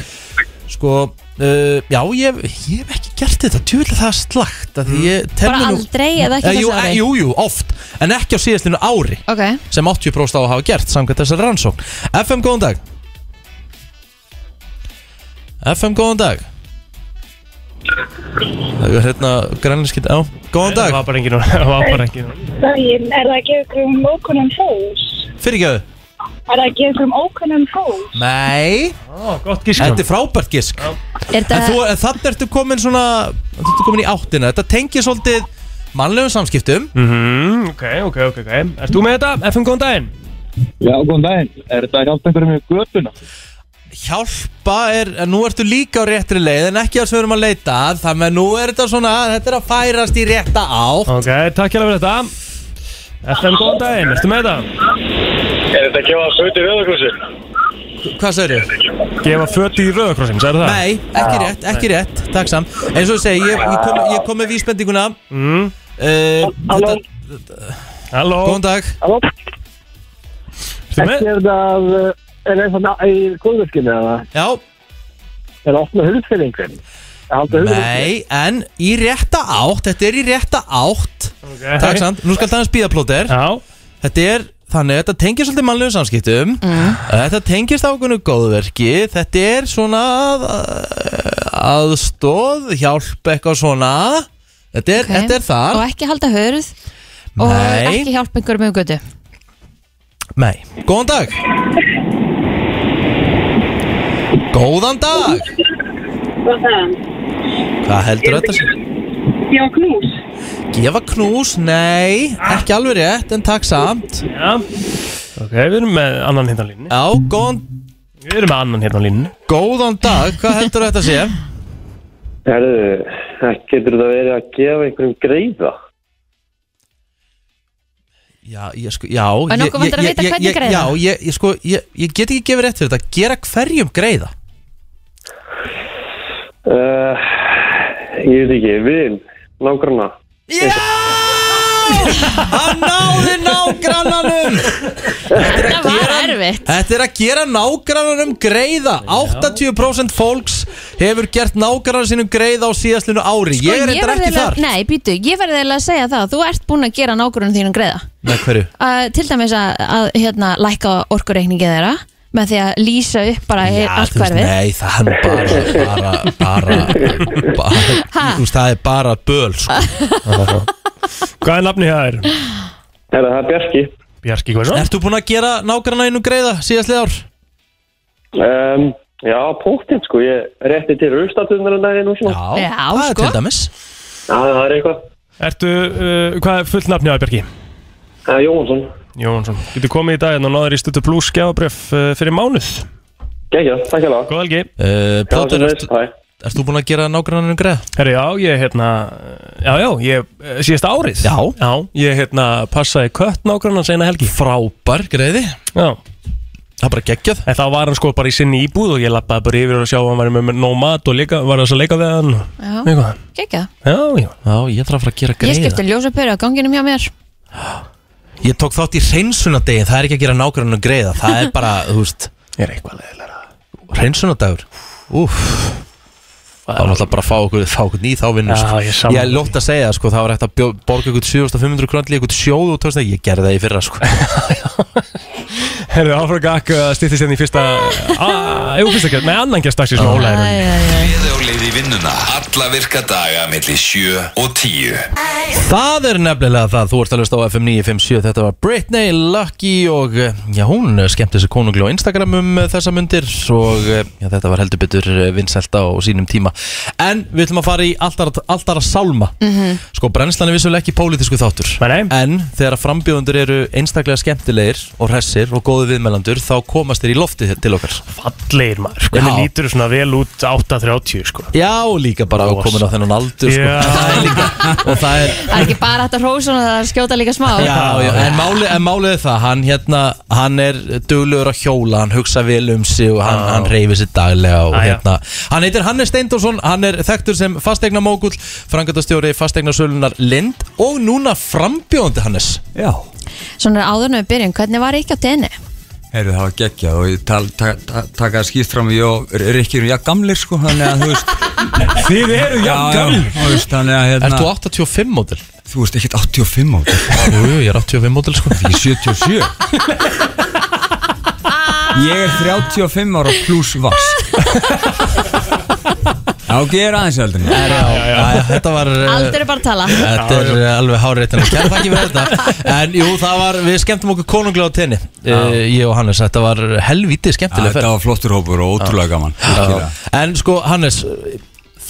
Speaker 1: Sko, uh, já, ég, ég hef ekki gert þetta Tjúlega það er slagt að því ég tel
Speaker 2: Mm. Bara
Speaker 1: mig nú-
Speaker 2: aldrei eða
Speaker 1: Eh,
Speaker 2: ekki
Speaker 1: jú,
Speaker 2: þessu
Speaker 1: eh,
Speaker 2: ári
Speaker 1: jú, jú, oft En ekki á síðastlinu ári
Speaker 2: Ok,
Speaker 1: sem 80% á að hafa gert samkvæmt þessari rannsókn FM, góðan dag FM, góðan dag Það er hérna grænlískitt á Góðan
Speaker 3: Það
Speaker 1: dag,
Speaker 3: var bara engin núna Það var bara engin núna
Speaker 9: Daginn, er það að gefa ykkur um ókunnum hrós?
Speaker 1: fyrirgjöðu
Speaker 9: Er það að gefa ykkur um ókunnum hrós?
Speaker 1: Nei,
Speaker 3: Ó, gott gíska
Speaker 1: þetta er frábært gisk
Speaker 2: er
Speaker 1: En þú,
Speaker 2: þetta
Speaker 1: en þannig ertu komin svona Þú ertu komin í áttina Þetta tengir svolítið mannlegum samskiptum
Speaker 3: Mhm, Ok, ok, ok, ok Erst þú með þetta? FM góðan daginn
Speaker 5: Já, góðan daginn, er þetta hjálp einhverjum með götuna?
Speaker 1: Hjálpa er, en nú ertu líka á réttri leið En ekki að sem við erum að leita að Þannig að nú er þetta svona, þetta er að færast í rétta átt
Speaker 3: Ok, Eh, takk hjá fyrir þetta FM góðan daginn, erstu með þetta?
Speaker 5: Er þetta að gefa fötu rauðaklúsi?
Speaker 1: Hvað sagði
Speaker 3: Gefa föti í rauðakrossin, sagði það?
Speaker 1: Nei, ekki rétt, ekki rétt, takk sam Eins og ég segi, ég, ég, kom, ég kom með vísbendinguna
Speaker 3: Mm.
Speaker 1: uh, þetta,
Speaker 3: Halló,
Speaker 1: Góðan dag
Speaker 3: erstu með?
Speaker 5: Er það, er það í góðverkinu eða?
Speaker 1: Já,
Speaker 5: Er það opna hulfyrringun?
Speaker 1: nei, en í rétta átt Þetta er í rétta átt
Speaker 3: Okay.
Speaker 1: Takk sam, nú skal það hans býða plóter
Speaker 3: Já,
Speaker 1: Þetta er, þannig, að þetta tengist svolítið mannlegum samskiptum Þetta tengist ákveðnu góðverki Þetta er svona að, aðstóð Hjálp eitthvað svona Þetta er,
Speaker 2: Ok.
Speaker 1: þetta er
Speaker 2: og
Speaker 1: þar
Speaker 2: ekki halda hörð og
Speaker 1: Nei.
Speaker 2: ekki hjálpa einhverjum með götu
Speaker 1: Nei, góðan dag Góðan dag
Speaker 9: Hvað það?
Speaker 1: Hvað heldur þetta sé?
Speaker 9: Já, knús.
Speaker 1: Gefa knús, nei, ekki alveg rétt en takk samt
Speaker 3: já Ok, við erum með annan hérna á línni
Speaker 1: Já, góðan,
Speaker 3: Við erum með annan hérna á línni
Speaker 1: góðan dag, hvað heldur þetta sé?
Speaker 5: Herðu, getur það verið að gefa einhverjum greiða?
Speaker 1: Já, ég sko, já
Speaker 2: En
Speaker 1: ég-
Speaker 2: okkur vantar að
Speaker 1: ég-
Speaker 2: vita
Speaker 1: ég-
Speaker 2: hvernig
Speaker 1: ég-
Speaker 2: greiða.
Speaker 1: Já, ég, ég sko, ég, ég get ekki gefið rétt fyrir þetta Gera hverjum greiða?
Speaker 5: Uh, ég veit ekki, vin, nágrana.
Speaker 1: Já! Hann náði nágrannanum!
Speaker 2: Það var erfitt
Speaker 1: Þetta er að gera nágrannanum greiða 80% fólks hefur gert nágrannan sínum greiða á síðastlunu ári
Speaker 2: Sko,
Speaker 1: Ég er eitthvað
Speaker 2: verð
Speaker 1: ekki
Speaker 2: eiginlega-
Speaker 1: þar
Speaker 2: Nei, býtu, ég verði eiginlega að segja það Þú ert búin að gera nágrunum þínum greiða
Speaker 1: Nei, hverju?
Speaker 2: uh, Til dæmis að, að hérna, lækka orkureikningi þeirra með því að lýsa upp bara he- allt hverfið
Speaker 1: nei, það er nú bara, bara, bara, bara
Speaker 2: Ha?
Speaker 1: Þú veist, það er bara böl, sko
Speaker 3: Hvað er nafni hér?
Speaker 5: Er það Bjarki?
Speaker 3: Bjarki Kvæsson
Speaker 1: Ertu búin að gera nágrannanum greiða síðastlið ár?
Speaker 5: Um, já, póktinn sko, ég rétti til rauðstatunar en daginn og svona.
Speaker 1: Já,
Speaker 2: Já,
Speaker 1: það er
Speaker 2: sko.
Speaker 1: til dæmis
Speaker 5: Já, það er eitthvað.
Speaker 3: Ertu, uh, hvað er fullt nafni hér Bjarki?
Speaker 5: Það er Jónsson.
Speaker 3: Jónsson Getur komið í dag en náður í stuttu pluss gjafabref uh, fyrir mánuð
Speaker 10: Gæja, takk hérna
Speaker 3: Góð helgi
Speaker 1: uh,
Speaker 10: Plótur, hæ
Speaker 1: Erst þú búin að gera nágranninu greið?
Speaker 3: Herri, já, ég hérna Já, já, ég eh, síðasta árið Já Já, ég hérna passaði kött nágrann hans eina helgi
Speaker 1: Frábær greiði
Speaker 3: Já
Speaker 1: Það er bara geggjað
Speaker 3: En þá var hann sko bara í sinni íbúð og ég lappaði bara yfir og sjá að hann var með nóg mat og leika, var þess að leika við hann
Speaker 2: Já,
Speaker 3: Eitthvað.
Speaker 2: gekkja
Speaker 3: Já, já
Speaker 1: Já, ég þarf að fara að gera
Speaker 2: Ég
Speaker 1: greiða
Speaker 2: skipti ljósapöru á ganginum hjá mér
Speaker 1: Ég tók þátt í hreinsunadegi, það er ekki að gera nákvæmlega greiða Það er bara, þú veist
Speaker 3: Ég er eitthvað leðilega
Speaker 1: Hreinsunadagur Úf Það var náttúrulega bara að fá okkur, fá okkur nýð þá vinnu
Speaker 3: Já,
Speaker 1: sko.
Speaker 3: ég er sammála
Speaker 1: Ég lótt að segja, sko, það var hægt að bjó- borga ykkur 7500 krónli, ykkur sjóð og tókst það Ég gerði það í fyrra, sko
Speaker 3: Herðu, áfram gakk að stýttist hérna í fyrsta Ah, Jú, fyrsta gæst, nei, annan gæst dagsins með Óla hérna.
Speaker 4: Gleði á leið í vinnuna Alla virka daga milli 7 og 10
Speaker 1: Það er nefnilega það, þú ert að hlusta á FM 957 Þetta var Britney, Lucky og eh, Já, hún eh, skemmti sig konungli á Instagram um eh, þessa mundir og eh, já, þetta var heldur betur eh, vinsælt á sínum tíma En við ætlum að fara í alltaf að sálma
Speaker 3: Mhm.
Speaker 1: Sko, brennslan er vissulega ekki pólitísku þáttur
Speaker 3: Nei, nei.
Speaker 1: En þegar að frambjóðundur eru einstaklega skemmtilegir og hressir og góði viðmælandur þá komast þeir í lofti til okkar
Speaker 3: Fallegir maður, sko, henni
Speaker 1: Já.
Speaker 3: lítur svona vel út 8.30, sko
Speaker 1: Já, og líka bara á komin á þennan aldur sko.
Speaker 3: Já.
Speaker 1: Það er líka, og það er
Speaker 2: Það er ekki bara hægt að hrósa hana, það er að skjóta líka smá
Speaker 1: Já, já, en máli, en málið er það, hann hérna, hann er duglegur að hjóla, hann hugsa vel um sig og hann, hann reyfir sér daglega og
Speaker 3: Já, já.
Speaker 1: hérna, hann heitir Hannes Steindorsson, hann er þekktur sem fastegna mógull, frangatastjóri fastegna sölunar Lind og núna frambjóðandi Hannes.
Speaker 6: Já
Speaker 2: Svona áður en við byrjum, hvernig var ekki á tenni?
Speaker 6: Heyrðu, það var geggjað og ég tal, ta, ta, taka skýrt fram ég og Rikki eru jafn gamlir sko þannig að þú veist
Speaker 3: Þið eru
Speaker 6: já, já, þú veist, þannig að
Speaker 1: Ert þú
Speaker 6: hérna,
Speaker 1: 85 mótil?
Speaker 6: þú veist ekkert 85 átt
Speaker 1: Jú, jú, ég er 85 mótil sko.
Speaker 6: Ég er 77 Ég er 35 ára pluss vask Já, ok, ég er aðeins heldur
Speaker 1: Já, já, já, þetta var... eh,
Speaker 2: Aldur er bara að tala
Speaker 1: Þetta er eh, alveg háréttina Kæra þakki fyrir þetta En jú, það var, við skemmtum okkur konunglega á tenni uh, Ég og Hannes, þetta var helvítið skemmtileg ferð.
Speaker 6: Þetta var flottur hópur og ótrúlega gaman virkilega.
Speaker 1: En sko Hannes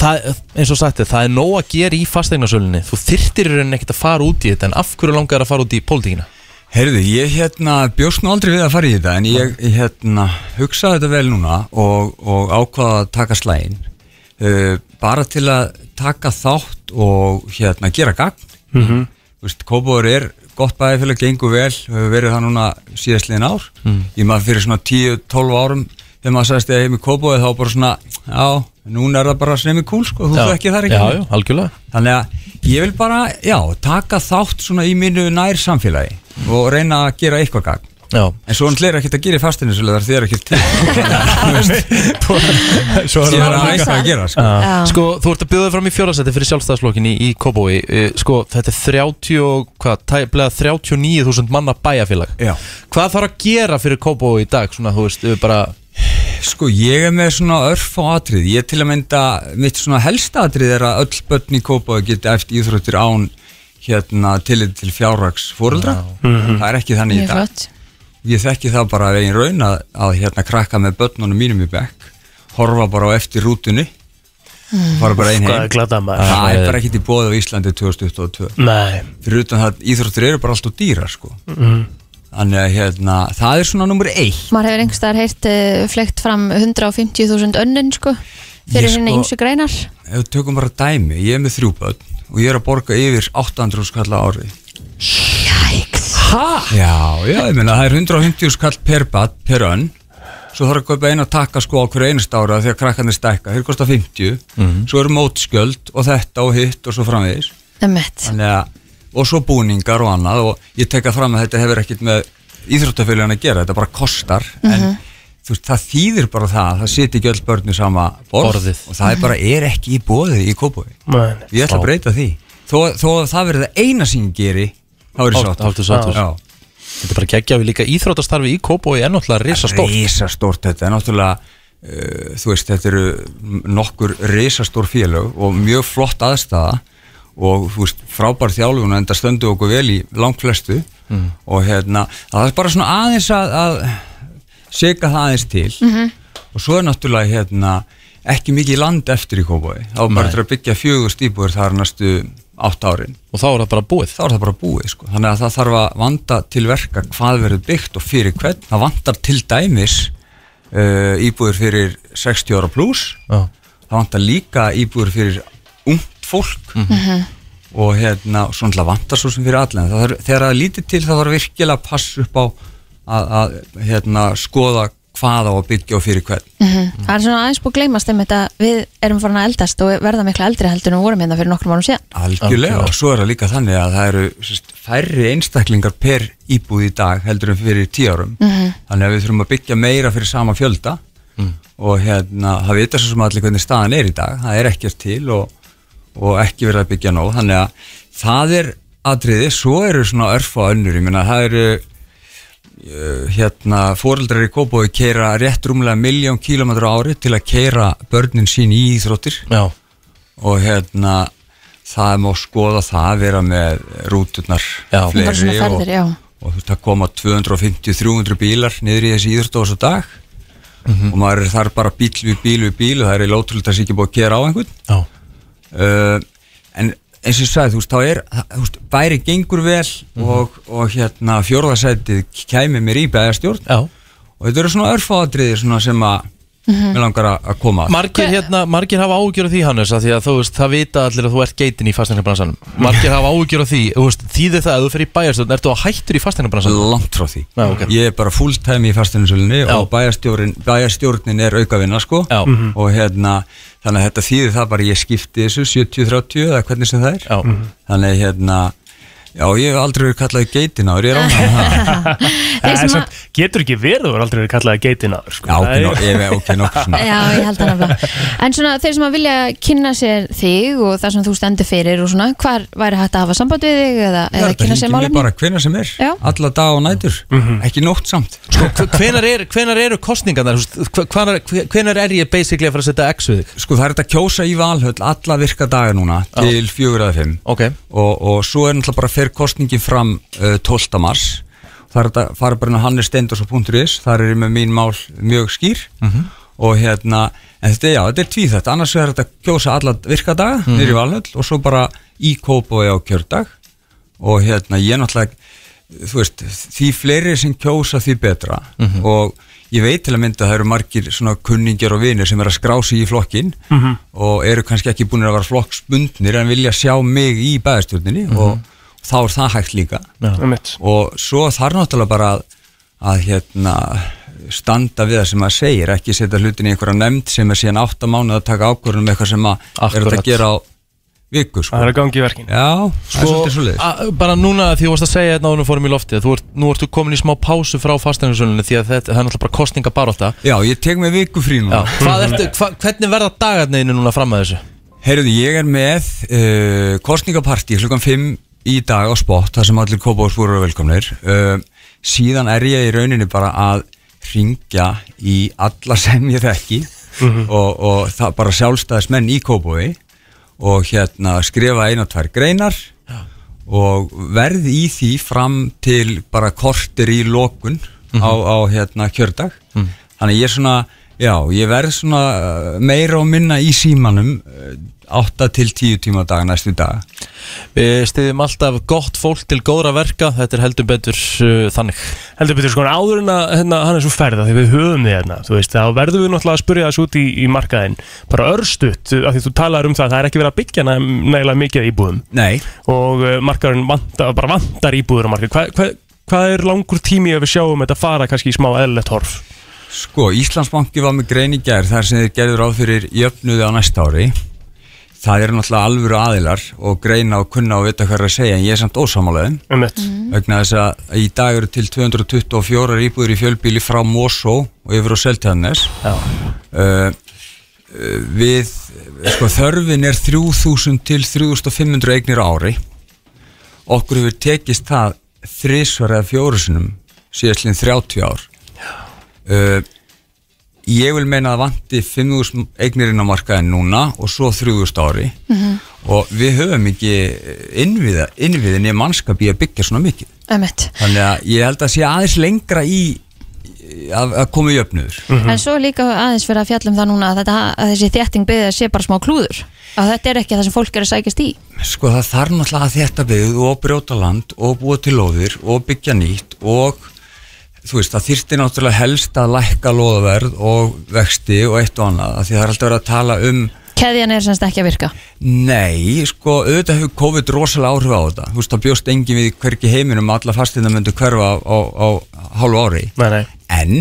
Speaker 1: Það, eins og sagt er, það er nóg að gera í fasteignasölunni Þú þyrtir í rauninni ekkert að fara út í þetta En af hverju langar þér að fara út í pólitíkina?
Speaker 6: Heyrðu, ég hérna bjóst nú aldrei við að fara í þetta en ég hérna hugsaði þetta vel núna og, og ákvaða að taka slægin uh, bara til að taka þátt og hérna gera gagn mm -hmm. Vist, Kópóður er gott bæðifélag, gengur vel hefur verið það núna síðastliðin ár
Speaker 1: Mm.
Speaker 6: ég maður fyrir svona 10-12 árum þegar maður sagðist að heim í Kópóði þá bara svona já, núna er það bara snemmi kúl sko, þú þekkir það ekki
Speaker 1: Já, já, algjörlega
Speaker 6: Þannig að ég vil bara, já, taka þátt svona í mínu nær samfélagi og reyna að gera eitthvað gagn.
Speaker 1: Já,
Speaker 6: En svo hann hlera ekkert að gera í fastinu svo þar þið er ekkert til. Þú veist,
Speaker 3: Svo
Speaker 6: Ég
Speaker 3: er
Speaker 6: er
Speaker 3: það
Speaker 6: að eitthvað að gera, sko.
Speaker 2: Já.
Speaker 1: sko, þú ert að bjóða þig fram í fjórasætti fyrir sjálfstæðslokkinni í Kóbói Eh, Sko, þetta er 30, og- hvað, tæplega 39.000 manna bæjarfélag
Speaker 6: Já.
Speaker 1: Hvað þarf að gera fyrir Kóbói í dag? Svona, þú veist, eh, bara
Speaker 6: Sko, ég er með svona örf á atrið. Ég til að mynda, mitt svona helsta atrið er að öll börn í Kópaðu geti eftir íþróttir án hérna tillit til fjárrags fóruldra.
Speaker 3: Mhm.
Speaker 6: Það er ekki þannig í
Speaker 2: Mjög
Speaker 6: dag.
Speaker 2: flott
Speaker 6: ég þekki það bara að einn raun að, að hérna krakka með börnunum mínum í bekk horfa bara á eftir rútunni
Speaker 2: Mm.
Speaker 6: fara bara einn
Speaker 3: Hvað Sko, er
Speaker 6: heim
Speaker 3: glatað maður?
Speaker 6: það er bara ekkert í bóð á Íslandi 2022
Speaker 3: Nei
Speaker 6: fyrir utan það íþróttur eru bara alltaf dýra sko. þannig að hérna það er svona nummer eitt
Speaker 2: Maður hefur einhverstaðar heyrt uh, flegt fram 150.000 önnin sko fyrir
Speaker 6: Ég,
Speaker 2: hérna
Speaker 6: sko-
Speaker 2: ymsu greinar
Speaker 6: ef við tökum bara dæmi, ég er með þrjú börn og ég er að borga yfir 800 skall á ári
Speaker 2: Jæks
Speaker 6: já, já, ég meina það er 150 skall per bad, per önn svo þarf að kaupa eina takka sko á hverju einast ára þegar krakkarnir stækka, þeir kosta 50
Speaker 1: Mhm.
Speaker 6: svo eru mótskjöld og þetta og hitt og svo framvegis
Speaker 2: Emmett
Speaker 6: Þannig að, og svo búningar og annað og ég tekka fram að þetta hefur ekkert með íþróttafélagin að gera, þetta bara kostar en þú veist, það þýðir bara það það siti ekki öll börn í sama borð
Speaker 1: Borðið.
Speaker 6: og það er bara, er ekki í bóði í kópói
Speaker 3: Nei.
Speaker 6: ég ætla að breyta því þó, þó að það verði það eina sem ég geri þá er ég
Speaker 1: Þá-
Speaker 6: sáttur
Speaker 1: þá ertu sáttur.
Speaker 6: Já.
Speaker 1: Þetta er bara geggja við líka íþrótastarfi í Kóbói En náttúrulega risastórt
Speaker 6: risastórt þetta er náttúrulega uh, þú veist, þetta eru nokkur risastór félög og mjög flott aðstæða og þú veist, frábær þjálfun en það stöndu okkur vel í langflestu
Speaker 1: Mm.
Speaker 6: og hérna, það er bara svona aðeins að, að seka það aðeins til og svo er náttúrulega hérna, ekki mikið land eftir í Kópói, þá er bara eftir að byggja fjögur stíbúður þar næstu átt árin
Speaker 1: og þá er það bara búið
Speaker 6: þá er það bara búið sko þannig að það þarf að vanda til verka hvað verður byggt og fyrir hvern það vantar til dæmis uh, íbúður fyrir 60 ára pluss
Speaker 1: Já.
Speaker 6: það vantar líka íbúður fyrir ungt fólk
Speaker 11: Mhm.
Speaker 6: og hérna og svo náttúrulega vantar svo sem fyrir allan það þarf, þegar það er lítið til það þarf virkilega að passa upp á að, að hérna, skoða hvað á að byggja og fyrir hvern
Speaker 2: Mhm. Það er svona aðeins búið að gleymast um þetta við erum farin að eldast og verða mikla eldri heldur en við vorum hérna fyrir nokkrum árum síðan
Speaker 6: Algjörlega, og svo er það líka þannig að það eru sérst, færri einstaklingar per íbúð í dag heldur en fyrir tíu árum
Speaker 2: Mhm.
Speaker 6: þannig að við þurfum að byggja meira fyrir sama fjölda
Speaker 1: Mm.
Speaker 6: og hérna, það vita svo sem allir hvernig staðan er í dag, það er ekkert til og, og ekki verið að byggja nóg þannig að það er atriði svo eru svona örf og önnur ég meina það eru uh, hérna, fóreldrar í Kópói keira rétt rúmlega miljón kílómetra ári til að keira börnin sín í íþróttir
Speaker 1: Já.
Speaker 6: og hérna það má skoða það að vera með rúturnar
Speaker 1: Já.
Speaker 2: Bara svona ferðir, já.
Speaker 6: og, og þú veist að koma 250-300 bílar niður í þessi íðurstofs og dag og maður er þar bara bíl við bíl við bíl og það er eiginlega ótrúlega að það sé ekki búið að gera á einhvern uh, en eins og ég sagði þú veist þá er það- þú veist, bæri gengur vel og, og hérna fjórðasætið kæmi mér í bæðastjórn
Speaker 1: Já.
Speaker 6: og þetta eru svona örfáðatriði svona sem að mm
Speaker 1: Mhm.
Speaker 6: langar að að koma að.
Speaker 1: Margir, hérna, margir hafa áhugjur af því Hannes að því að þú veist, það vita allir að þú ert geitin í fastegnarbransanum Margir hafa áhugjur af því, þú veist, þýðir það að þú fyrir í bæjarstöðun, ertu að hættur í fastegnarbransanum?
Speaker 6: Langt frá því
Speaker 1: Já, ok.
Speaker 6: Ég er bara fulltime í fasteignarsölunni og bæjarstjórnin, bæjarstjórnin er aukavinna sko
Speaker 1: Mhm.
Speaker 6: og hérna þannig að þetta þýðir það bara að ég skipti þessu 70-30 eða hvernig sem það er
Speaker 1: já. Mhm.
Speaker 6: þannig að hérna já ég hef aldrei verið kallaði geitin ári ég er ánægður með það.
Speaker 2: Þeir sem að-
Speaker 3: Getur ekki verið þú er aldrei verið kallaði geitin aður sko.
Speaker 6: Já, ok, nokk- ég- ok, nokkuð svona.
Speaker 2: Já, ég held það nefnilega En svona þeir sem að vilja kynna sér þig og það sem þú stendur fyrir og svona hvar væri hægt að hafa samband við þig eða, eða
Speaker 6: þetta
Speaker 2: kynna sér
Speaker 6: hringir mig
Speaker 2: málefni
Speaker 6: bara hvenær sem er
Speaker 2: Já.
Speaker 6: alla dag og nætur ekki nótt samt
Speaker 1: Mhm. Sko, hvenar, er, hvenar eru kostningarnar? þú veist, Hvenar, hvenar er ég basically að fara að setja X við þig?
Speaker 6: Sko það er þetta að kjósa í valhöll alla virka daga núna til fjögur eða fimm
Speaker 1: okay.
Speaker 6: og, og svo er náttúrulega bara fer kostningin fram uh, 12. mars það er þetta fara bara inn á hannestendurs.is þar er ég með mín mál mjög skýr
Speaker 1: Mhm.
Speaker 6: og hérna en þetta, já, þetta er tvíþætt, annars er þetta að kjósa alla virka daga
Speaker 1: Mhm.
Speaker 6: niður í valhöll og svo bara í kópa á kjördag og hérna ég náttúrulega þú veist, því fleiri sem kjósa því betra
Speaker 1: Mhm.
Speaker 6: og ég veit til að mynda að það eru margir svona kunningjar og vinir sem er að skrá sig í flokkin
Speaker 3: Mhm.
Speaker 6: og eru kannski ekki búin að vera flokksbundnir en vilja sjá mig í bæðastjórninni og þá er það hægt líka
Speaker 3: Já. Einmitt.
Speaker 6: og svo þarf náttúrulega bara að, að hérna, standa við það sem maður segir ekki setja hlutin í einhverja nefnd sem er síðan átta mánuð að taka ákvörðunum eitthvað sem maður er hægt
Speaker 1: Akkúrat.
Speaker 6: að gera á viku sko.
Speaker 3: Það er að gangi í verkin
Speaker 6: Já, það er svolítið
Speaker 1: Sko,
Speaker 6: svolítið
Speaker 1: a- bara núna því þú varst að segja þetta áður en við fórum í loftið þú ert, Nú ertu komin í smá pásu frá fastegnarsunlunni því að þetta, það er náttúrulega bara kostninga
Speaker 6: Já, ég tek mig viku frí núna
Speaker 1: Hvað ertu, hva, hvernig verða dagarneginu núna fram að þessu?
Speaker 6: Mhm. Heyrðu, ég er með uh, kostningapartí klukkan 5 í dag á spott, þar sem allir kópáðs voru velkomnir. Uh, síðan er ég í rauninni bara að ringja í alla sem ég þekki
Speaker 1: Mhm.
Speaker 6: og, og það bara sjálfstæðismenn í kópói og hérna skrifa eina og tvær greinar og verð í því fram til bara kortir í lokun
Speaker 1: Mhm.
Speaker 6: á, á hérna kjördag þannig ég er svona, já, ég verð svona uh, meira og minna í símanum uh, 8 til 10 tíma á dag næstu dag
Speaker 1: Við stiðum alltaf gott fólk til góðra verka Þetta er heldur betur uh, þannig
Speaker 3: Heldur betur sko, en áður en að hérna, hann er svo ferða því við höfum þið hérna, þú veist, þá verðum við náttúrulega að spurja þessu út í, í markaðin bara örstutt, af því þú talar um það að það er ekki verið að byggja nægilega mikið af íbúðum
Speaker 6: Nei.
Speaker 3: og uh, markaðurinn vantar, bara vantar íbúður á markað, hvað hva, hva er langur tími að við sjáum þetta fara kannski í smá eðlilegt horf?
Speaker 6: Sko, Íslandsbanki var með grein í gær þar sem þeir gerður áð fyrir jöfnuði á næsta ári það eru náttúrulega alvöru aðilar og greina og kunna og vita hvað er að segja en ég er samt ósamálaðin
Speaker 3: Einmitt.
Speaker 6: vegna þess að í dag eru til 224 íbúður í fjölbíli frá Mosó og yfir á Seltjarnes uh, eh, við sko, þörfin er 3000 til 3500 eignir á ári okkur hefur tekist það þrisvar eða fjórusunum síðastlinn 30 ár uh, ég vil meina að vanti 5000 eignir inn á markaðin núna og svo 3000 ári
Speaker 2: Mhm.
Speaker 6: og við höfum ekki innviða, innviðin í mannskap í að byggja svona mikið
Speaker 2: Ömmit
Speaker 6: þannig að ég held að sé aðeins lengra í í- að, að koma í öfnuður
Speaker 2: En svo er líka aðeins fyrir að fjalla um það núna að, þetta, að þessi þétting byggðið sé bara smá klúður að þetta er ekki það sem fólk er að sækjast í
Speaker 6: Sko það þarf náttúrulega að þetta byggð og brjóta land og búa til lóðir og byggja nýtt og þú veist það þýrti náttúrulega helst að lækka lóðverð og vexti og eitt og annað af því það er alltaf verið að tala um
Speaker 2: keðjan er semst ekki að virka
Speaker 6: Nei, sko, auðvitað hefur COVID rosalega áhrif á þetta. Þú veist, það bjóst engin við hverki heiminum að alla fastina myndu hverfa á, á, á hálfu ári. Nei, nei. En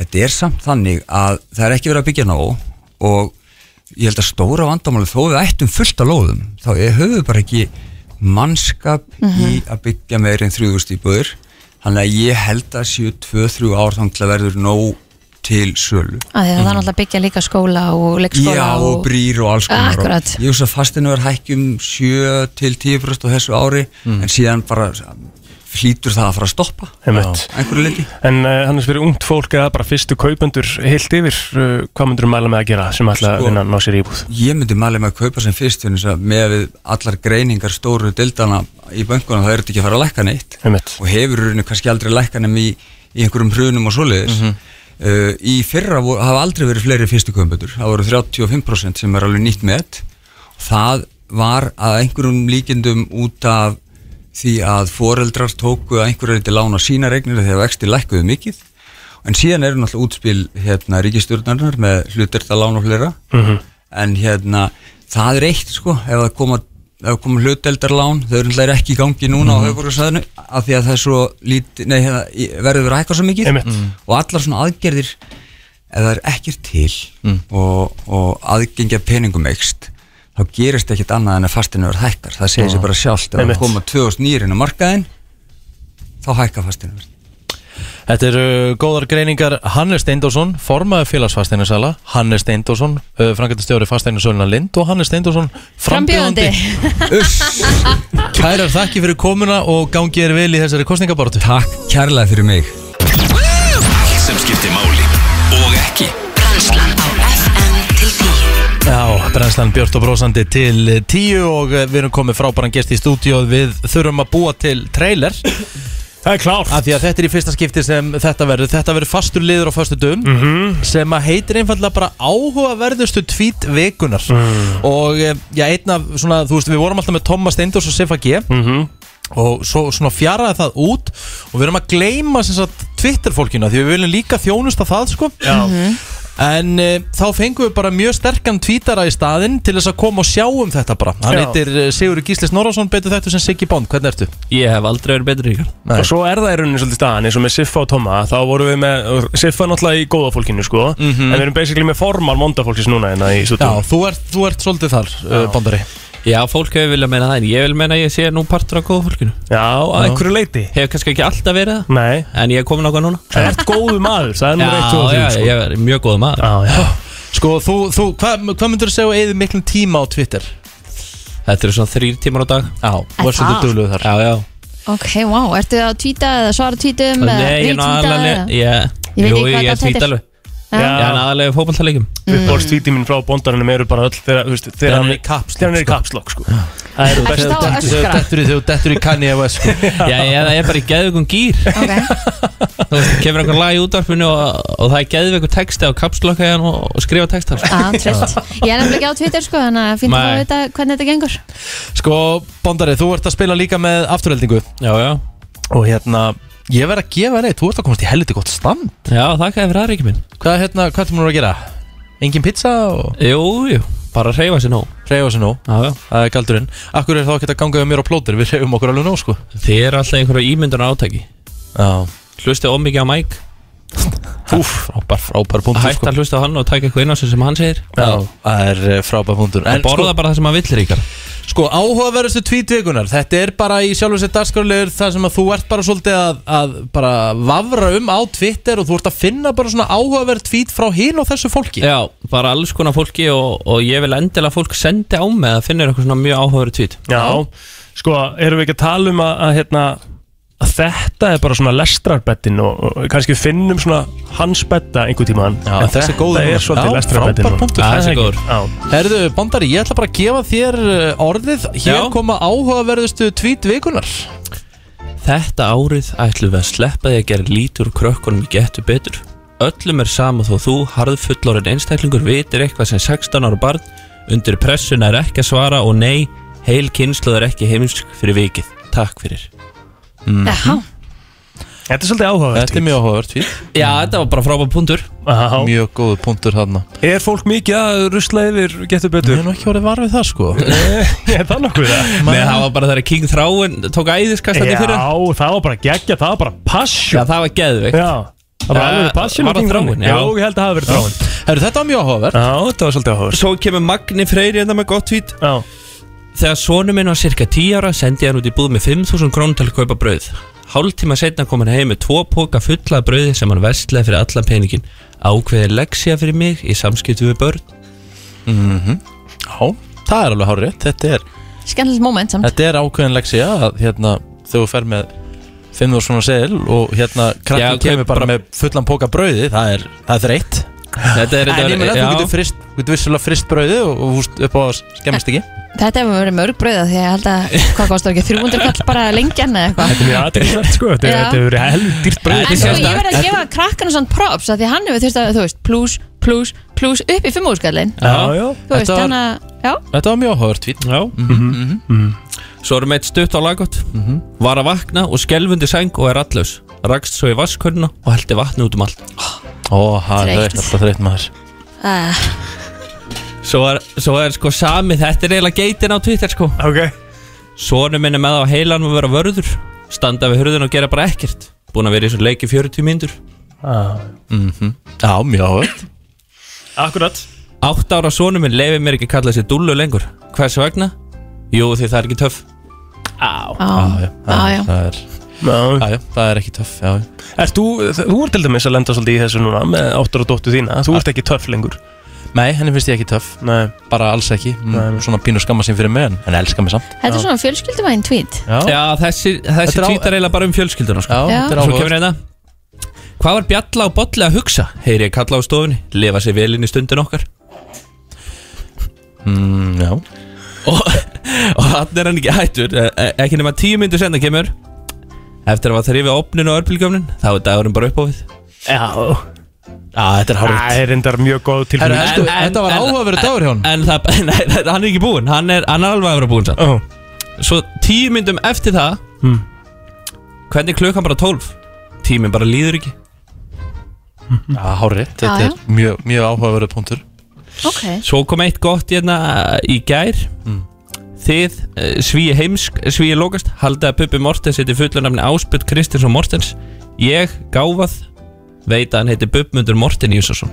Speaker 6: þetta er samt þannig að það er ekki verið að byggja nóg og ég held að stóra vandamáli þó við ættum fullt að lóðum. Þá höfum við bara ekki mannskap í
Speaker 11: Mhm.
Speaker 6: að byggja meir en þrjúðust íbúður. Þannig að ég held að séu 2-3 ár þannig að verður nóg til sölu.
Speaker 2: að því að það er náttúrulega að byggja líka skóla og leikskóla
Speaker 6: Mhm. Já, og brýr og alls konar
Speaker 2: Akkurat.
Speaker 6: og, Ég veist að fastinu er hækkum 7 um til 10% á þessu ári
Speaker 3: Mm.
Speaker 6: En síðan bara flýtur það að fara að stoppa
Speaker 3: Einmitt.
Speaker 6: Einhverju liti
Speaker 3: En uh, hann er fyrir ungt fólk eða bara fyrstu kaupendur heilt yfir, uh, hvað myndur mæla með að gera sem ætla að
Speaker 6: Sko.
Speaker 3: vinna að ná sér í íbúð?
Speaker 6: Ég myndi mæli með að kaupa sem fyrst vegna þess að Með að við allar greiningar stóru dildana í bönkunum Það er þetta ekki að fara að lækka neitt
Speaker 3: Einmitt.
Speaker 6: Og hefur í rauninni kannski aldrei lækka nefn í, í einhverjum hrunum og svoleiðis
Speaker 3: Mhm.
Speaker 6: uh, Í fyrra voru, hafa aldrei verið fleiri fyrstu kaupendur Það voru 35% sem er alveg nýtt með það var að einhverjum líkindum út af því að foreldrar tóku að einhverju reyti lána sína regnir þegar vexti lækkuðu mikið en síðan eru náttúrulega útspil hérna ríkistjórnarnar með hlutir það lána og fleira
Speaker 3: Mhm.
Speaker 6: en hérna það er eitt sko ef það koma, ef það koma hluteldarlán þau eru náttúrulega ekki í gangi núna á
Speaker 11: Mhm.
Speaker 6: höfuborgarsæðinu af því að það er svo lítið, nei, hérna, í- verður að hækka svo mikið
Speaker 11: Einmitt. Mhm.
Speaker 6: og allar svona aðgerðir ef það er ekkert til og, og aðgengja peningum ekst þá gerist ekkert annað en að fastinu verð hækkar það segir
Speaker 11: Já.
Speaker 6: sér bara sjálft ef
Speaker 11: Mhm. Einmitt.
Speaker 6: það koma 2000 nýrin á markaðin þá hækkar fastinu
Speaker 1: Þetta eru góðar greiningar Hannes Steindorsson, formaður félagsfasteinarsala Hannes Steindorsson, uh, frangatistjóri fasteinarsöluna Lind og Hannes Steindorsson frambjóðandi. Kærar þakki fyrir komuna og gangi þér vel í þessari kostningabortu
Speaker 6: Takk kærlega fyrir mig
Speaker 4: Allt sem skiptir máli og ekki
Speaker 1: Já, brennslan Björn og Brósandi til tíu og eh, við erum komið frábæran gest í stúdíóð Við þurfum að búa til trailer Það er klárt Af því að þetta er í fyrsta skipti sem þetta verður Þetta verður fastur liður á fastu dögum Sem að heitir einfallega bara áhugaverðustu tvít vikunar Og eh, já, einn af svona, þú veist, við vorum alltaf með Thomas Steindors og Sifa G Og svo svona fjaraði það út Og við erum að gleyma sem sagt Twitter fólkina Því við viljum líka þjónusta það, sko Já En e, þá fengum við bara mjög sterkan tvítara í staðinn til þess að koma og sjá um þetta bara Hann
Speaker 3: Já.
Speaker 1: heitir eh, Sigurður Gíslis Norrason, betur þetta sem Siggi Bond, hvernig ertu?
Speaker 3: Ég hef aldrei verið betri ykkur
Speaker 1: Nei.
Speaker 3: Og svo er það í rauninni svolítið staðan eins og með Siffa og Tomma Þá vorum við með, Siffa er náttúrulega í góða fólkinu sko
Speaker 1: Mhm.
Speaker 3: En við erum basically með formal mondafólkis núna hérna í stúdíu
Speaker 1: Já, þú ert, þú ert svolítið þar, uh, Bondari
Speaker 12: Já, fólk hefur viljað meina það en ég vil meina að ég sé nú partur af góða fólkinu Já, að
Speaker 3: einhverju leiti
Speaker 12: Hefur kannski ekki alltaf verið það
Speaker 3: Nei
Speaker 12: En ég er komin ákvað núna
Speaker 3: Það ert góðu maður, það er nú eitt, tvö og
Speaker 12: Já,
Speaker 3: þrjú,
Speaker 12: já,
Speaker 3: sko.
Speaker 12: ég er mjög góðu maður
Speaker 3: Já, já
Speaker 1: Sko, þú, þú hvað hva myndur þú segja eða miklum tíma á Twitter?
Speaker 12: Þetta eru svona þrýr tímar á dag
Speaker 1: Já,
Speaker 12: þú
Speaker 2: ert svolítið
Speaker 1: dugluð þar
Speaker 12: Já, já
Speaker 2: ok, wow, ertu að tvíta eða svara tvítum
Speaker 12: Nei, ég er aðalega
Speaker 2: Ég veit
Speaker 12: Jú,
Speaker 2: ekki hvað
Speaker 12: ég
Speaker 2: þetta
Speaker 12: er tvít
Speaker 2: heitir.
Speaker 12: alveg
Speaker 2: Já. Mm.
Speaker 12: Ég er aðalega fótballtalegjum
Speaker 3: Uppbólstvíti mín frá bondarinum eru bara öll þegar, þú veist, þegar hann er í
Speaker 1: kapslokk
Speaker 3: Þegar hann er í kapslokk sko Það eru
Speaker 1: Ertu
Speaker 3: bestu
Speaker 1: þá að
Speaker 3: tweetin.
Speaker 1: öskra? Dettur í- þegar þú dettur í Kanye West sko.
Speaker 12: Já, ég, ég er bara í geðveikum gýr okay. Þú veist, kemur einhver lag í útvarpinu og, og það er geðveikur texti á kapslokka hérna og, og skrifa texta
Speaker 2: Ah, trillt. ég er nefnilega ekki á Twitter sko þannig að finnst að
Speaker 1: Nei.
Speaker 2: vita hvernig þetta gengur
Speaker 1: Sko, Bondari, þú ert að spila líka með afturheldingu
Speaker 12: Já, já
Speaker 1: Og hérna, ég verð að gefa reyð, þú ert að komast í helviti gott stand
Speaker 12: Já, þakka þér fyrir aðriki minn
Speaker 1: Hvað, hérna, hvað ertu múin að gera? Engin pizza og...
Speaker 12: Jú, jú, bara reyfa sér nóg
Speaker 1: Reyfa sér nóg,
Speaker 12: já, já.
Speaker 1: það er galdurinn Akkur er þá ekki að ganga um mér á plótir, við reyfum okkur alveg nóg sko
Speaker 12: Þið er alltaf einhverja ímyndunar átæki
Speaker 1: Já
Speaker 12: Hlustið ómikið á Mike
Speaker 1: Úf, frábær, frábær
Speaker 3: sko.
Speaker 1: punktur
Speaker 12: Hætt að hlusta á hann og taka eitthvað inn á sig sem hann segir
Speaker 1: Já, það er eh, frábær punktur
Speaker 12: En borða bara það sem hann vill ríkar
Speaker 1: Sko, áhugaverðustu tvítveikunar Þetta er bara í sjálfur sér dagskrálegur Það sem að þú ert bara svolítið að, að bara vafra um á Twitter og þú ert að finna bara svona áhugaverð tvít frá hinn og þessu fólki
Speaker 12: Já, bara alls konar fólki og, og ég vil endilega að fólk sendi á mig að finnir eitthvað svona mjög áhugaveru tvít
Speaker 3: Já, sko, erum við ekki að tala um að, að hérna að þetta er bara svona lestrarbettin og, og kannski finnum svona hans betta einhver tíma hann
Speaker 1: Já, þessi góður
Speaker 3: Þetta
Speaker 1: núna.
Speaker 3: er
Speaker 1: Já,
Speaker 3: svolítið lestrarbettin
Speaker 1: frábær punktur. Já, þessi er góður.
Speaker 3: Já,
Speaker 1: Herðu, Bandari, ég ætla bara að gefa þér eh, orðið Hér
Speaker 12: Já.
Speaker 1: koma áhugaverðustu tvítveikunar
Speaker 12: Þetta árið ætlum við að sleppa því að gera lítur úr krökkunum í getur betur. Öllum er sama þó þú, harð fullorinn einstaklingur, vitir eitthvað sem 16 ára barn undir pressuna er ekki að svara og nei, heil kynslu er ekki heimsk fyrir vikið. Takk fyrir. Mm.
Speaker 2: Jaha.
Speaker 3: Þetta er svolítið áhugavert
Speaker 1: Þetta er mjög áhugavert fít
Speaker 12: Já, þetta var bara frábæð punktur
Speaker 1: Mjög góð punktur þarna
Speaker 3: Er fólk mikið að rusla yfir getur betur?
Speaker 1: Ég er nú ekki orðið varfið það sko
Speaker 3: Ég er það nokkuð það
Speaker 12: Nei, það var bara þegar King Þráin tók æðiskastandi
Speaker 3: Já,
Speaker 12: fyrir
Speaker 3: það var bara geggja, það var bara passion
Speaker 12: Já, það var geðveikt
Speaker 3: Já, það var alveg passion
Speaker 12: Eh, Var
Speaker 3: á
Speaker 12: það
Speaker 3: King
Speaker 12: þráin?
Speaker 3: Þráin. Já, ég held að það hafi verið þráin
Speaker 1: Herru, þetta var mjög áhugavert
Speaker 3: Já, þetta var svolítið áhugavert
Speaker 12: Svo kemur Magni Freyri enda með gott hvít
Speaker 3: Já
Speaker 12: Þegar sonu minn var cirka 10 ára sendi ég hann út í búð með 5.000 krónum til að kaupa brauð Hálftíma setna kom hann heim með tvo póka fulla af brauði sem hann vestlaði fyrir allan peningin Ákveðið leksja fyrir mig í samskiptu við börn
Speaker 1: mm
Speaker 3: Mhm.
Speaker 1: Já, það er alveg hárið Þetta er,
Speaker 2: Skemmtilegt moment samt
Speaker 1: þetta er ákveðin leksi að hérna, þegar þú fer með 5.000 svona segil og hérna
Speaker 12: Já,
Speaker 1: krakkið kemur
Speaker 12: kaup
Speaker 1: bara
Speaker 12: bara-
Speaker 1: með fullan póka brauði það er, það er þreitt
Speaker 12: Þetta er
Speaker 1: En ég meina þú
Speaker 12: já.
Speaker 1: getur frist, þú getur vissulega frist brauði og, og húst upp á að skemmist ekki
Speaker 2: Þetta hefur verið mörg brauða því að ég held að hvað kostar ekki 300 kall bara lengjan eða eitthvað
Speaker 3: Þetta er mjög aðeinsvært sko, þetta
Speaker 2: Já.
Speaker 3: þetta hefur verið helvið dýrt brauð
Speaker 2: En sko ég verði að gefa krakkanu svona props að því að hann hefur þurft að, þú veist, plus, plus, plus upp í fimmúrskallin
Speaker 1: Já, já.
Speaker 2: Þú veist,
Speaker 1: Þetta var-
Speaker 2: hann að, já
Speaker 1: Þetta var mjög áhugavert fít
Speaker 12: Já Mhm.
Speaker 1: Mhm.
Speaker 12: Svo erum við eitt stutt á lagot Var að vakna og skelfundi sæng og er allus Rakst svo í vaskörna og heldi vatni út um allt
Speaker 1: Ó, það er
Speaker 12: Þreytt.
Speaker 1: þreitt, alltaf þreitt maður
Speaker 2: uh,
Speaker 12: Svo er, svo er sko sami Þetta er eiginlega geitin á Twitter sko
Speaker 3: okay.
Speaker 12: Sonu minni með á heilan að vera vörður Standa við hurðin og gera bara ekkert Búin að vera í svo leiki 40 mínútur
Speaker 3: Já.
Speaker 1: Mhm. Já, mjög áhugavert
Speaker 3: Akkurat
Speaker 12: 8 ára sonu minn leifir mér ekki að kalla sér dullu lengur Hvers vegna? Jú því það er ekki töff
Speaker 3: Á
Speaker 1: Ah, Já,
Speaker 2: Ah,
Speaker 1: já,
Speaker 3: já.
Speaker 1: það er Já, já, það er ekki töff, já, já
Speaker 3: Ert þú, þú ert til dæmis að lenda svolítið í þessu núna með áttur og dóttu þína, þú ert ekki töff lengur
Speaker 1: Ah. Nei, henni finnst ég ekki töff
Speaker 3: Nei.
Speaker 1: Bara alls ekki Nei. Svona pínu skamma sín fyrir mig En henni elskar mig samt
Speaker 2: Þetta er svona fjölskylduvæn tweet
Speaker 1: Já,
Speaker 12: þessi, þessi
Speaker 1: Þetta er á-
Speaker 12: tweet er eiginlega bara um fjölskylduna sko.
Speaker 2: Já. þetta er
Speaker 12: Svo
Speaker 2: áhugavert.
Speaker 12: kemur hérna Hvað var Bjalla og Bolli að hugsa? Heyri ég kalla á stofunni, lifa sér vel inn í stundin okkar
Speaker 1: mm, Já
Speaker 12: Og, og hann er hann ekki hættur e- e- Ekki nema tíu myndu senda kemur Eftir að var þrifið opnin og örbílgöfnin Þá er dagurinn bara upp á við
Speaker 3: Já
Speaker 1: þetta er hárrétt.
Speaker 3: Það er endar mjög góð tilfinning
Speaker 12: En- en- en- en- En það, nei, nei, hann er ekki búinn Hann er, hann er alveg að vera búinn samt
Speaker 3: oh.
Speaker 12: Svo tíu myndum eftir það
Speaker 3: Hmm.
Speaker 12: Hvernig er klukkan bara tólf? Tíminn bara líður ekki
Speaker 1: Já, hárið, þetta
Speaker 12: Já, já.
Speaker 1: er mjög, mjög áhugaverðu punktur
Speaker 2: Ok
Speaker 12: Svo kom eitt gott hérna í gær
Speaker 1: Hmm.
Speaker 12: Þið, eh, svíi heimsk, svíi lókast Haldið að Puppi Mortens heiti fullur nafni Áspjöld Kristinsson Mortens Ég, gáfað, veit að hann heiti Bubbmundur Morten Júsason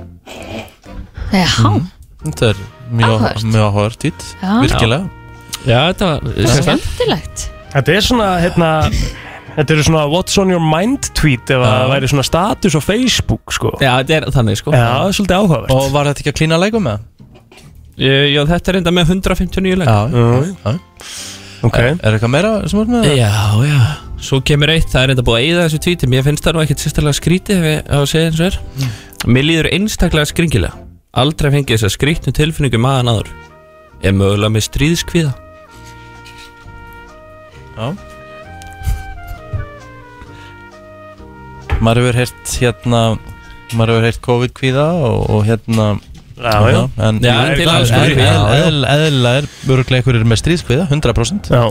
Speaker 2: Já,
Speaker 13: Mm.
Speaker 1: Þetta er mjög
Speaker 2: Áhugavert.
Speaker 1: áhugavert, mjög áhugavert tít
Speaker 2: Já.
Speaker 1: Virkilega
Speaker 12: Já, þetta var
Speaker 2: skemmtilegt
Speaker 3: Þetta er svona, hérna Þetta eru svona what's on your mind tweet ef að það væri svona status á Facebook sko.
Speaker 12: Já, þetta er þannig sko
Speaker 3: Já, svolítið áhugavert
Speaker 1: Og var þetta ekki að klína leikum með?
Speaker 12: Eh, Já, þetta er enda með 159 leik
Speaker 1: Já,
Speaker 3: já, Ok Er
Speaker 1: er eitthvað meira sem er með?
Speaker 12: Já, já Svo kemur eitt, það er enda búið að eyða þessu tvíti Mér finnst það nú ekkert sérstaklega skrítið ef ég á að segja eins og er
Speaker 3: Mm.
Speaker 12: Mér líður einstaklega skringilega Aldrei fengið þess að skrítnu tilfinningu maðan aður Er mögulega með stríðskviða
Speaker 1: Já Maður hefur heyrt hérna Maður hefur heyrt COVID-kvíða og, og hérna
Speaker 3: Já, já.
Speaker 1: En
Speaker 12: Já, en til að-
Speaker 1: eðl-
Speaker 12: Já, já.
Speaker 1: eðl- eðlilega er Öruglega einhverjir með stríðskvíða, 100%
Speaker 3: Já.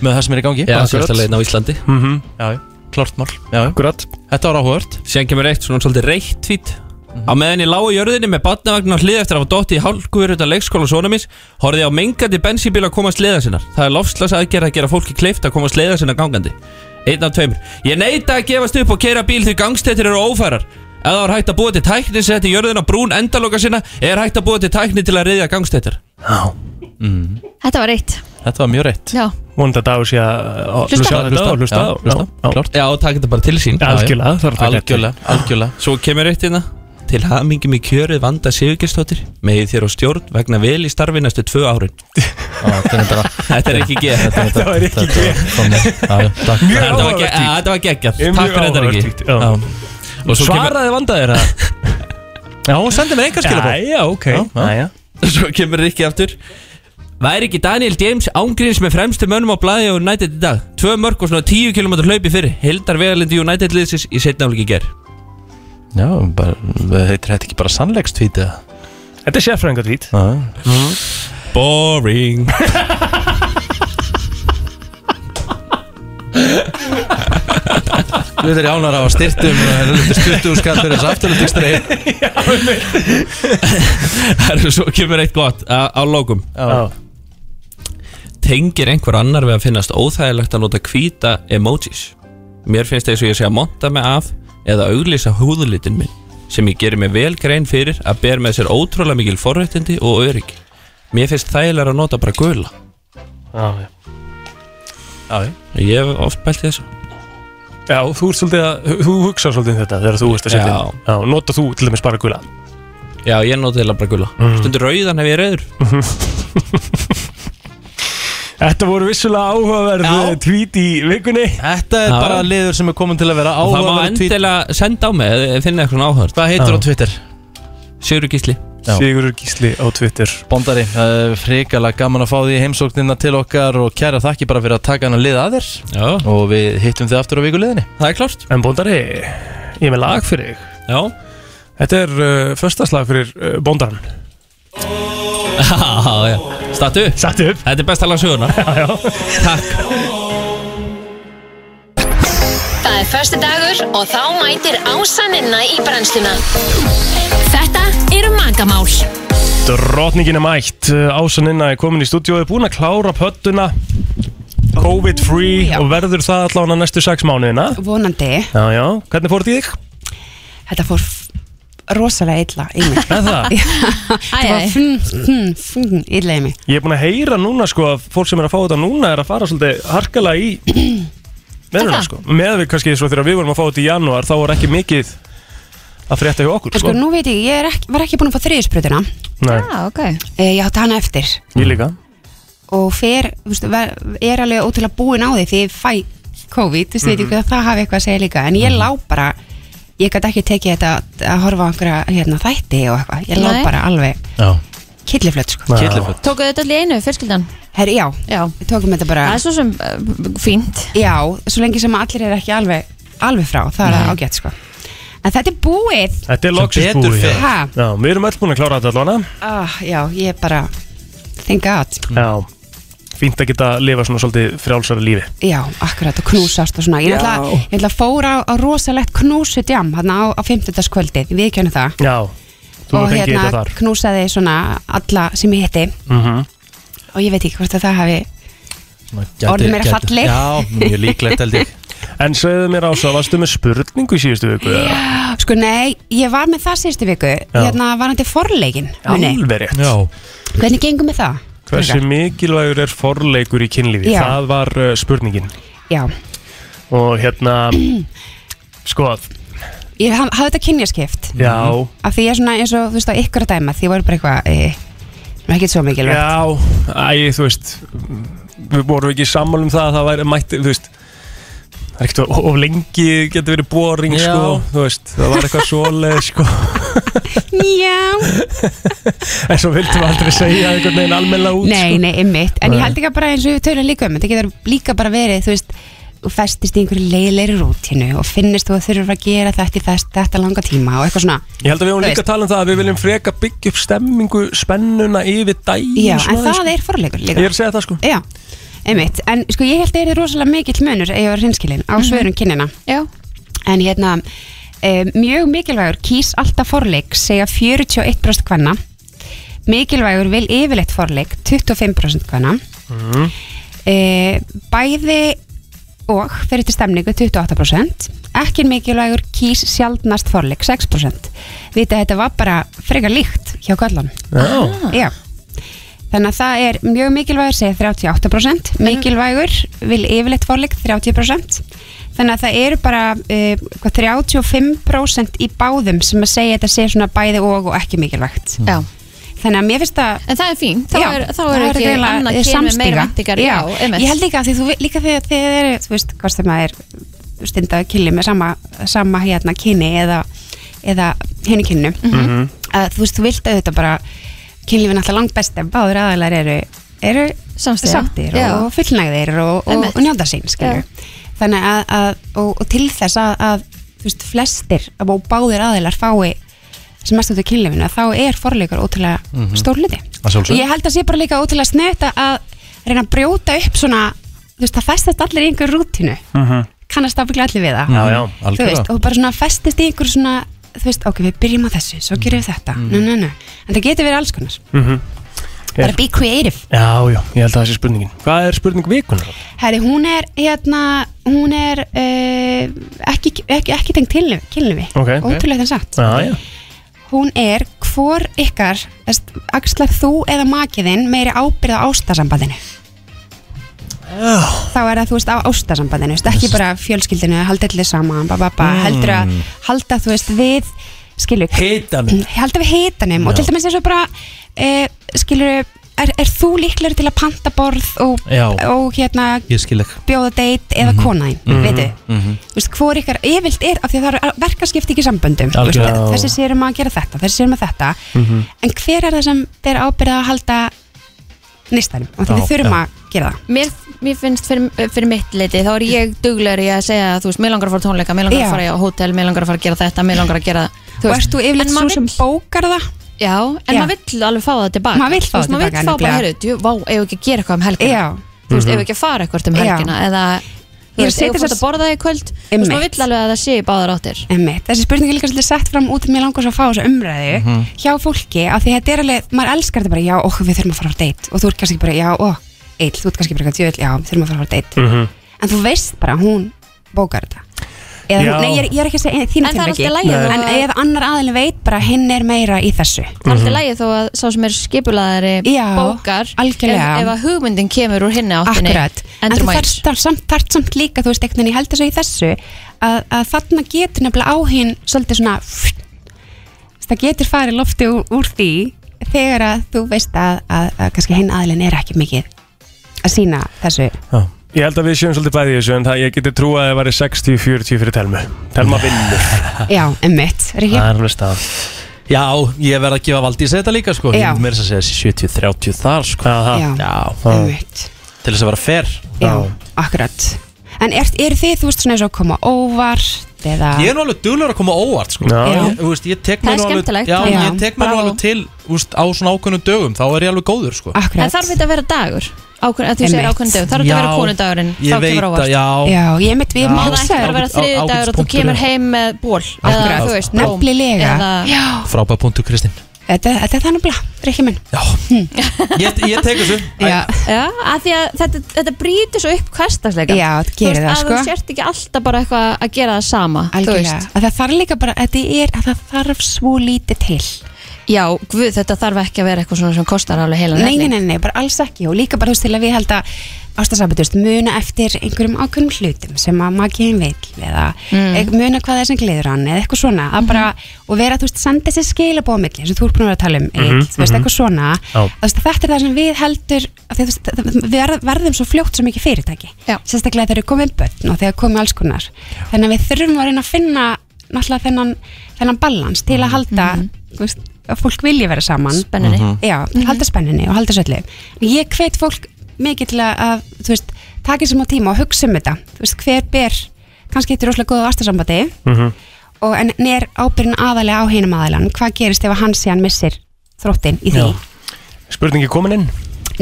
Speaker 1: Með það sem er í gangi
Speaker 12: Já,
Speaker 1: Akkurat.
Speaker 12: sérstaklega á Íslandi
Speaker 3: mm -hmm.
Speaker 1: Já, já, klart mál já, já.
Speaker 3: Akkurat
Speaker 1: Þetta var áhugavert Mhm.
Speaker 12: Síðan kemur eitt svona svolítið reitt tvít Á meðan ég lágu jörðinni með batnavagn á hlið eftir að hafa dotti í hálkuður utan leikskóla svona mis horfði ég á mengandi bensínbíl að komast leiða sinnar. Það er lofslags aðgerð að gera fólki kleift að komast leiða sinnar gangandi. Einn af tveimur. Ég neita að gefast upp og keira bíl því gangstættir eru ófærar. Ef það er hægt að búa til tækni sem þetta jörðin á brún endaloka sinna er hægt að búa til tækni til að reyðja gangstættir.
Speaker 2: Þetta var eitt
Speaker 1: Þetta var mjög reitt
Speaker 2: Já,
Speaker 3: Vonandi að dagur sé að
Speaker 2: Hlusta.
Speaker 3: hlusta á þetta Eh, og hlusta á
Speaker 1: Já, hlusta, klart
Speaker 12: Já, og taka þetta bara til sín.
Speaker 3: Já, Algjörlega, það er að taka þetta
Speaker 1: Algjörlega, algjörlega
Speaker 12: Svo kemur eitt hérna Til hamingi með kjörið vanda Sigurgjörstóttir Megið þér á stjórn vegna vel í starfi næstu tvö árin Þetta er ekki geð
Speaker 3: Þetta var ekki
Speaker 1: Þetta var þannig. Já, já, takk.
Speaker 3: Mjög
Speaker 12: Þetta var
Speaker 3: áhugavert
Speaker 12: ge-
Speaker 3: tweet.
Speaker 12: að, þetta var geggjað
Speaker 3: Mjög
Speaker 12: Takk fyrir þetta
Speaker 3: áhugavert
Speaker 12: Riki
Speaker 3: tweet, já.
Speaker 1: Já.
Speaker 12: Og svo kemur,
Speaker 3: Svaraði vandaðir að
Speaker 1: Já, hún sendi mér engar skilabóð
Speaker 3: Já, já, ok
Speaker 1: Já, já.
Speaker 3: Jæja.
Speaker 12: svo kemur Riki aftur Væri ekki Daniel James ángríns með fremstu mönnum á blaði og United í dag Tvö mörg og svona 10 km hlaupi fyrir Hildar vegalindi United liðsins í setna álíki ger
Speaker 1: Já, bara, heitir þetta ekki bara sannleikstvíti eða?
Speaker 3: Þetta er sérfræðingatvít
Speaker 12: Mhm. Boring
Speaker 1: Þú veit er ég ánar á að styrtum Styrtum skall fyrir þess afturlöfdikstreið
Speaker 12: Herru, svo kemur eitt gott a- á lókum
Speaker 1: Já.
Speaker 12: Tengir einhver annar við að finnast óþægilegt að nota hvíta emojis Mér finnst eins og ég sé að monta mig af eða auglýsa húðlitin minn sem ég gerir mig vel grein fyrir að ber með sér ótrúlega mikil forréttindi og öryggi Mér finnst þægilega að nota bara gula
Speaker 3: Já,
Speaker 1: já
Speaker 12: Ég hef oft pælt í þessu
Speaker 3: Já, þú, ert svolítið að, þú hugsa svolítið um þetta þegar þú veist að setja
Speaker 12: Já.
Speaker 3: inn. Já, nota þú til dæmis bara gula
Speaker 12: Já, ég nota þeirlega bara gula
Speaker 3: Mm.
Speaker 12: Stundur rauðan hef ég rauður
Speaker 3: Þetta voru vissulega áhugaverð tweet í vikunni
Speaker 1: Þetta er
Speaker 12: Já.
Speaker 1: bara liður sem er komin til að vera
Speaker 12: Og Það má
Speaker 1: áhugaverð tweet.
Speaker 12: endilega senda á mig eða finna eitthvað áhört
Speaker 1: Hvað heitir á Twitter?
Speaker 12: Sigur Gísli
Speaker 3: Sigurur Gísli á Twitter
Speaker 1: Bondari, það er frikalega gaman að fá því heimsóknina til okkar og kæra þakki bara fyrir að taka hann að liða að þér
Speaker 12: Já.
Speaker 1: og við hittum þið aftur á vikuleðinni
Speaker 12: Það er klárt
Speaker 3: En bóndari, ég er með lag fyrir þig
Speaker 12: Já
Speaker 3: Þetta er uh, föstaslag fyrir uh, bóndaran
Speaker 12: Já, já Stattu upp
Speaker 3: Stattu upp
Speaker 12: Þetta er besta lag söguna
Speaker 3: Já, já
Speaker 12: Takk
Speaker 11: Það er förstu dagur og þá mætir ásaninna í brennsluna. Þetta eru magamál.
Speaker 3: Drotningin er mætt, Ásaninna er komin í stúdíu og er búin að klára pöttuna COVID-free
Speaker 13: Já.
Speaker 3: og verður það allan að næstu sex mánuðina
Speaker 13: Vonandi,
Speaker 3: Já, já, hvernig fór þetta í þig?
Speaker 13: þetta fór f- rosalega illa í mig
Speaker 3: Er það?
Speaker 13: Það var fn, fn, fn, illa í mig
Speaker 3: Ég er búin að heyra núna sko að fólk sem er að fá þetta núna er að fara svolítið harkala í meðluna sko Með við kannski svo þegar við vorum að fá þetta í janúar þá var ekki mikið að frétta hjá okkur
Speaker 13: En sko,
Speaker 3: sko
Speaker 13: nú veit ég, ég er ekki, var ekki búin að fá þriðisprutina
Speaker 3: Nei,
Speaker 13: ah, okay. Ég átti hana eftir
Speaker 3: ég líka
Speaker 13: og fer, þú veist, ver- er alveg ótrúlega búin á því því ég fæ COVID, þú veist, veit ég
Speaker 3: Mhm.
Speaker 13: hvað það hafi eitthvað að segja líka en ég lá bara, ég gæti ekki tekið þetta að- að horfa á einhverja hérna, þætti og eitthvað, ég lá
Speaker 2: Nei.
Speaker 13: bara alveg
Speaker 1: Já.
Speaker 13: killiflött sko.
Speaker 1: Já. Kylliflött.
Speaker 2: Tókuðu þetta allir í einu, fjölskyldan?
Speaker 13: Herri, já,
Speaker 2: já.
Speaker 13: við tókum þetta bara
Speaker 2: Það er svo sem uh, fínt
Speaker 13: Já, svo lengi sem allir er ekki alveg, alveg frá, það er
Speaker 3: Nei.
Speaker 13: ágætt sko en þetta er búið
Speaker 3: Þetta er loksins
Speaker 13: betur
Speaker 3: búið
Speaker 13: fer.
Speaker 3: já.
Speaker 13: Ha.
Speaker 3: Já, við erum öll búin að klára þetta allan
Speaker 13: ah, Já, ég er bara thank god
Speaker 3: Já, fínt að geta lifa svona svolítið frjálsara lífi
Speaker 13: Já, akkurat og knúsast og svona Ég
Speaker 3: Já.
Speaker 13: ætla, ég ætla að fóra á, á rosalegt knúsut jam þarna á, á 50. kvöldi, við kjönum það
Speaker 3: Já, þú
Speaker 13: og
Speaker 3: hefur fengið
Speaker 13: hérna
Speaker 3: þetta þar
Speaker 13: knúsaði svona alla sem ég hitti
Speaker 3: mm -hmm.
Speaker 13: og ég veit ekki hvort að það hafi Orðin meira falleg. Já, mjög líklegt, held ég.
Speaker 3: En segðu mér ása, varstu með spurningu í síðustu viku? Já,
Speaker 13: Sko nei, ég var með það síðustu viku hérna var hann til forleikin muni.
Speaker 3: Alveg rétt Já.
Speaker 13: Hvernig gengum við það?
Speaker 3: Hversu mikilvægur er forleikur í kynlífi?
Speaker 13: Já.
Speaker 3: Það var uh, spurningin
Speaker 13: Já,
Speaker 3: Og hérna, sko,
Speaker 13: ég haf- hafði þetta kynjaskipt
Speaker 3: já
Speaker 13: af því ég er svona eins og, þú veist, á ykkur að dæma því voru bara eitthvað e, ekki svo mikilvægt
Speaker 3: Já, æ, þú veist Við vorum ekki sammála um það að það væri mætti, þú veist Það er ekkert of- of lengi getur verið boring,
Speaker 13: Já.
Speaker 3: sko Þú veist, það var eitthvað svoleið, sko
Speaker 13: Já,
Speaker 3: En svo vildum við aldrei segja einhvern veginn almennilega út
Speaker 13: nei,
Speaker 3: sko.
Speaker 13: nei, ymmit En
Speaker 3: Nei.
Speaker 13: ég held ekki að bara eins og við tölum líka um Þetta getur líka bara verið, þú veist og festist í einhverju leiðleiri rútinu og finnist þú að þurfa að gera þetta í þess, þetta langa tíma og eitthvað svona
Speaker 3: Ég held að við vorum
Speaker 13: Þú
Speaker 3: líka að tala um það að við viljum freka byggja upp stemmingu, spennuna yfir daginn
Speaker 13: Já,
Speaker 3: svona sko.
Speaker 13: en
Speaker 3: aðeins,
Speaker 13: það er forleikur líka
Speaker 3: Ég er að segja það sko
Speaker 13: Já, einmitt, en sko ég held að það er rosalega mikill munur ef ég var hinskilin
Speaker 3: Mhm.
Speaker 13: á svörum kynina
Speaker 2: Já
Speaker 13: En hérna, um, mjög mikilvægur kýs alltaf forleik, segja 41% hvenna Mikilvægur vil yfirleitt forleik, 25% hvenna
Speaker 3: Mhm.
Speaker 9: Mm.
Speaker 13: e, Bæði og fyrir til stemningu 28% Ekki mikilvægur kýs sjaldnast forleik, 6% Vita þetta var bara frekar líkt hjá kallan
Speaker 9: Já.
Speaker 13: Já Þannig að það er mjög mikilvægur segir 38%, mikilvægur vil yfirleitt forleik 30% þannig að það eru bara uh, hvað, 35% í báðum sem að segja þetta sé svona bæði og og ekki mikilvægt
Speaker 2: Já.
Speaker 13: Þannig að mér finnst að
Speaker 2: En það er fínt, þá
Speaker 13: Já,
Speaker 2: er, þá
Speaker 13: það
Speaker 2: er
Speaker 13: er
Speaker 2: ekki
Speaker 13: greinilega,
Speaker 2: annað
Speaker 13: eh,
Speaker 2: kyn með meira
Speaker 13: samstiga.
Speaker 2: væntingar
Speaker 13: Já,
Speaker 2: einmitt.
Speaker 13: ég held líka að því þú, líka þegar þið eru, þú veist, hvað sem að er stundar kynli með sama, sama hérna kyni eða, eða henni kynnu
Speaker 9: Mhm.
Speaker 13: að þú veist, þú vilt auðvitað bara kynlífi er náttúrulega langt best ef báður aðalar eru, eru
Speaker 2: Samstiga.
Speaker 13: sáttir
Speaker 2: Já.
Speaker 13: og fullnægðir og, og,
Speaker 2: Einmitt.
Speaker 13: og njóta sín skilur. þannig að, að og, og til þess að, að þú veist, flestir og báður aðalar fái sem mest út af kynlefinu þá er forleikur ótrúlega
Speaker 1: Mhm.
Speaker 13: stór hluti
Speaker 1: Að sjálfsögðu.
Speaker 13: og ég held að sé bara líka ótrúlega snett að reyna að brjóta upp svona þú veist það festast allir í einhver rútínu kannast ábygglega allir við það
Speaker 1: Já, já,
Speaker 13: þú
Speaker 1: algjörlega.
Speaker 13: veist, og bara svona festist í einhver svona þú veist, ok, við byrjum á þessu, svo gerum við þetta mm. nö, nö, nö, en það getur verið alls konar
Speaker 3: Mhm.
Speaker 13: bara be creative
Speaker 3: Já, já, ég held að það sé spurningin Hvað er spurning vikunar?
Speaker 13: Herri, hún er hérna, hún er uh, ekki, ekki, ekki tengt til kynlífi,
Speaker 3: Ok.
Speaker 13: ótrúlega þannig sagt
Speaker 3: Já, já
Speaker 13: hún er hvor ykkar þess, axlar þú eða makiðinn meiri ábyrð á ástasambandinu þá er það þú veist á ástasambandinu veist, ekki bara fjölskyldinu, halda allir saman ba, ba, ba,
Speaker 14: Mm.
Speaker 13: heldur að halda þú veist við skilur Mm,
Speaker 1: Hitanum.
Speaker 13: halda við hitanum og
Speaker 1: Já.
Speaker 13: til dæmis eins og bara e, skilur er, er þú líklegur til að panta borð og,
Speaker 1: Já.
Speaker 13: og hérna
Speaker 1: Ég skil ekki
Speaker 13: bjóða deitt eða mm -hmm. kona þín, mm
Speaker 1: Mhm.
Speaker 13: -hmm. veitu
Speaker 1: Mhm.
Speaker 13: Þú veist, hvor ykkar yfirlt er af því að það eru verkaskipti ekki í samböndum Þú veist,
Speaker 1: Algjörlega.
Speaker 13: þessi sérum að gera þetta, þessi sérum að þetta en hver er það sem ber ábyrða að halda nýstanum og því
Speaker 2: Já,
Speaker 13: við þurfum
Speaker 2: já.
Speaker 13: að gera það
Speaker 2: Mér, mér finnst fyrir, fyrir mitt leiti þá er ég duglegur í að segja þú veist, mér langar að fara á tónleika, mér langar
Speaker 13: Já.
Speaker 2: að fara á hótel mér langar að fara að gera þetta, mér langar að gera
Speaker 13: Og ert þú yfirleitt sú sem bókar það?
Speaker 2: Já, en
Speaker 13: Já.
Speaker 2: maður vill alveg fá það tilbaka
Speaker 13: Maður vill fá
Speaker 2: Þú veist,
Speaker 13: það
Speaker 2: maður
Speaker 13: tilbaka,
Speaker 2: vill fá bara,
Speaker 13: nefnilega.
Speaker 2: heyrðu, djú, vá, eigum við ekki að gera eitthvað um helgina
Speaker 13: Já.
Speaker 2: Þú veist,
Speaker 13: Mhm.
Speaker 2: eigum við ekki að fara eitthvað um
Speaker 13: Já.
Speaker 2: helgina eða,
Speaker 13: Ég
Speaker 2: þú
Speaker 13: er
Speaker 2: veist,
Speaker 13: að
Speaker 2: eigum við
Speaker 13: setja
Speaker 2: að borða það í kvöld Þú veist, maður vill alveg að það sé í báðar áttir
Speaker 13: Einmitt. þessi spurning er líka svolítið sett fram út mér langar svo að fá þessa umræðu
Speaker 2: Mhm.
Speaker 13: hjá fólki af því þetta er alveg, maður elskar þetta bara já, ó, við þurfum að fara á deitt og þú ert kannski bara já, ó, eill, þú ert kannski bara eitthvað djöðl já, við þurfum að fara á deitt
Speaker 3: Mhm.
Speaker 13: en þú veist bara, hún bókar þetta eða,
Speaker 3: Já.
Speaker 13: hún, nei, ég er, ég er ekki að segja
Speaker 2: En
Speaker 13: þínu
Speaker 2: það er
Speaker 13: tilviki
Speaker 2: allt í lagi þó
Speaker 13: en
Speaker 2: að-
Speaker 13: ef annar aðilin veit bara hinn er meira í þessu
Speaker 2: Það er alltaf lægið þó að sá sem er skipulaðari
Speaker 13: Já,
Speaker 2: bókar
Speaker 13: algjörlega.
Speaker 2: ef, ef að hugmyndin kemur úr hinni áttinni
Speaker 13: Akkurat, en þú
Speaker 2: endur maður
Speaker 13: þarft þarft samt, þarft samt líka, þú veist, einhvern veginn, ég held þessu í þessu að, að þarna getur nefnilega áhinn svolítið svona það getur farið lofti úr, úr því þegar að þú veist að, að, að kannski hinn aðlinn er ekki mikið að sína þessu
Speaker 3: Ég held að við séum svolítið bæði í þessu En það, ég geti trúa að það væri 60-40 fyrir Telmu Telma vinnur
Speaker 13: Já, emmitt, Ríkir
Speaker 3: Það er alveg stað
Speaker 1: Já, ég verð að gefa valdi í þetta líka sko
Speaker 13: Já.
Speaker 1: Ég mér að segja þessi 70-30 þar sko
Speaker 3: Aha.
Speaker 13: Já.
Speaker 1: Já, Til þess að vera fair
Speaker 13: Já. Akkurat En er, er þið, þú veist, svona eins og að koma óvart eða
Speaker 1: Ég er nú alveg duglur að koma óvart sko.
Speaker 13: Já.
Speaker 1: ég, þú veist, ég
Speaker 13: Það
Speaker 1: tek
Speaker 13: er
Speaker 1: mér nú alveg,
Speaker 13: skemmtilegt.
Speaker 1: já,
Speaker 13: Já.
Speaker 1: ég tek mér nú
Speaker 13: Bravo.
Speaker 1: alveg til úst, á svona ákveðnum dögum þá er ég alveg góður sko.
Speaker 2: En þarf þetta að vera dagur ákveð, að Þú segir
Speaker 13: Einmitt.
Speaker 2: ákveðin dagur, þarf þetta að vera
Speaker 1: Já,
Speaker 2: konudagurinn
Speaker 1: ég veit að- já.
Speaker 13: Já, ég einmitt, við um
Speaker 2: Má það ekki
Speaker 13: hugsaði-
Speaker 2: bara vera þriði dagur og þú kemur heim með ból eða
Speaker 13: Akkurat,
Speaker 2: þú veist, blóm
Speaker 13: nefnilega
Speaker 2: eða-
Speaker 13: Já,
Speaker 1: Frábæð punktur Kristinn
Speaker 13: þetta, þetta er þannig blá, Ríkir minn
Speaker 1: Ég, ég tek þessu
Speaker 13: Já,
Speaker 2: Já, að því að þetta, þetta brýtir svo upp hversdagsleika
Speaker 13: Já, þetta gerir það,
Speaker 2: Að
Speaker 13: sko.
Speaker 2: þú sért ekki alltaf bara eitthvað að gera það sama þú
Speaker 13: algjörlega
Speaker 2: veist.
Speaker 13: að það þarf líka bara, að það er að það þarf svo lítið til
Speaker 2: Já, guð, þetta þarf ekki að vera eitthvað svona sem kostar alveg heila
Speaker 13: nei, nei, nei, nei, bara alls ekki og líka bara þú veist til að við held að ástasambandi, þú veist, muna eftir einhverjum ákveðnum hlutum sem að makiðin vill eða mm. muna hvað það er sem gleður hann eða eitthvað svona, að bara
Speaker 2: Mhm.
Speaker 13: og vera, þú veist, senda þessi skilabóðmilli sem þú ert búin að vera að tala um, mm
Speaker 14: Mhm,
Speaker 13: þú veist,
Speaker 14: mhm.
Speaker 13: eitthvað svona
Speaker 14: Já.
Speaker 13: að, þú veist, þetta er það sem við heldur af því að, þú veist, það- við verð- verðum svo fljótt svo mikið fyrirtæki, Já. sérstaklega þegar við komum börn og þegar komum alls konar þannig að við þurfum að reyna að finna náttúrulega þennan, þennan balans til að halda þú veist, að fólk vilji vera saman
Speaker 2: Mhm. Spennunni. Mhm.
Speaker 13: Já, halda spennunni og halda söllu ég hvet fólk mikið til að, að þú veist, taki sem á tíma og hugsa um þetta þú veist, hver ber, kannski þetta er rosalega góða vastasambandi og en er ábyrðin aðalega á hinum aðalan hvað gerist ef að hann sé hann missir þróttin í því,
Speaker 3: Spurningi komin inn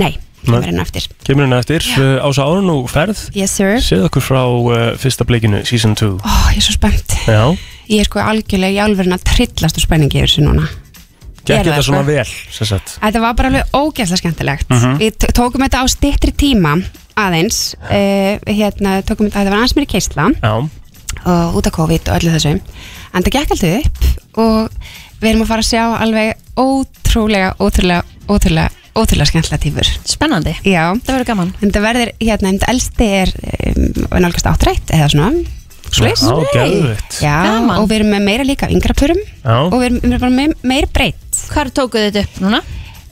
Speaker 13: nei, kemur henni eftir
Speaker 3: Kemur henni eftir uh, Ása Árun og ferð
Speaker 13: yes sir,
Speaker 3: Segð okkur frá uh, fyrsta bleikinu, season 2
Speaker 13: ó, ég er svo spennt
Speaker 3: Já,
Speaker 13: ég er sko algjörlega í álverðin að trillast úr spenningi yfir þessu núna
Speaker 3: gekk
Speaker 13: Gerðu það,
Speaker 3: þetta svona
Speaker 13: sko.
Speaker 3: vel sem sagt.
Speaker 13: Þetta var bara alveg ógæslega skemmtilegt
Speaker 3: Mhm.
Speaker 13: Við t- tókum þetta á stittri tíma aðeins uh, hérna, tókum þetta, þetta var aðeins mér í keisla
Speaker 3: Já
Speaker 13: og út af COVID og öllu þessu en það gekk alltaf upp og við erum að fara að sjá alveg ótrúlega, ótrúlega, ótrúlega ótrúlega skemmtilega tífur
Speaker 2: Spennandi,
Speaker 13: Já.
Speaker 2: það verður gaman
Speaker 13: en það verður, hérna, en það elsti er um, nálgast áttrætt eða svona Slis,
Speaker 3: Já, geðveikt.
Speaker 13: Já,
Speaker 2: Gaman.
Speaker 13: og við erum með meira líka af yngra purum
Speaker 3: Já.
Speaker 13: og við erum, við erum bara með meira breytt Eh,
Speaker 2: Hvar tókuð þetta upp núna?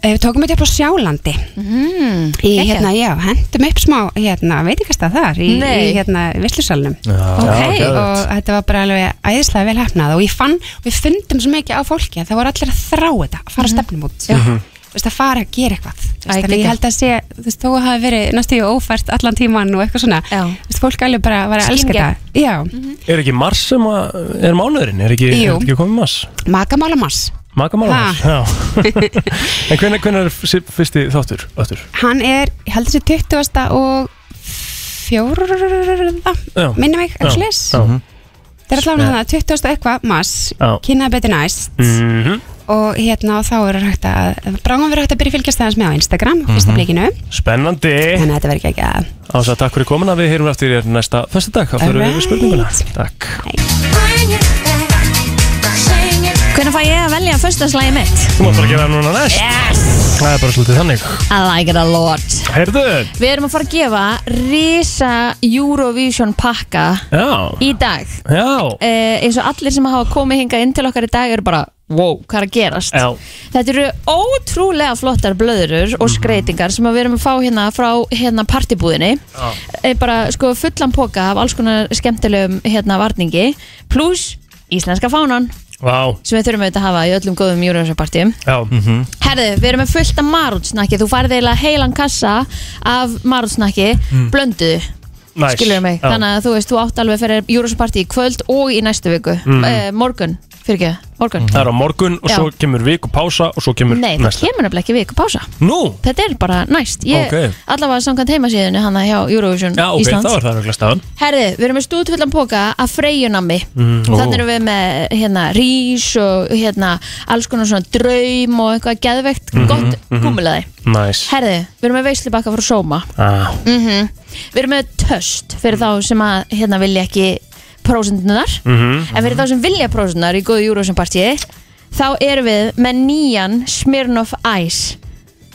Speaker 13: Við tókum þetta upp á Sjálandi
Speaker 2: mm,
Speaker 13: í, hérna, já, hendum upp smá hérna, veitingastað þar í, í
Speaker 2: Nei.
Speaker 13: hérna, visslusalunum
Speaker 2: Ok.
Speaker 13: og þetta var bara alveg æðislega vel hefnað og ég fann, við fundum svo mikið á fólki að það voru allir að þrá þetta, að fara að stefnum út
Speaker 14: Mhm.
Speaker 13: Þú veist, að fara að gera eitthvað Þú
Speaker 14: Æ,
Speaker 13: veist, þannig
Speaker 14: geggjað.
Speaker 13: ég held að sé, þú veist, þó að hafa verið næstíu ófært allan tíman og eitthvað svona Þú veist, fólk alveg bara var að elska
Speaker 3: Skingja.
Speaker 13: þetta já,
Speaker 3: Er ekki mars sem að, er mánuðurinn? Er ekki,
Speaker 13: Jú.
Speaker 3: er ekki komið mars?
Speaker 13: makamálamars
Speaker 3: Magamála
Speaker 13: Ha.
Speaker 3: hans, já En hvernig, hvernig er fyrsti- fyrsti þáttur? Öttur?
Speaker 13: Hann er, ég held þessi 20. og fjórða,
Speaker 3: Já.
Speaker 13: minni mig,
Speaker 3: Já.
Speaker 13: ekki slis.
Speaker 3: Já. Mhm.
Speaker 13: Það er allavega hann að 20. og eitthvað, mass,
Speaker 3: Já.
Speaker 13: kynna betur næst
Speaker 3: Mhm.
Speaker 13: og hérna og þá eru hægt að, bráðum verður hægt að byrja að fylgjast aðeins með á Instagram, mm fyrsta
Speaker 3: Mhm. Eh.
Speaker 13: blikinu.
Speaker 3: Spennandi
Speaker 13: Þannig að þetta verður ekki að...
Speaker 3: Ása, takk fyrir komuna, við heyrum eftir þér næsta fyrsta dag, þá fyrir við yfir spurninguna Takk
Speaker 2: Hvernig fæ ég að velja föstaslagi mitt?
Speaker 3: Þú mátt bara gera það núna næst
Speaker 2: Yes!
Speaker 3: Það er bara svolítið þannig
Speaker 2: I like it a lot
Speaker 3: Heyrðu,
Speaker 2: Við erum að fara að gefa Risa Eurovision pakka
Speaker 3: já,
Speaker 2: Í dag
Speaker 3: já
Speaker 2: eh, Eins og allir sem hafa komið hingað inn til okkar í dag Eru bara, wow, hvað er að gerast
Speaker 3: Já,
Speaker 2: Þetta eru ótrúlega flottar blöðurur
Speaker 3: Mhm.
Speaker 2: og skreitingar sem að við erum að fá hérna frá hérna partibúðinni Eh, bara sko fullan póka af alls konar skemmtilegum hérna varningi pluss íslenska fánan
Speaker 3: vá,
Speaker 2: sem við þurfum auðvitað að hafa í öllum góðum júruvísapartíum
Speaker 3: já -hmm.
Speaker 2: Herðu, við erum með fullt af marútsnakki Þú farið eiginlega heilan kassa af marútsnakki
Speaker 3: Mm.
Speaker 2: blöndu
Speaker 3: Nice.
Speaker 2: Skilur mig,
Speaker 3: Já.
Speaker 2: þannig að þú veist, þú átt alveg fyrir júruvísapartí í kvöld og í næstu viku
Speaker 3: Mm.
Speaker 2: eh, Morgun, fyrir ekki, morgun
Speaker 3: Það er á morgun og
Speaker 2: Já.
Speaker 3: svo kemur viku pása og svo kemur
Speaker 2: Nei, það
Speaker 3: Hmm. næsta
Speaker 2: kemur nefnilega ekki viku pása
Speaker 3: Nú,
Speaker 2: Þetta er bara næst Ég
Speaker 3: Ókei.
Speaker 2: allavega samkvæmt heimasíðinu hana hjá Eurovision
Speaker 3: já, ok,
Speaker 2: Íslands
Speaker 3: þá er það röglega staðan
Speaker 2: Herði, við erum með stúdfullan póka af freyjunami
Speaker 3: Mm, ó.
Speaker 2: Þannig erum við með hérna, rís og hérna, alls konar svona draum og eitthvað geðveikt
Speaker 3: Mhm,
Speaker 2: gott
Speaker 3: mhm.
Speaker 2: kúmulaði
Speaker 3: Næs
Speaker 2: Herði, við erum með veislubakka frá Soma
Speaker 3: ah.
Speaker 2: mm Við erum með töst fyrir þá sem að hérna, vilja ekki prósendunar
Speaker 3: Mhm.
Speaker 2: En fyrir þá sem vilja prósendunar í góðu Eurovision partíi Þá erum við með nýjan Smirnoff Ice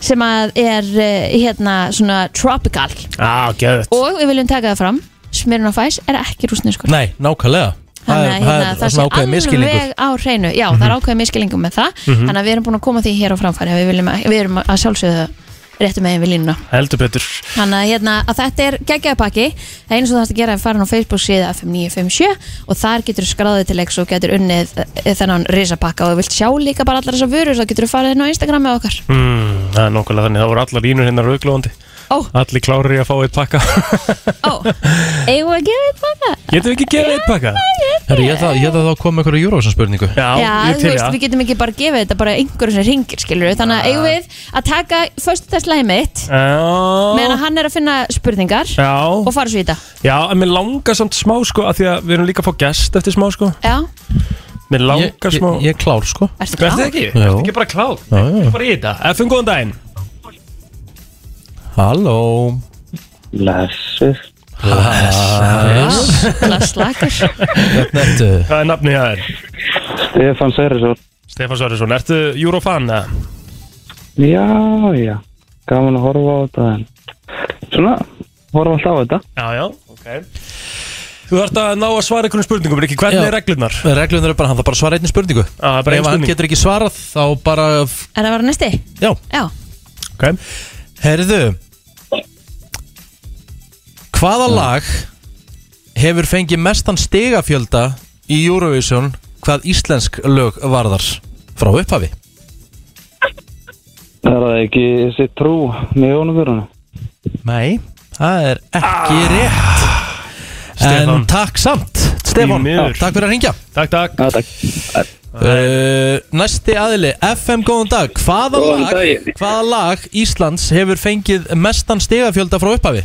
Speaker 2: sem að er eh, hérna svona tropical
Speaker 3: Á, geðvett
Speaker 2: og við viljum taka það fram Smirnoff Ice er ekki rúsneskur
Speaker 1: Nei, nákvæmlega Það er,
Speaker 2: Þannig að
Speaker 1: það
Speaker 2: hérna,
Speaker 1: er
Speaker 2: það sé
Speaker 1: svona Mhm. ákveðið miskilningur
Speaker 2: alveg á hreinu Já, það er ákveðið miskilningum með það
Speaker 3: Mhm.
Speaker 2: Þannig að við erum búin að koma því hér á framfæri að Við, viljum að, við erum að sjálfsögðu réttu megin við línuna
Speaker 3: Heldur betur
Speaker 2: Þannig að, hérna, að þetta er geggjaðpakki Það er eins og það að gera er farin á Facebook síða FM957 og þar getur skráðið til leiks og getur unnið eh, þennan risapakka og ef þú vilt sjá líka bara allar þessar vörur þá getur þú farið inn á Instagram með okkar
Speaker 3: mm, Það er nokkulega þannig, það voru allar línur hérna rauglóðandi
Speaker 2: Ó.
Speaker 3: Allir klárir í að fá eitt pakka
Speaker 2: Eigum við að gefa þetta pakka?
Speaker 3: Getum við ekki gefið eitt pakka?
Speaker 1: Herri, ég ætla- ég ætla þá að koma með einhverja Eurovision spurningu
Speaker 3: Já,
Speaker 2: Já, þú veist, við getum ekki bara að gefa þetta bara einhverjum sem ringir, skilur við Þannig að eigum við að taka föstudagslæði mitt meðan að hann er að finna spurningar
Speaker 3: Já,
Speaker 2: og fara svo í þetta
Speaker 3: já, en mér langar samt smá sko að því að við erum líka að fá gest eftir smá sko
Speaker 2: Já,
Speaker 3: Mér langar smá
Speaker 1: Ég er klár sko
Speaker 2: Ertu
Speaker 3: Ertu
Speaker 2: klár?
Speaker 3: ekki?
Speaker 1: Jú.
Speaker 3: Ertu ekki bara klár?
Speaker 1: Já, já.
Speaker 3: Ekki bara í þetta Efum góðan daginn
Speaker 1: Halló
Speaker 10: Blessuð
Speaker 1: Bless
Speaker 2: slakur
Speaker 1: Hvernig ertu?
Speaker 3: Hvað er nafnið það er?
Speaker 10: Stefan Særisson
Speaker 3: Stefán Sværisson, ertu Eurofan? eða?
Speaker 10: Já, já Gaman að horfa á þetta en Svona, horfa alltaf á þetta
Speaker 3: Já, já, ok Þú þarft að ná að svara einhvern spurningum, ekki hvernig
Speaker 1: Já.
Speaker 3: er reglunar?
Speaker 1: Reglun er bara, hann þarf bara að svara einni spurningu
Speaker 3: Já, bara ein
Speaker 1: Ef hann
Speaker 3: spurning.
Speaker 1: getur ekki svarað þá bara
Speaker 2: Er það að vera næsti?
Speaker 1: Já,
Speaker 2: Já,
Speaker 3: ok
Speaker 1: Herðu Hvaða
Speaker 3: Mm.
Speaker 1: lag hefur fengið mestan stigafjölda í Eurovision hvað íslensk lög varðar frá upphafi?
Speaker 10: Er það ekki þessi trú með jónumverunum?
Speaker 1: Nei, það er ekki rétt En
Speaker 3: Ah. Stefán.
Speaker 1: takk samt Stefán,
Speaker 3: Því miður.
Speaker 1: takk fyrir að ringja
Speaker 3: Takk, takk
Speaker 10: Já, takk
Speaker 1: Uh, næsti aðili, FM góðan dag Hvaða
Speaker 10: Góðan
Speaker 1: lag, hvaða lag Íslands hefur fengið mestan stigafjölda frá upphafi?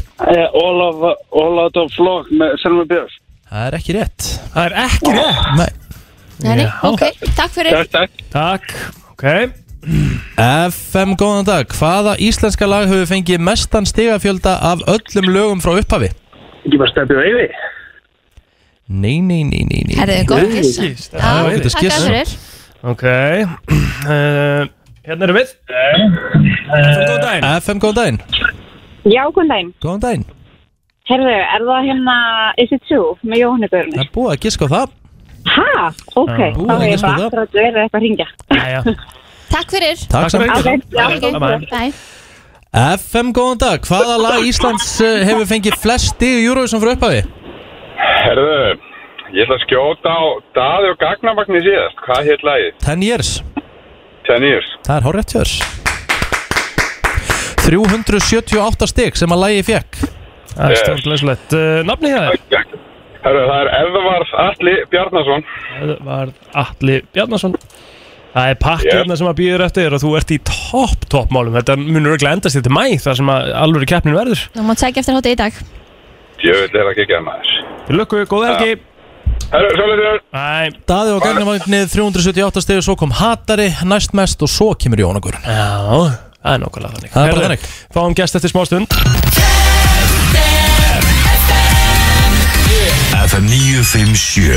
Speaker 10: All of, all of the flock með Selma Björns
Speaker 1: Það er ekki rétt
Speaker 3: Það er ekki rétt
Speaker 1: Nei
Speaker 2: Nei, nei, ok, takk fyrir
Speaker 10: takk
Speaker 3: Takk, ok
Speaker 1: FM, góðan dag. Hvaða íslenska lag hefur fengið mestan stigafjölda af öllum lögum frá upphafi?
Speaker 10: Ekki bara stefið veiði
Speaker 1: Nei, nei, nei, nei, nei.
Speaker 2: Herðu, góð gissa
Speaker 3: Nei,
Speaker 2: Já,
Speaker 1: það var ágætis
Speaker 2: Takk
Speaker 1: giss.
Speaker 2: fyrir
Speaker 3: Ok uh, Hérna erum við Efum góðan daginn
Speaker 1: FM, góðan daginn.
Speaker 9: Já, góðan daginn.
Speaker 1: Góðan daginn.
Speaker 9: Herðu, er það hérna Is it true með Jóhannu
Speaker 1: Það
Speaker 9: Börnir?
Speaker 1: er búið að giska á það.
Speaker 9: Ha, ok,
Speaker 1: Já. Ú,
Speaker 9: þá er
Speaker 1: ekki
Speaker 9: ég
Speaker 1: spurning það.
Speaker 9: bara akkurat verið eitthvað að ringja.
Speaker 3: Jæja.
Speaker 2: Takk fyrir
Speaker 1: Takk samt.
Speaker 9: Ok, já, ok,
Speaker 3: Bye, bye.
Speaker 2: Bye.
Speaker 1: FM, góðan dag. Hvaða lag Íslands eh, hefur fengið flest stig í Eurovision frá upphafi?
Speaker 14: Herðu, ég ætla að skjóta á Daði og Gagnabagni síðast. Hvað hétt lagið?
Speaker 1: Ten Years.
Speaker 14: Ten Years.
Speaker 1: Það er horrið tjörs. 378 stig sem að lagi fekk.
Speaker 3: Það er stjórnleyslegt uh, Nafni hér
Speaker 14: Herðu, það er Eðvarð Alli Bjarnason.
Speaker 3: Það var Atli Bjarnason Það er pakkið hérna sem að býður eftir og þú ert í topp, topp málum Þetta munur ekki endast þetta mæ þar sem að alvöru keppnin verður
Speaker 2: Þú mátt sækja eftir hátu í dag
Speaker 14: Djöfull er það gekkjað maður
Speaker 3: Til lukku, góð helgi
Speaker 14: Herru, svolítið
Speaker 1: Daði og gagnamagnið 378 stegu Svo kom Hatari næstmest og svo kemur Jónagurinn
Speaker 3: Já, það er nokkulega þannig
Speaker 1: Það er bara
Speaker 3: Herðu,
Speaker 1: þannig
Speaker 3: Fáum gæst eftir smá stund
Speaker 4: FM 957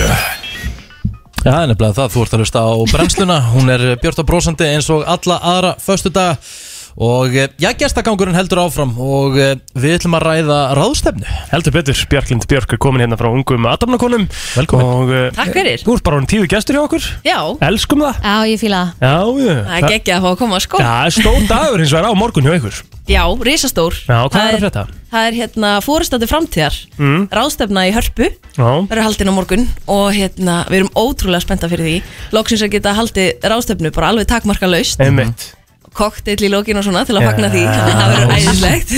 Speaker 1: Já, það er nefnilega það, þú ert að hlusta á brennsluna Hún er björt og brósandi eins og alla aðra Föstudag Og eh, já, gestagangurinn heldur áfram Og eh, við ætlum að ræða ráðstefnu
Speaker 3: Heldur betur, Bjarklind Björk er komin hérna frá ungum Adamnakonum Velkomin og, uh,
Speaker 15: Takk fyrir.
Speaker 3: Þú ert bara hún tíðu gestur hjá okkur
Speaker 15: Já,
Speaker 3: Elskum það
Speaker 2: Já, ég fíla það
Speaker 3: Já, já
Speaker 15: það er geggja að fá að koma á skó
Speaker 3: Já, það er stór dagur eins og er á morgun hjá ykkur
Speaker 15: Já, risastór
Speaker 3: Já, hvað
Speaker 15: Það
Speaker 3: er að frétta?
Speaker 15: Það er hérna fóristandi framtíðar
Speaker 3: Mm.
Speaker 15: Ráðstefna í hörpu
Speaker 3: Já
Speaker 15: verður haldin á morgun og hérna við erum ótrúlega spennta fyrir því Loksins að geta haldið ráðstefnu bara alveg takmarka laust
Speaker 3: Einmitt
Speaker 15: Kokteil í lokin og svona til að fagna því
Speaker 3: Já.
Speaker 15: Þannig að það verður æðislegt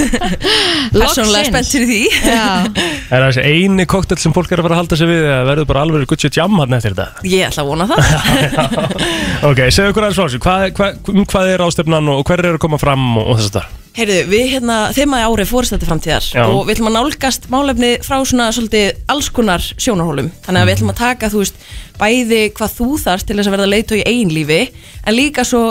Speaker 15: Persónlega
Speaker 2: Loksins.
Speaker 15: spennt fyrir því Já.
Speaker 3: Er það þessi eini koktel sem fólk er að fara að halda sig við eða verður bara alveg gutt sér jam hann eftir þetta?
Speaker 15: Ég ætla að vona það
Speaker 3: Ok, segðu okkur aðeins frá þessu, hvað, hvað, um hvað er ástefnan og hver eru að koma fram og, og þess að það?
Speaker 15: Heyrðu, við hérna, þeim að árið fórstætti framtíðar
Speaker 3: Já.
Speaker 15: og við ætlum að nálgast málefni frá svona svolítið alls konar sjónarhólum þannig
Speaker 16: Mhm.
Speaker 15: að við ætlum að taka, þú veist, bæði hvað þú þarft til þess að verða leiðtói í eigin lífi en líka svo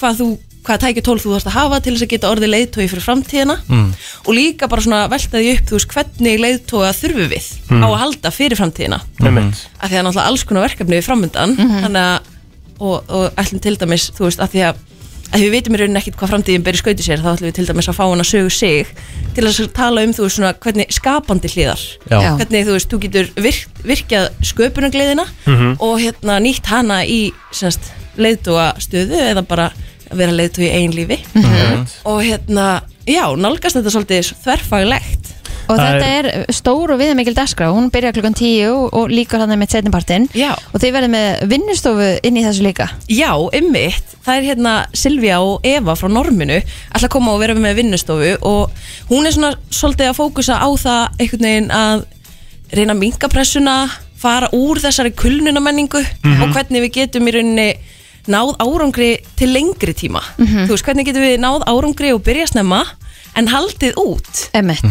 Speaker 15: hvað þú hvað tækja tól þú þarft að hafa til þess að geta orðið leiðtói fyrir framtíðina
Speaker 16: Mm.
Speaker 15: og líka bara svona velta því upp, þú veist, hvernig leiðtóa þurfum við
Speaker 16: Mm.
Speaker 15: á að halda fyrir framtíðina
Speaker 3: Einmitt.
Speaker 15: af því að náttúrulega alls konar verkefni er framöndan þannig að og, og ætlum til dæmis, þú veist, af því að að við vitum í rauninni ekkit hvað framtíðin ber í skauti sér þá ætlum við til dæmis að fá hann að sögu sig til að tala um, þú veist, svona hvernig skapandi hliðar,
Speaker 16: Já. Já.
Speaker 15: hvernig þú veist, þú getur virk, virkjað sköpunargleðina
Speaker 16: Mhm.
Speaker 15: og hérna nýtt hana í semst, leiðtúa stöðu eða bara að vera leiðtúi í eigin lífi
Speaker 2: Mhm.
Speaker 15: og hérna, já, nálgast þetta svolítið þverfaglegt
Speaker 2: Og þetta er stór og viðamikil dagskrá, hún byrjar klukkan 10 og líkur hann með setnipartinn og þið verðum með vinnustofu inn í þessu líka
Speaker 15: Já, ymmit, það er hérna Silvia og Eva frá Norminu ætla að koma og vera með vinnustofu og hún er svona svolítið að fókusa á það einhvern veginn að reyna að minka pressuna, fara úr þessari kulnunamenningu
Speaker 16: Mhm.
Speaker 15: og hvernig við getum í rauninni náð árangri til lengri tíma
Speaker 2: Mhm.
Speaker 15: þú veist, hvernig getum við náð árangri og byrja snemma en haldið út
Speaker 2: Emmett,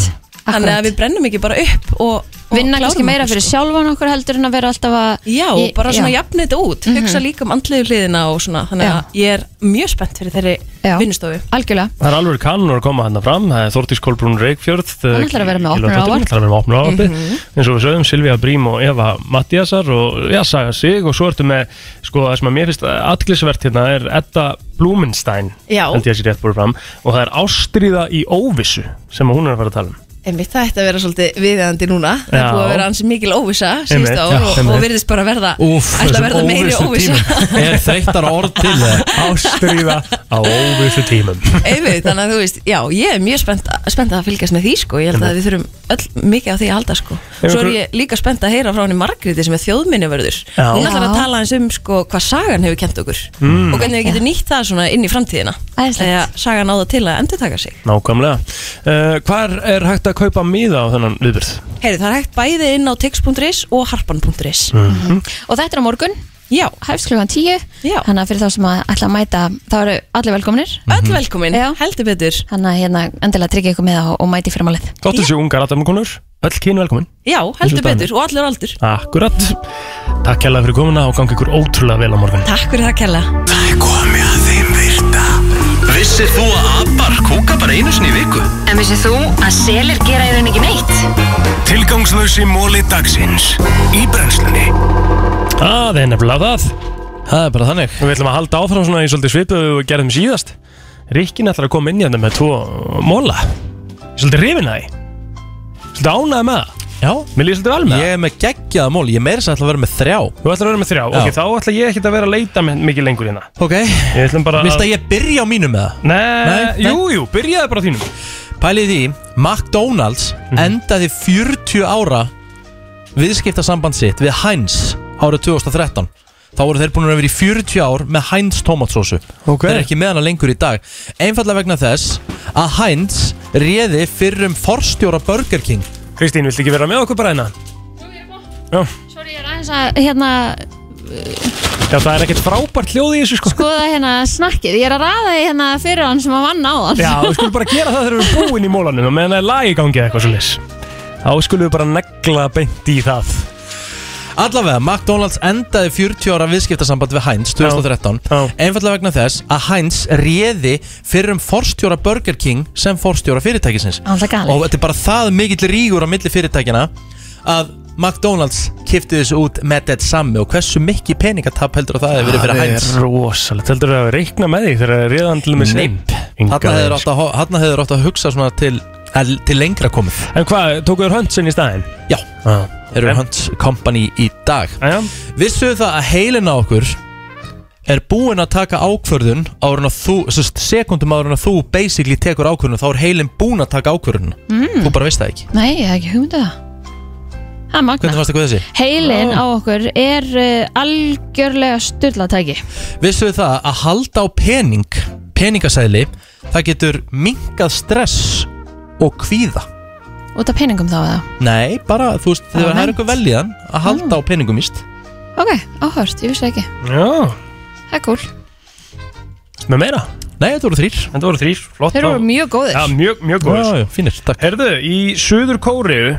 Speaker 15: þannig að
Speaker 2: akkurat.
Speaker 15: við brennum ekki bara upp og, og
Speaker 2: Vinna
Speaker 15: klárum
Speaker 2: kannski meira
Speaker 15: okkur,
Speaker 2: fyrir
Speaker 15: sko.
Speaker 2: sjálfan okkur heldur en að vera alltaf að
Speaker 15: Já,
Speaker 2: Í-
Speaker 15: bara svona
Speaker 2: já.
Speaker 15: jafna þetta út
Speaker 2: Mhm.
Speaker 15: hugsa líka um andliðu hliðina og svona þannig að ég er mjög spennt fyrir þeirri vinnustofu
Speaker 2: Algjörlega
Speaker 3: Það er alveg kannur að koma hann fram, það er Þortís Kolbrún Reykjörð
Speaker 2: Hún ætlar að vera með Mhm. opnunarávörp.
Speaker 3: Hún ætlar að vera með opnur ávarpi eins og við sögum Silvía Brím og Eva Mattiasar og já, Saga Sig og svo ertu með sko það sem að mér finnst aðglisvert hérna er Edda Blumenstein
Speaker 15: Já.
Speaker 3: held ég að sé rétt búið fram og það er ástríða í óvissu sem að hún er að fara að tala um
Speaker 15: Einmitt, það ætti að vera svolítið viðeðandi núna Það er
Speaker 3: Já.
Speaker 15: búið að vera ansi mikil óvissa
Speaker 3: Einmitt,
Speaker 15: síðustu ár
Speaker 3: já,
Speaker 15: og,
Speaker 3: einmitt.
Speaker 15: og virðist bara verða
Speaker 3: Úff,
Speaker 15: ætla að
Speaker 3: þessum
Speaker 15: verða meiri óvissa
Speaker 1: tímum. Er þreyttar orð til eh? það?
Speaker 3: Ástríða á óvissu tímum
Speaker 15: Einmitt, þannig að þú veist, já, ég er mjög spennt, spennt að fylgjast með því sko Ég held að við þurfum öll mikið á því að halda sko Svo er
Speaker 3: einhver-
Speaker 15: ég líka spennt að heyra frá henni Margréti sem er þjóðminnivörður
Speaker 3: Já.
Speaker 15: Hún ætlar að
Speaker 3: Já.
Speaker 15: tala eins um sko hvað sagan hefur kent okkur
Speaker 2: Mhm.
Speaker 3: Mm.
Speaker 15: og hvernig við getum nýtt það svona inn í framtíðina Þegar sagan á það til að endurtaka sig
Speaker 3: Nákvæmlega uh, Hvar er hægt að kaupa miða á þennan viðbyrð?
Speaker 15: Heyri, það er hægt bæði inn á tix.is og harpan.is
Speaker 3: Mhm.
Speaker 2: Og þetta er á morgun
Speaker 15: Já
Speaker 2: Hefst klukkan 10
Speaker 15: Já
Speaker 2: Þannig að fyrir þá sem að ætla að mæta þá eru allir velkominir
Speaker 3: Mhm.
Speaker 15: Öll velkomin, Já. heldur betur
Speaker 2: Þannig að hérna endilega tryggja ykkur með og, og mæti fyrir málið
Speaker 3: Gott þessu ungar aðdæmakonur, öll kynu velkomin
Speaker 15: Já, heldur
Speaker 3: Eins og Dani.
Speaker 15: betur og allur aldur
Speaker 3: Akkurat Takk kærlega fyrir komuna og gangi ykkur ótrúlega vel á morgun
Speaker 15: Takk fyrir það kella
Speaker 4: Það er komið að þeim virta Vissir þú að abar kúka bara einu sinni í viku?
Speaker 11: En vissið þú að selir gera í rauninni ekki neitt?
Speaker 4: Tilgangslösi móli dagsins Í brennslunni
Speaker 3: Það er nefnilega það Það er bara þannig Við ætlum að halda áfram svona í svolítið svipu og við gerðum síðast Rikkin ætlar að koma inn í þetta með tvo móla Ég er Svolítið rifin að því Svolítið ánæði með það Já Mér líður svolítið vel með það Ég er með geggjaða mól, ég meira sem ætla að vera með þrjá Þú ætlar að vera með þrjá,
Speaker 1: Já.
Speaker 3: ok, þá ætla ég ekkert að vera að leita með mikið lengur hérna
Speaker 1: Ok
Speaker 3: Við ætlum bara
Speaker 1: Vilst að ég byrja á mínum með það?
Speaker 3: Nei, jú, jú, byrjaði bara á þínum Mhm.
Speaker 1: Pælið í því, McDonalds endaði 40 ára viðskiptasamband sitt við Heinz árið 2013 Þá voru þeir búin að vera í 40 ár með Heinz tomatsósu okay. Þeir eru ekki með hana lengur í dag Einfallega vegna þess að Heinz réði fyrir um forstjóra Burger King
Speaker 3: Kristín, viltu ekki vera með okkur bara hérna?
Speaker 2: Sorry, ég er aðeins að hérna
Speaker 3: Já, það er ekkert frábært hljóð í þessu sko
Speaker 2: Skoða hérna snakkið, ég er að raða því hérna fyrir hann sem að vann á
Speaker 3: Já, við skulum bara gera það þegar við erum búin í mólanum og meðan það er lag í gangi eða eitthvað svolítið Þá skulum við bara negla beint í það
Speaker 1: Allavega, McDonalds endaði 40 ára viðskiptasamband við Heinz 2013 Einfallega vegna þess að Heinz réði fyrir um forstjóra Burger King sem forstjóra fyrirtækisins
Speaker 2: Alltaf galið.
Speaker 1: Og þetta er bara það mikill rígur á milli fyrirtækina að McDonalds kipti þessu út með þetta sami og hversu mikið peningatap heldur að það hefur verið fyrir Heinz
Speaker 3: er rosalegt, heldur þú að reikna með því þegar reyðan til með
Speaker 1: Neip. Þarna hefur
Speaker 3: sko.
Speaker 1: átt að, ho- þarna hefur átt að hugsa svona til, að- til lengra komið
Speaker 3: En hvað, tókuður höndsin í staðinn? Ah.
Speaker 1: Já, eru okay. Hunts Company í dag
Speaker 3: Aja.
Speaker 1: Vissu það að heilin á okkur er búin að taka ákvörðun ára þú, sest, sekundum ára þú basically tekur ákvörðun þá er heilin búin að taka ákvörðun
Speaker 2: Mm.
Speaker 1: þú bara veist það ekki
Speaker 2: Nei, ég hef ekki hugmyndu það Það er magna
Speaker 1: hvernig fannst það þessi?
Speaker 2: Heilin á okkur er uh, algjörlega styrlatæki
Speaker 1: Vissu það að halda á pening peningasæli það getur minkað stress og kvíða
Speaker 2: Út af peningum þá eða
Speaker 1: Nei, bara Mm. þú veist,
Speaker 2: Það var
Speaker 1: þegar það er
Speaker 2: nefnt.
Speaker 1: eitthvað veljiðan að halda á peningum íst
Speaker 2: Ok, áhört, ég vissi það ekki
Speaker 3: Já,
Speaker 2: Það er cool
Speaker 3: með meira?
Speaker 1: Nei, þetta voru þrýr
Speaker 3: Þetta voru þrýr, flott
Speaker 2: Þeir voru mjög góðir.
Speaker 3: Já, mjög, mjög góðir
Speaker 1: Já, já, fínir, takk
Speaker 3: Herðu, í Suður Kóriðu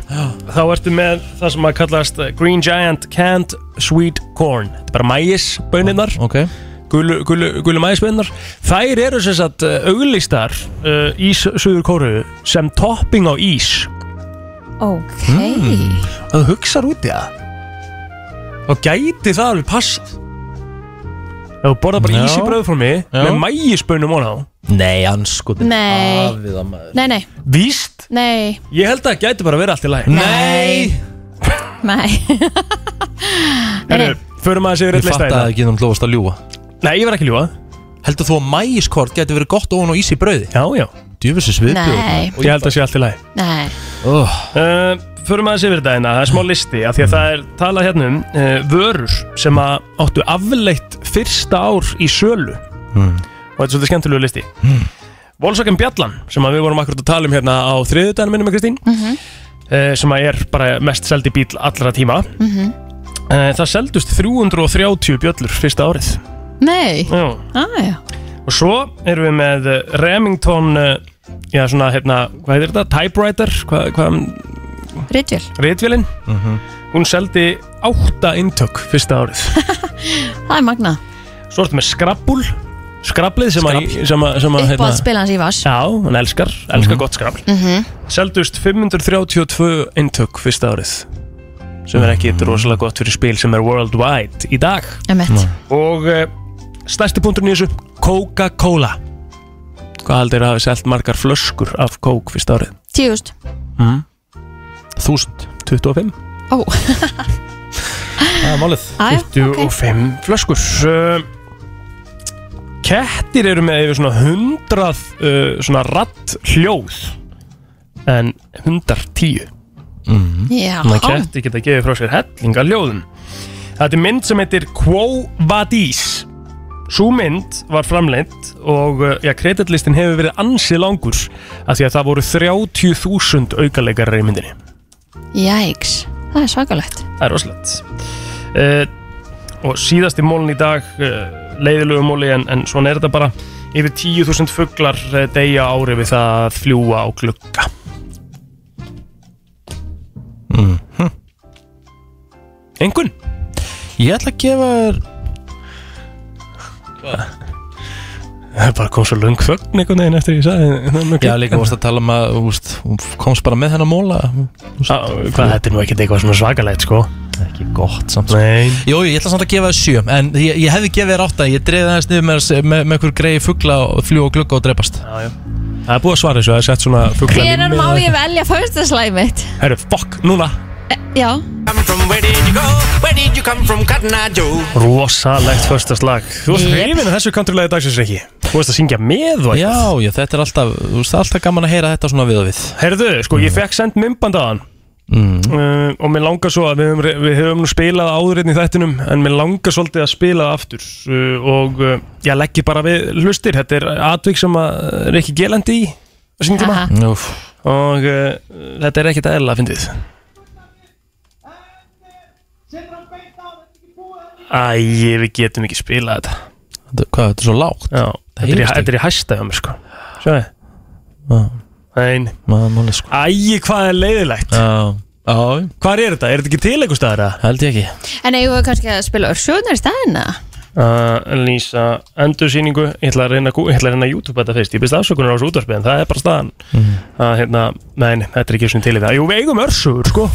Speaker 3: þá ertu með það sem að kallast eh, Green Giant Canned Sweet Corn Þetta er bara mæisbönirnar
Speaker 1: okay.
Speaker 3: Gulu, gulu, gulu mæisbönirnar Þær eru sem sagt eh, auglýstar uh, í Su- Suður Kóriðu sem topping á ís
Speaker 2: Ok
Speaker 3: Og þú hugsar út í það Og gæti það alveg passað Ef þú borðar bara
Speaker 1: Já.
Speaker 3: ís í bröðformi
Speaker 1: Já.
Speaker 3: með mægisbönum á
Speaker 1: Nei, anskotin
Speaker 2: Nei.
Speaker 1: Hafið að maður
Speaker 2: Nei, nei,
Speaker 3: Víst,
Speaker 2: nei,
Speaker 3: ég held að það gæti bara verið allt í lagi Nei
Speaker 2: nei
Speaker 3: Herru, förum að þessi
Speaker 1: Ég
Speaker 3: rétt lista
Speaker 1: fatt að ekki þú lofast að ljúa
Speaker 3: Nei, ég var ekki ljúa
Speaker 1: Heldur þú að mægiskort getur verið gott ofan og ís í brauði?
Speaker 3: Já, já
Speaker 1: Djöfisins
Speaker 2: Nei.
Speaker 1: viðbjörn
Speaker 3: Ég held að sé allt í lagi
Speaker 2: Nei
Speaker 1: oh.
Speaker 3: uh, Förum aðeins yfir þetta hérna, það er smá listi af Því að það er talað hérna um uh, vörur sem að áttu afleitt fyrsta ár í sölu
Speaker 7: Mm.
Speaker 3: Og þetta er svolítið skemmtilegu listi mm. Volkswagen Bjallan sem að við vorum akkurat að tala um hérna á þriðudaginu minnum með Kristín mm
Speaker 2: Mhm.
Speaker 3: sem að er bara mest seldi bíl allra tíma
Speaker 2: Mhm.
Speaker 3: uh, Það seldust 330 bjöllur fyrsta árið
Speaker 2: Nei Ah,
Speaker 3: Já
Speaker 2: Æja
Speaker 3: Og svo erum við með eh, Remington eh, Já, svona, hérna, hvað heitir þetta? Typewriter Hvað, hvað
Speaker 2: Ritvél
Speaker 3: Ritvélin Hún seldi átta intök fyrsta árið
Speaker 2: Það er magna
Speaker 3: Svo ertu með skrabbul Skrablið sem að sem að- sem að,
Speaker 2: Uppáð spila hans í Mhm. vas
Speaker 3: Hérna. Já, hann elskar, elskar gott skrabl Seldust 532 intök fyrsta árið Sem er ekki rosalega gott fyrir spil sem er worldwide í dag
Speaker 2: Emmett
Speaker 3: Og uh, stærsti punkturinn í þessu Coca-Cola Hvað heldur að hafi selt margar flöskur af kók fyrsta árið?
Speaker 2: Tíust
Speaker 3: Mm. 1025
Speaker 2: Ó
Speaker 3: Það er málið
Speaker 2: Jæja,
Speaker 3: 25 flöskur uh, Kettir eru með yfir svona 100 uh, svona ratt hljóð en 110 mm.
Speaker 2: Já.
Speaker 3: Þannig að ketti geta gefið frá sér hellinga hljóðum Þetta er mynd sem heitir Quo Vadis Sú mynd var framleitt og uh, já, kreditlistin hefur verið ansið langur af því að það voru 30.000 aukaleikarar í myndinni
Speaker 2: Jæks Það er svakalegt
Speaker 3: Það er rosalegt uh, Og síðasti mólin í dag uh, leiðilegu móli en, en svona er þetta bara yfir 10.000 fuglar uh, degja ári við það að fljúa á glugga
Speaker 1: Mhm.
Speaker 3: Engun?
Speaker 1: Ég ætla að gefa þér
Speaker 3: Það bara kom svo lung þögn einhvern veginn eftir ég sagði
Speaker 1: Já, líka vorst að tala um að, þú veist, hún komst bara með hennar móla
Speaker 3: Hvað þetta er nú ekkert eitthvað svona svakalegt sko
Speaker 1: Ekki gott samt sko.
Speaker 3: Nei
Speaker 1: Jó, jú, ég ætla samt að gefa þér sjö En ég, ég hefði gefið þér átta Ég dreifði aðeins niður með, með, með einhver greið fugla og fljú og glugga og dreipast
Speaker 3: Já, já Það er búið að svara þessu, það er sett svona fugla
Speaker 2: Hvenar má ég velja föstaslæg mitt?
Speaker 3: Herru, fokk, núna
Speaker 2: E, já
Speaker 3: Rosalegt förstaslag Þú varst
Speaker 2: Yep.
Speaker 3: hrifin að þessu kanturlega dagsins ekki Þú varst að syngja með og
Speaker 1: Já, já, þetta er alltaf, þú veist, það er alltaf gaman að heyra þetta svona við Mm. og við
Speaker 3: Herðu, sko, ég fekk send mymband að hann
Speaker 1: Mhm.
Speaker 3: uh, og mér langar svo að við höfum, við höfum nú spilað áður einn í þættinum en mér langar svolítið að spila það aftur uh, og uh, ég legg bara við hlustir, þetta er atvík sem að er ekki gelandi í á sínum
Speaker 2: Aha.
Speaker 3: tíma og uh, þetta er ekkert eðla að fyndið Æ, við getum ekki spilað þetta
Speaker 1: Þetta- Hvað, þetta er svo lágt?
Speaker 3: Já, þetta er, í-
Speaker 1: heyrist
Speaker 3: þetta er í hæsta hjá mér sko Sjáðu Nein
Speaker 1: Máli sko
Speaker 3: Æ, hvað er leiðilegt
Speaker 1: Já
Speaker 3: Hvar er þetta? Er þetta ekki til einhver staðar?
Speaker 1: Held ég ekki
Speaker 2: En eigum við kannski að spila örsjóðunar í staðina?
Speaker 3: uh, Lýsa endursýningu Ég ætla að reyna, að gú- ég ætla að reyna að YouTube þetta fyrst Ég byrst afsökunar á þessu útvarpið En það er bara staðan
Speaker 1: Mhm.
Speaker 3: að, hérna, Nein, þetta er ekki svona til í það Jú, við eigum örsugur sko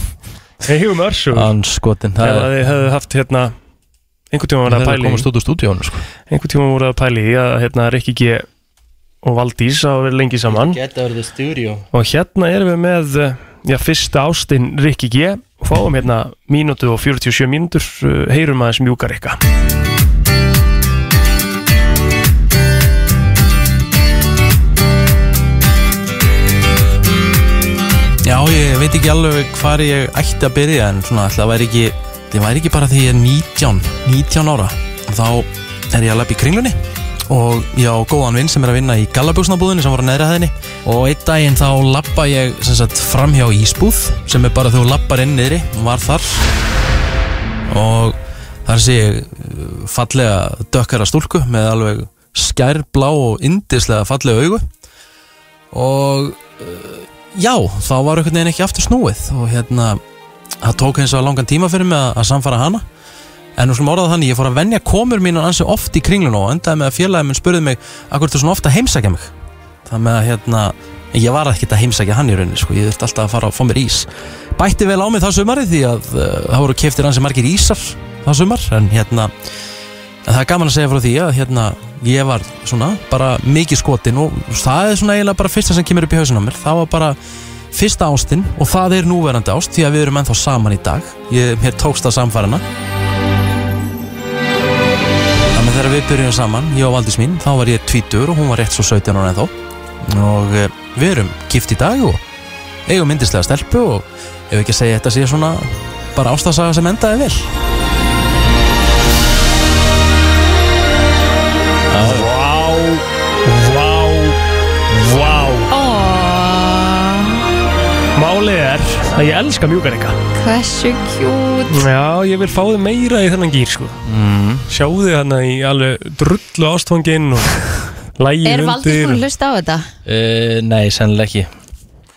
Speaker 3: Við eigum örsugur
Speaker 1: Anskotin
Speaker 3: Ef að þið hefðu haft hérna Einhvern tíma var
Speaker 1: Það
Speaker 3: að
Speaker 1: er að
Speaker 3: pæli
Speaker 1: komast út úr stúdíónu sko
Speaker 3: einhvern tíma voru að pæli í að hérna, Rikki G og Valdís hafa verið lengi saman
Speaker 8: Geta verið studio
Speaker 3: og hérna erum við með eh, já, fyrsta ástinn Rikki G og fáum hérna mínútu og 47 mínútur eh, heyrum aðeins mjúkar Rikka
Speaker 1: Já, ég veit ekki alveg hvar ég ætti að byrja en svona, ætla, það væri ekki, það væri ekki bara því ég er 19, 19 ára þá er ég að lappa í kringlunni og ég á góðan vinn sem er að vinna í gallabjóksnabúðinni sem var á neðri hæðinni og einn daginn þá lappa ég sem sagt, framhjá ísbúð sem er bara þú lappar inn niðri og var þar og þar sé ég uh, fallega dökkara stúlku með alveg skærblá og indislega fallega augu og uh, já, þá var einhvern veginn ekki aftur snúið og hérna, það tók eins og langan tíma fyrir mig að, að samfara hana en nú slum orðað þannig, ég fór að venja komur mín ansi oft í kringlun og endaði með að félagi minn spurði mig, akkur þú svona ofta heimsækja mig það með að hérna ég var ekkert að heimsækja hann í rauninni sko. ég þurfti alltaf að fara að fá mér ís bætti vel á mig það sumari því að uh, það voru keftir ansi margir ísar það sumar en hérna en það er gaman að segja frá því að hérna ég var svona bara mikið skotin og það er svona eiginlega bara fyrsta sem kemur upp í hausinn á mér það var bara fyrsta ástinn og það er núverandi ást því að við erum ennþá saman í dag ég, mér tókst að samfara hana Þannig að þegar við byrjum saman, ég og Valdís mín, þá var ég tvítur og hún var rétt svo 17 ára ennþá og eh, við erum gift í dag og eigum myndislega stelpu og ef ekki að segja þetta sé svona bara ástasaga sem endaði vel
Speaker 3: Vá, vá, vá Málið er að ég elska mjúkar Rikka
Speaker 2: Hversu kjút
Speaker 3: Já, ég vil fá þið meira í þennan gýr sko. mm. Sjáðu þið hana í alveg drullu ástfangin og lægi
Speaker 2: Er
Speaker 1: um
Speaker 3: undir
Speaker 2: Valdís búin að hlusta á þetta?
Speaker 1: uh, Nei, sennilega ekki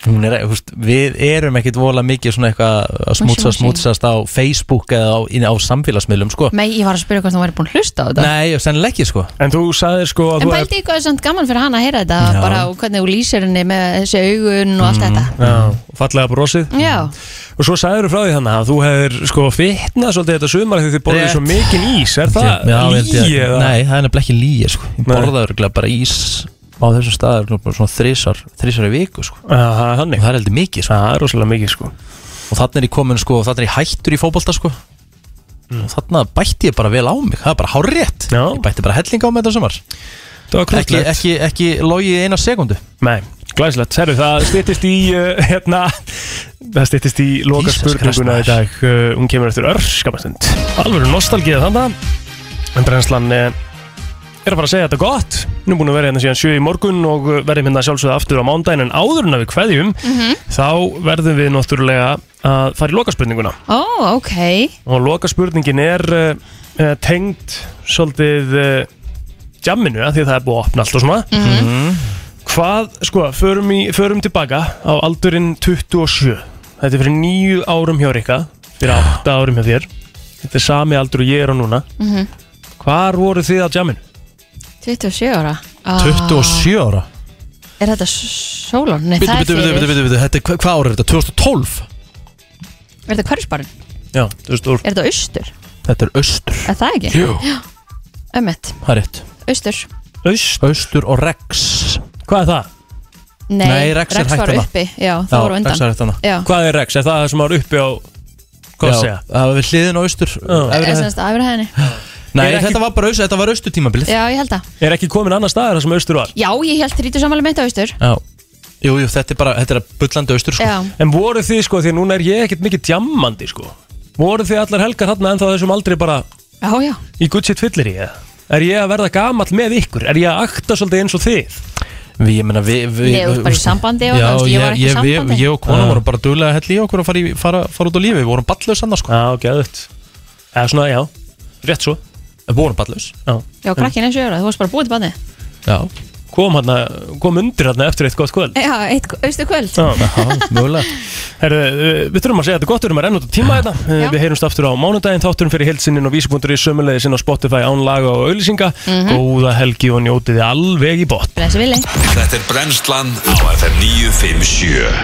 Speaker 1: Hún er, húst, Við erum ekkit vola mikið svona eitthvað að smútsa smútsast á Facebook eða á, inn á samfélagsmiðlum sko
Speaker 2: Nei, ég var að spyrja hvort hún væri búin að hlusta á þetta
Speaker 1: Nei, sennilega ekki sko
Speaker 3: En þú sagðir sko
Speaker 2: En pældi ykkur samt gaman fyrir hann að heyra þetta
Speaker 1: Já. Mm.
Speaker 2: bara og hvernig hún lýsir henni með þessi augun og allt þetta
Speaker 3: Mm.
Speaker 2: Mm.
Speaker 3: Já, fallega brosið
Speaker 2: Já,
Speaker 3: Og svo sagður þú frá því þannig að þú hefur sko fitnað svolítið þetta sumar þegar þið borðið
Speaker 1: Rétt.
Speaker 3: svo mikinn ís Er það
Speaker 1: Já, ég held ég-
Speaker 3: lígi eða?
Speaker 1: Nei, það er nefnilega ekki lígi sko. Ég
Speaker 3: Nei.
Speaker 1: borða örgulega bara ís á þessum stað bara svona þrísar, þrísar í viku sko.
Speaker 3: Aha, og
Speaker 1: það er heldur mikið sko.
Speaker 3: Það er rosalega mikið sko.
Speaker 1: Og þannig er ég komin sko, og þannig er ég hættur í fótbolta sko.
Speaker 3: Mm.
Speaker 1: Og þannig bætti ég bara vel á mig Það er bara hárétt Ég bætti bara helling á mig þetta sumar
Speaker 3: Það var
Speaker 1: Ekki,
Speaker 3: krúttlegt.
Speaker 1: ekki, ekki logið eina sekundu
Speaker 3: Nei, glæslegt, herru, það styttist í uh, hérna, það styttist í loka
Speaker 1: Jesus Christ,
Speaker 3: spurninguna
Speaker 1: maður.
Speaker 3: í dag uh, hún kemur eftir örskamastund alveg nostalgíða þannig en brennslan uh, er að fara að segja þetta gott nú búin að vera hérna síðan 7 í morgun og uh, verðum hérna sjálfsögða aftur á mándaginn en áður en að við kveðjum
Speaker 2: Mhm.
Speaker 3: þá verðum við náttúrulega að fara í loka spurninguna
Speaker 2: ó, ok
Speaker 3: og loka spurningin er uh, uh, tengd svolítið uh, jamminu að því að það er búið að opna allt og svona
Speaker 1: Mhm.
Speaker 3: hvað, sko, förum, í, förum tilbaka á aldurinn 27 þetta er fyrir nýju árum hjá Rikka fyrir átta árum hjá þér þetta er sami aldur og ég er á núna
Speaker 2: Mhm.
Speaker 3: hvar voru þið á jamminu?
Speaker 2: 27 ára Ah.
Speaker 1: ára
Speaker 2: Er þetta sólón? Nei,
Speaker 1: Bitu,
Speaker 2: það er
Speaker 1: bitu, bitu, bitu,
Speaker 2: fyrir
Speaker 1: bitu, bitu. Þetta, er- hva- Hvað ára er þetta? 2012?
Speaker 2: Er þetta hverfsbarinn?
Speaker 3: Já, 2012
Speaker 2: Er þetta austur?
Speaker 1: Þetta er austur
Speaker 2: Er það ekki?
Speaker 1: Jú.
Speaker 2: Já, ömmett,
Speaker 1: Það er rétt
Speaker 2: austur
Speaker 3: Austur,
Speaker 1: austur og Rex
Speaker 3: Hvað er það?
Speaker 2: Nei,
Speaker 1: Nei, Rex er hætt
Speaker 2: var
Speaker 1: hana.
Speaker 2: uppi Já, það var á undan
Speaker 1: Rex er þetta
Speaker 2: Já,
Speaker 3: hvað er Rex? Er það það sem var uppi á hvað að segja?
Speaker 1: Það var við hliðin á austur efri
Speaker 2: eða
Speaker 1: hæð.
Speaker 2: semst æfra henni
Speaker 1: Nei,
Speaker 3: Er ekki-
Speaker 1: þetta var bara austur, þetta var austur tímabilið
Speaker 2: Já, ég held að
Speaker 3: er ekki komin annar staðar þar sem austur var?
Speaker 2: Já, ég held þrítur samanlega mitt á austur
Speaker 1: Já Jú, jú, þetta er bara, þetta er að bullandi austur sko.
Speaker 2: Já,
Speaker 3: En voru þið sko, því að núna er ég ekkert mikið djammandi sko Voru þið allar helgar hann en þá þessum aldrei bara
Speaker 2: já, já
Speaker 3: í gutt sitt fyllir í það? Er ég að verða gamall með ykkur? Er ég að akta svolítið eins og þið?
Speaker 1: Við, ég meina, við, við
Speaker 2: Nei, þú ert bara í sambandi og
Speaker 1: Já,
Speaker 2: það, þú veist, ég var ekki í
Speaker 1: ég, við,
Speaker 2: sambandi.
Speaker 1: ég og kona vorum bara duglega að hella í okkur og fara, í, fara, fara út á lífi Við vorum ballið sannar sko
Speaker 3: Já, ok, auðvitað Eða svona, já rétt svo
Speaker 1: Við vorum ballaus
Speaker 3: Já,
Speaker 2: Já, krakkin eins og jöra, þú varst bara búið til banni
Speaker 1: Já
Speaker 3: Kom, hana, kom undir hérna eftir eitt gott kvöld
Speaker 2: Já, eitt austu kvöld
Speaker 3: mögulega Herðu, við þurfum að segja þetta gott, við erum að renna út á tíma hérna Eh, Við heyrumst aftur á mánudaginn, þátturum fyrir heilsinnin og vísi.ri sömulegðisinn á Spotify án laga og auðlýsinga
Speaker 2: Mhm.
Speaker 3: Góða helgi og njótiði alveg í botn
Speaker 2: Blessi villi
Speaker 4: Þetta er Brennslan á FM 957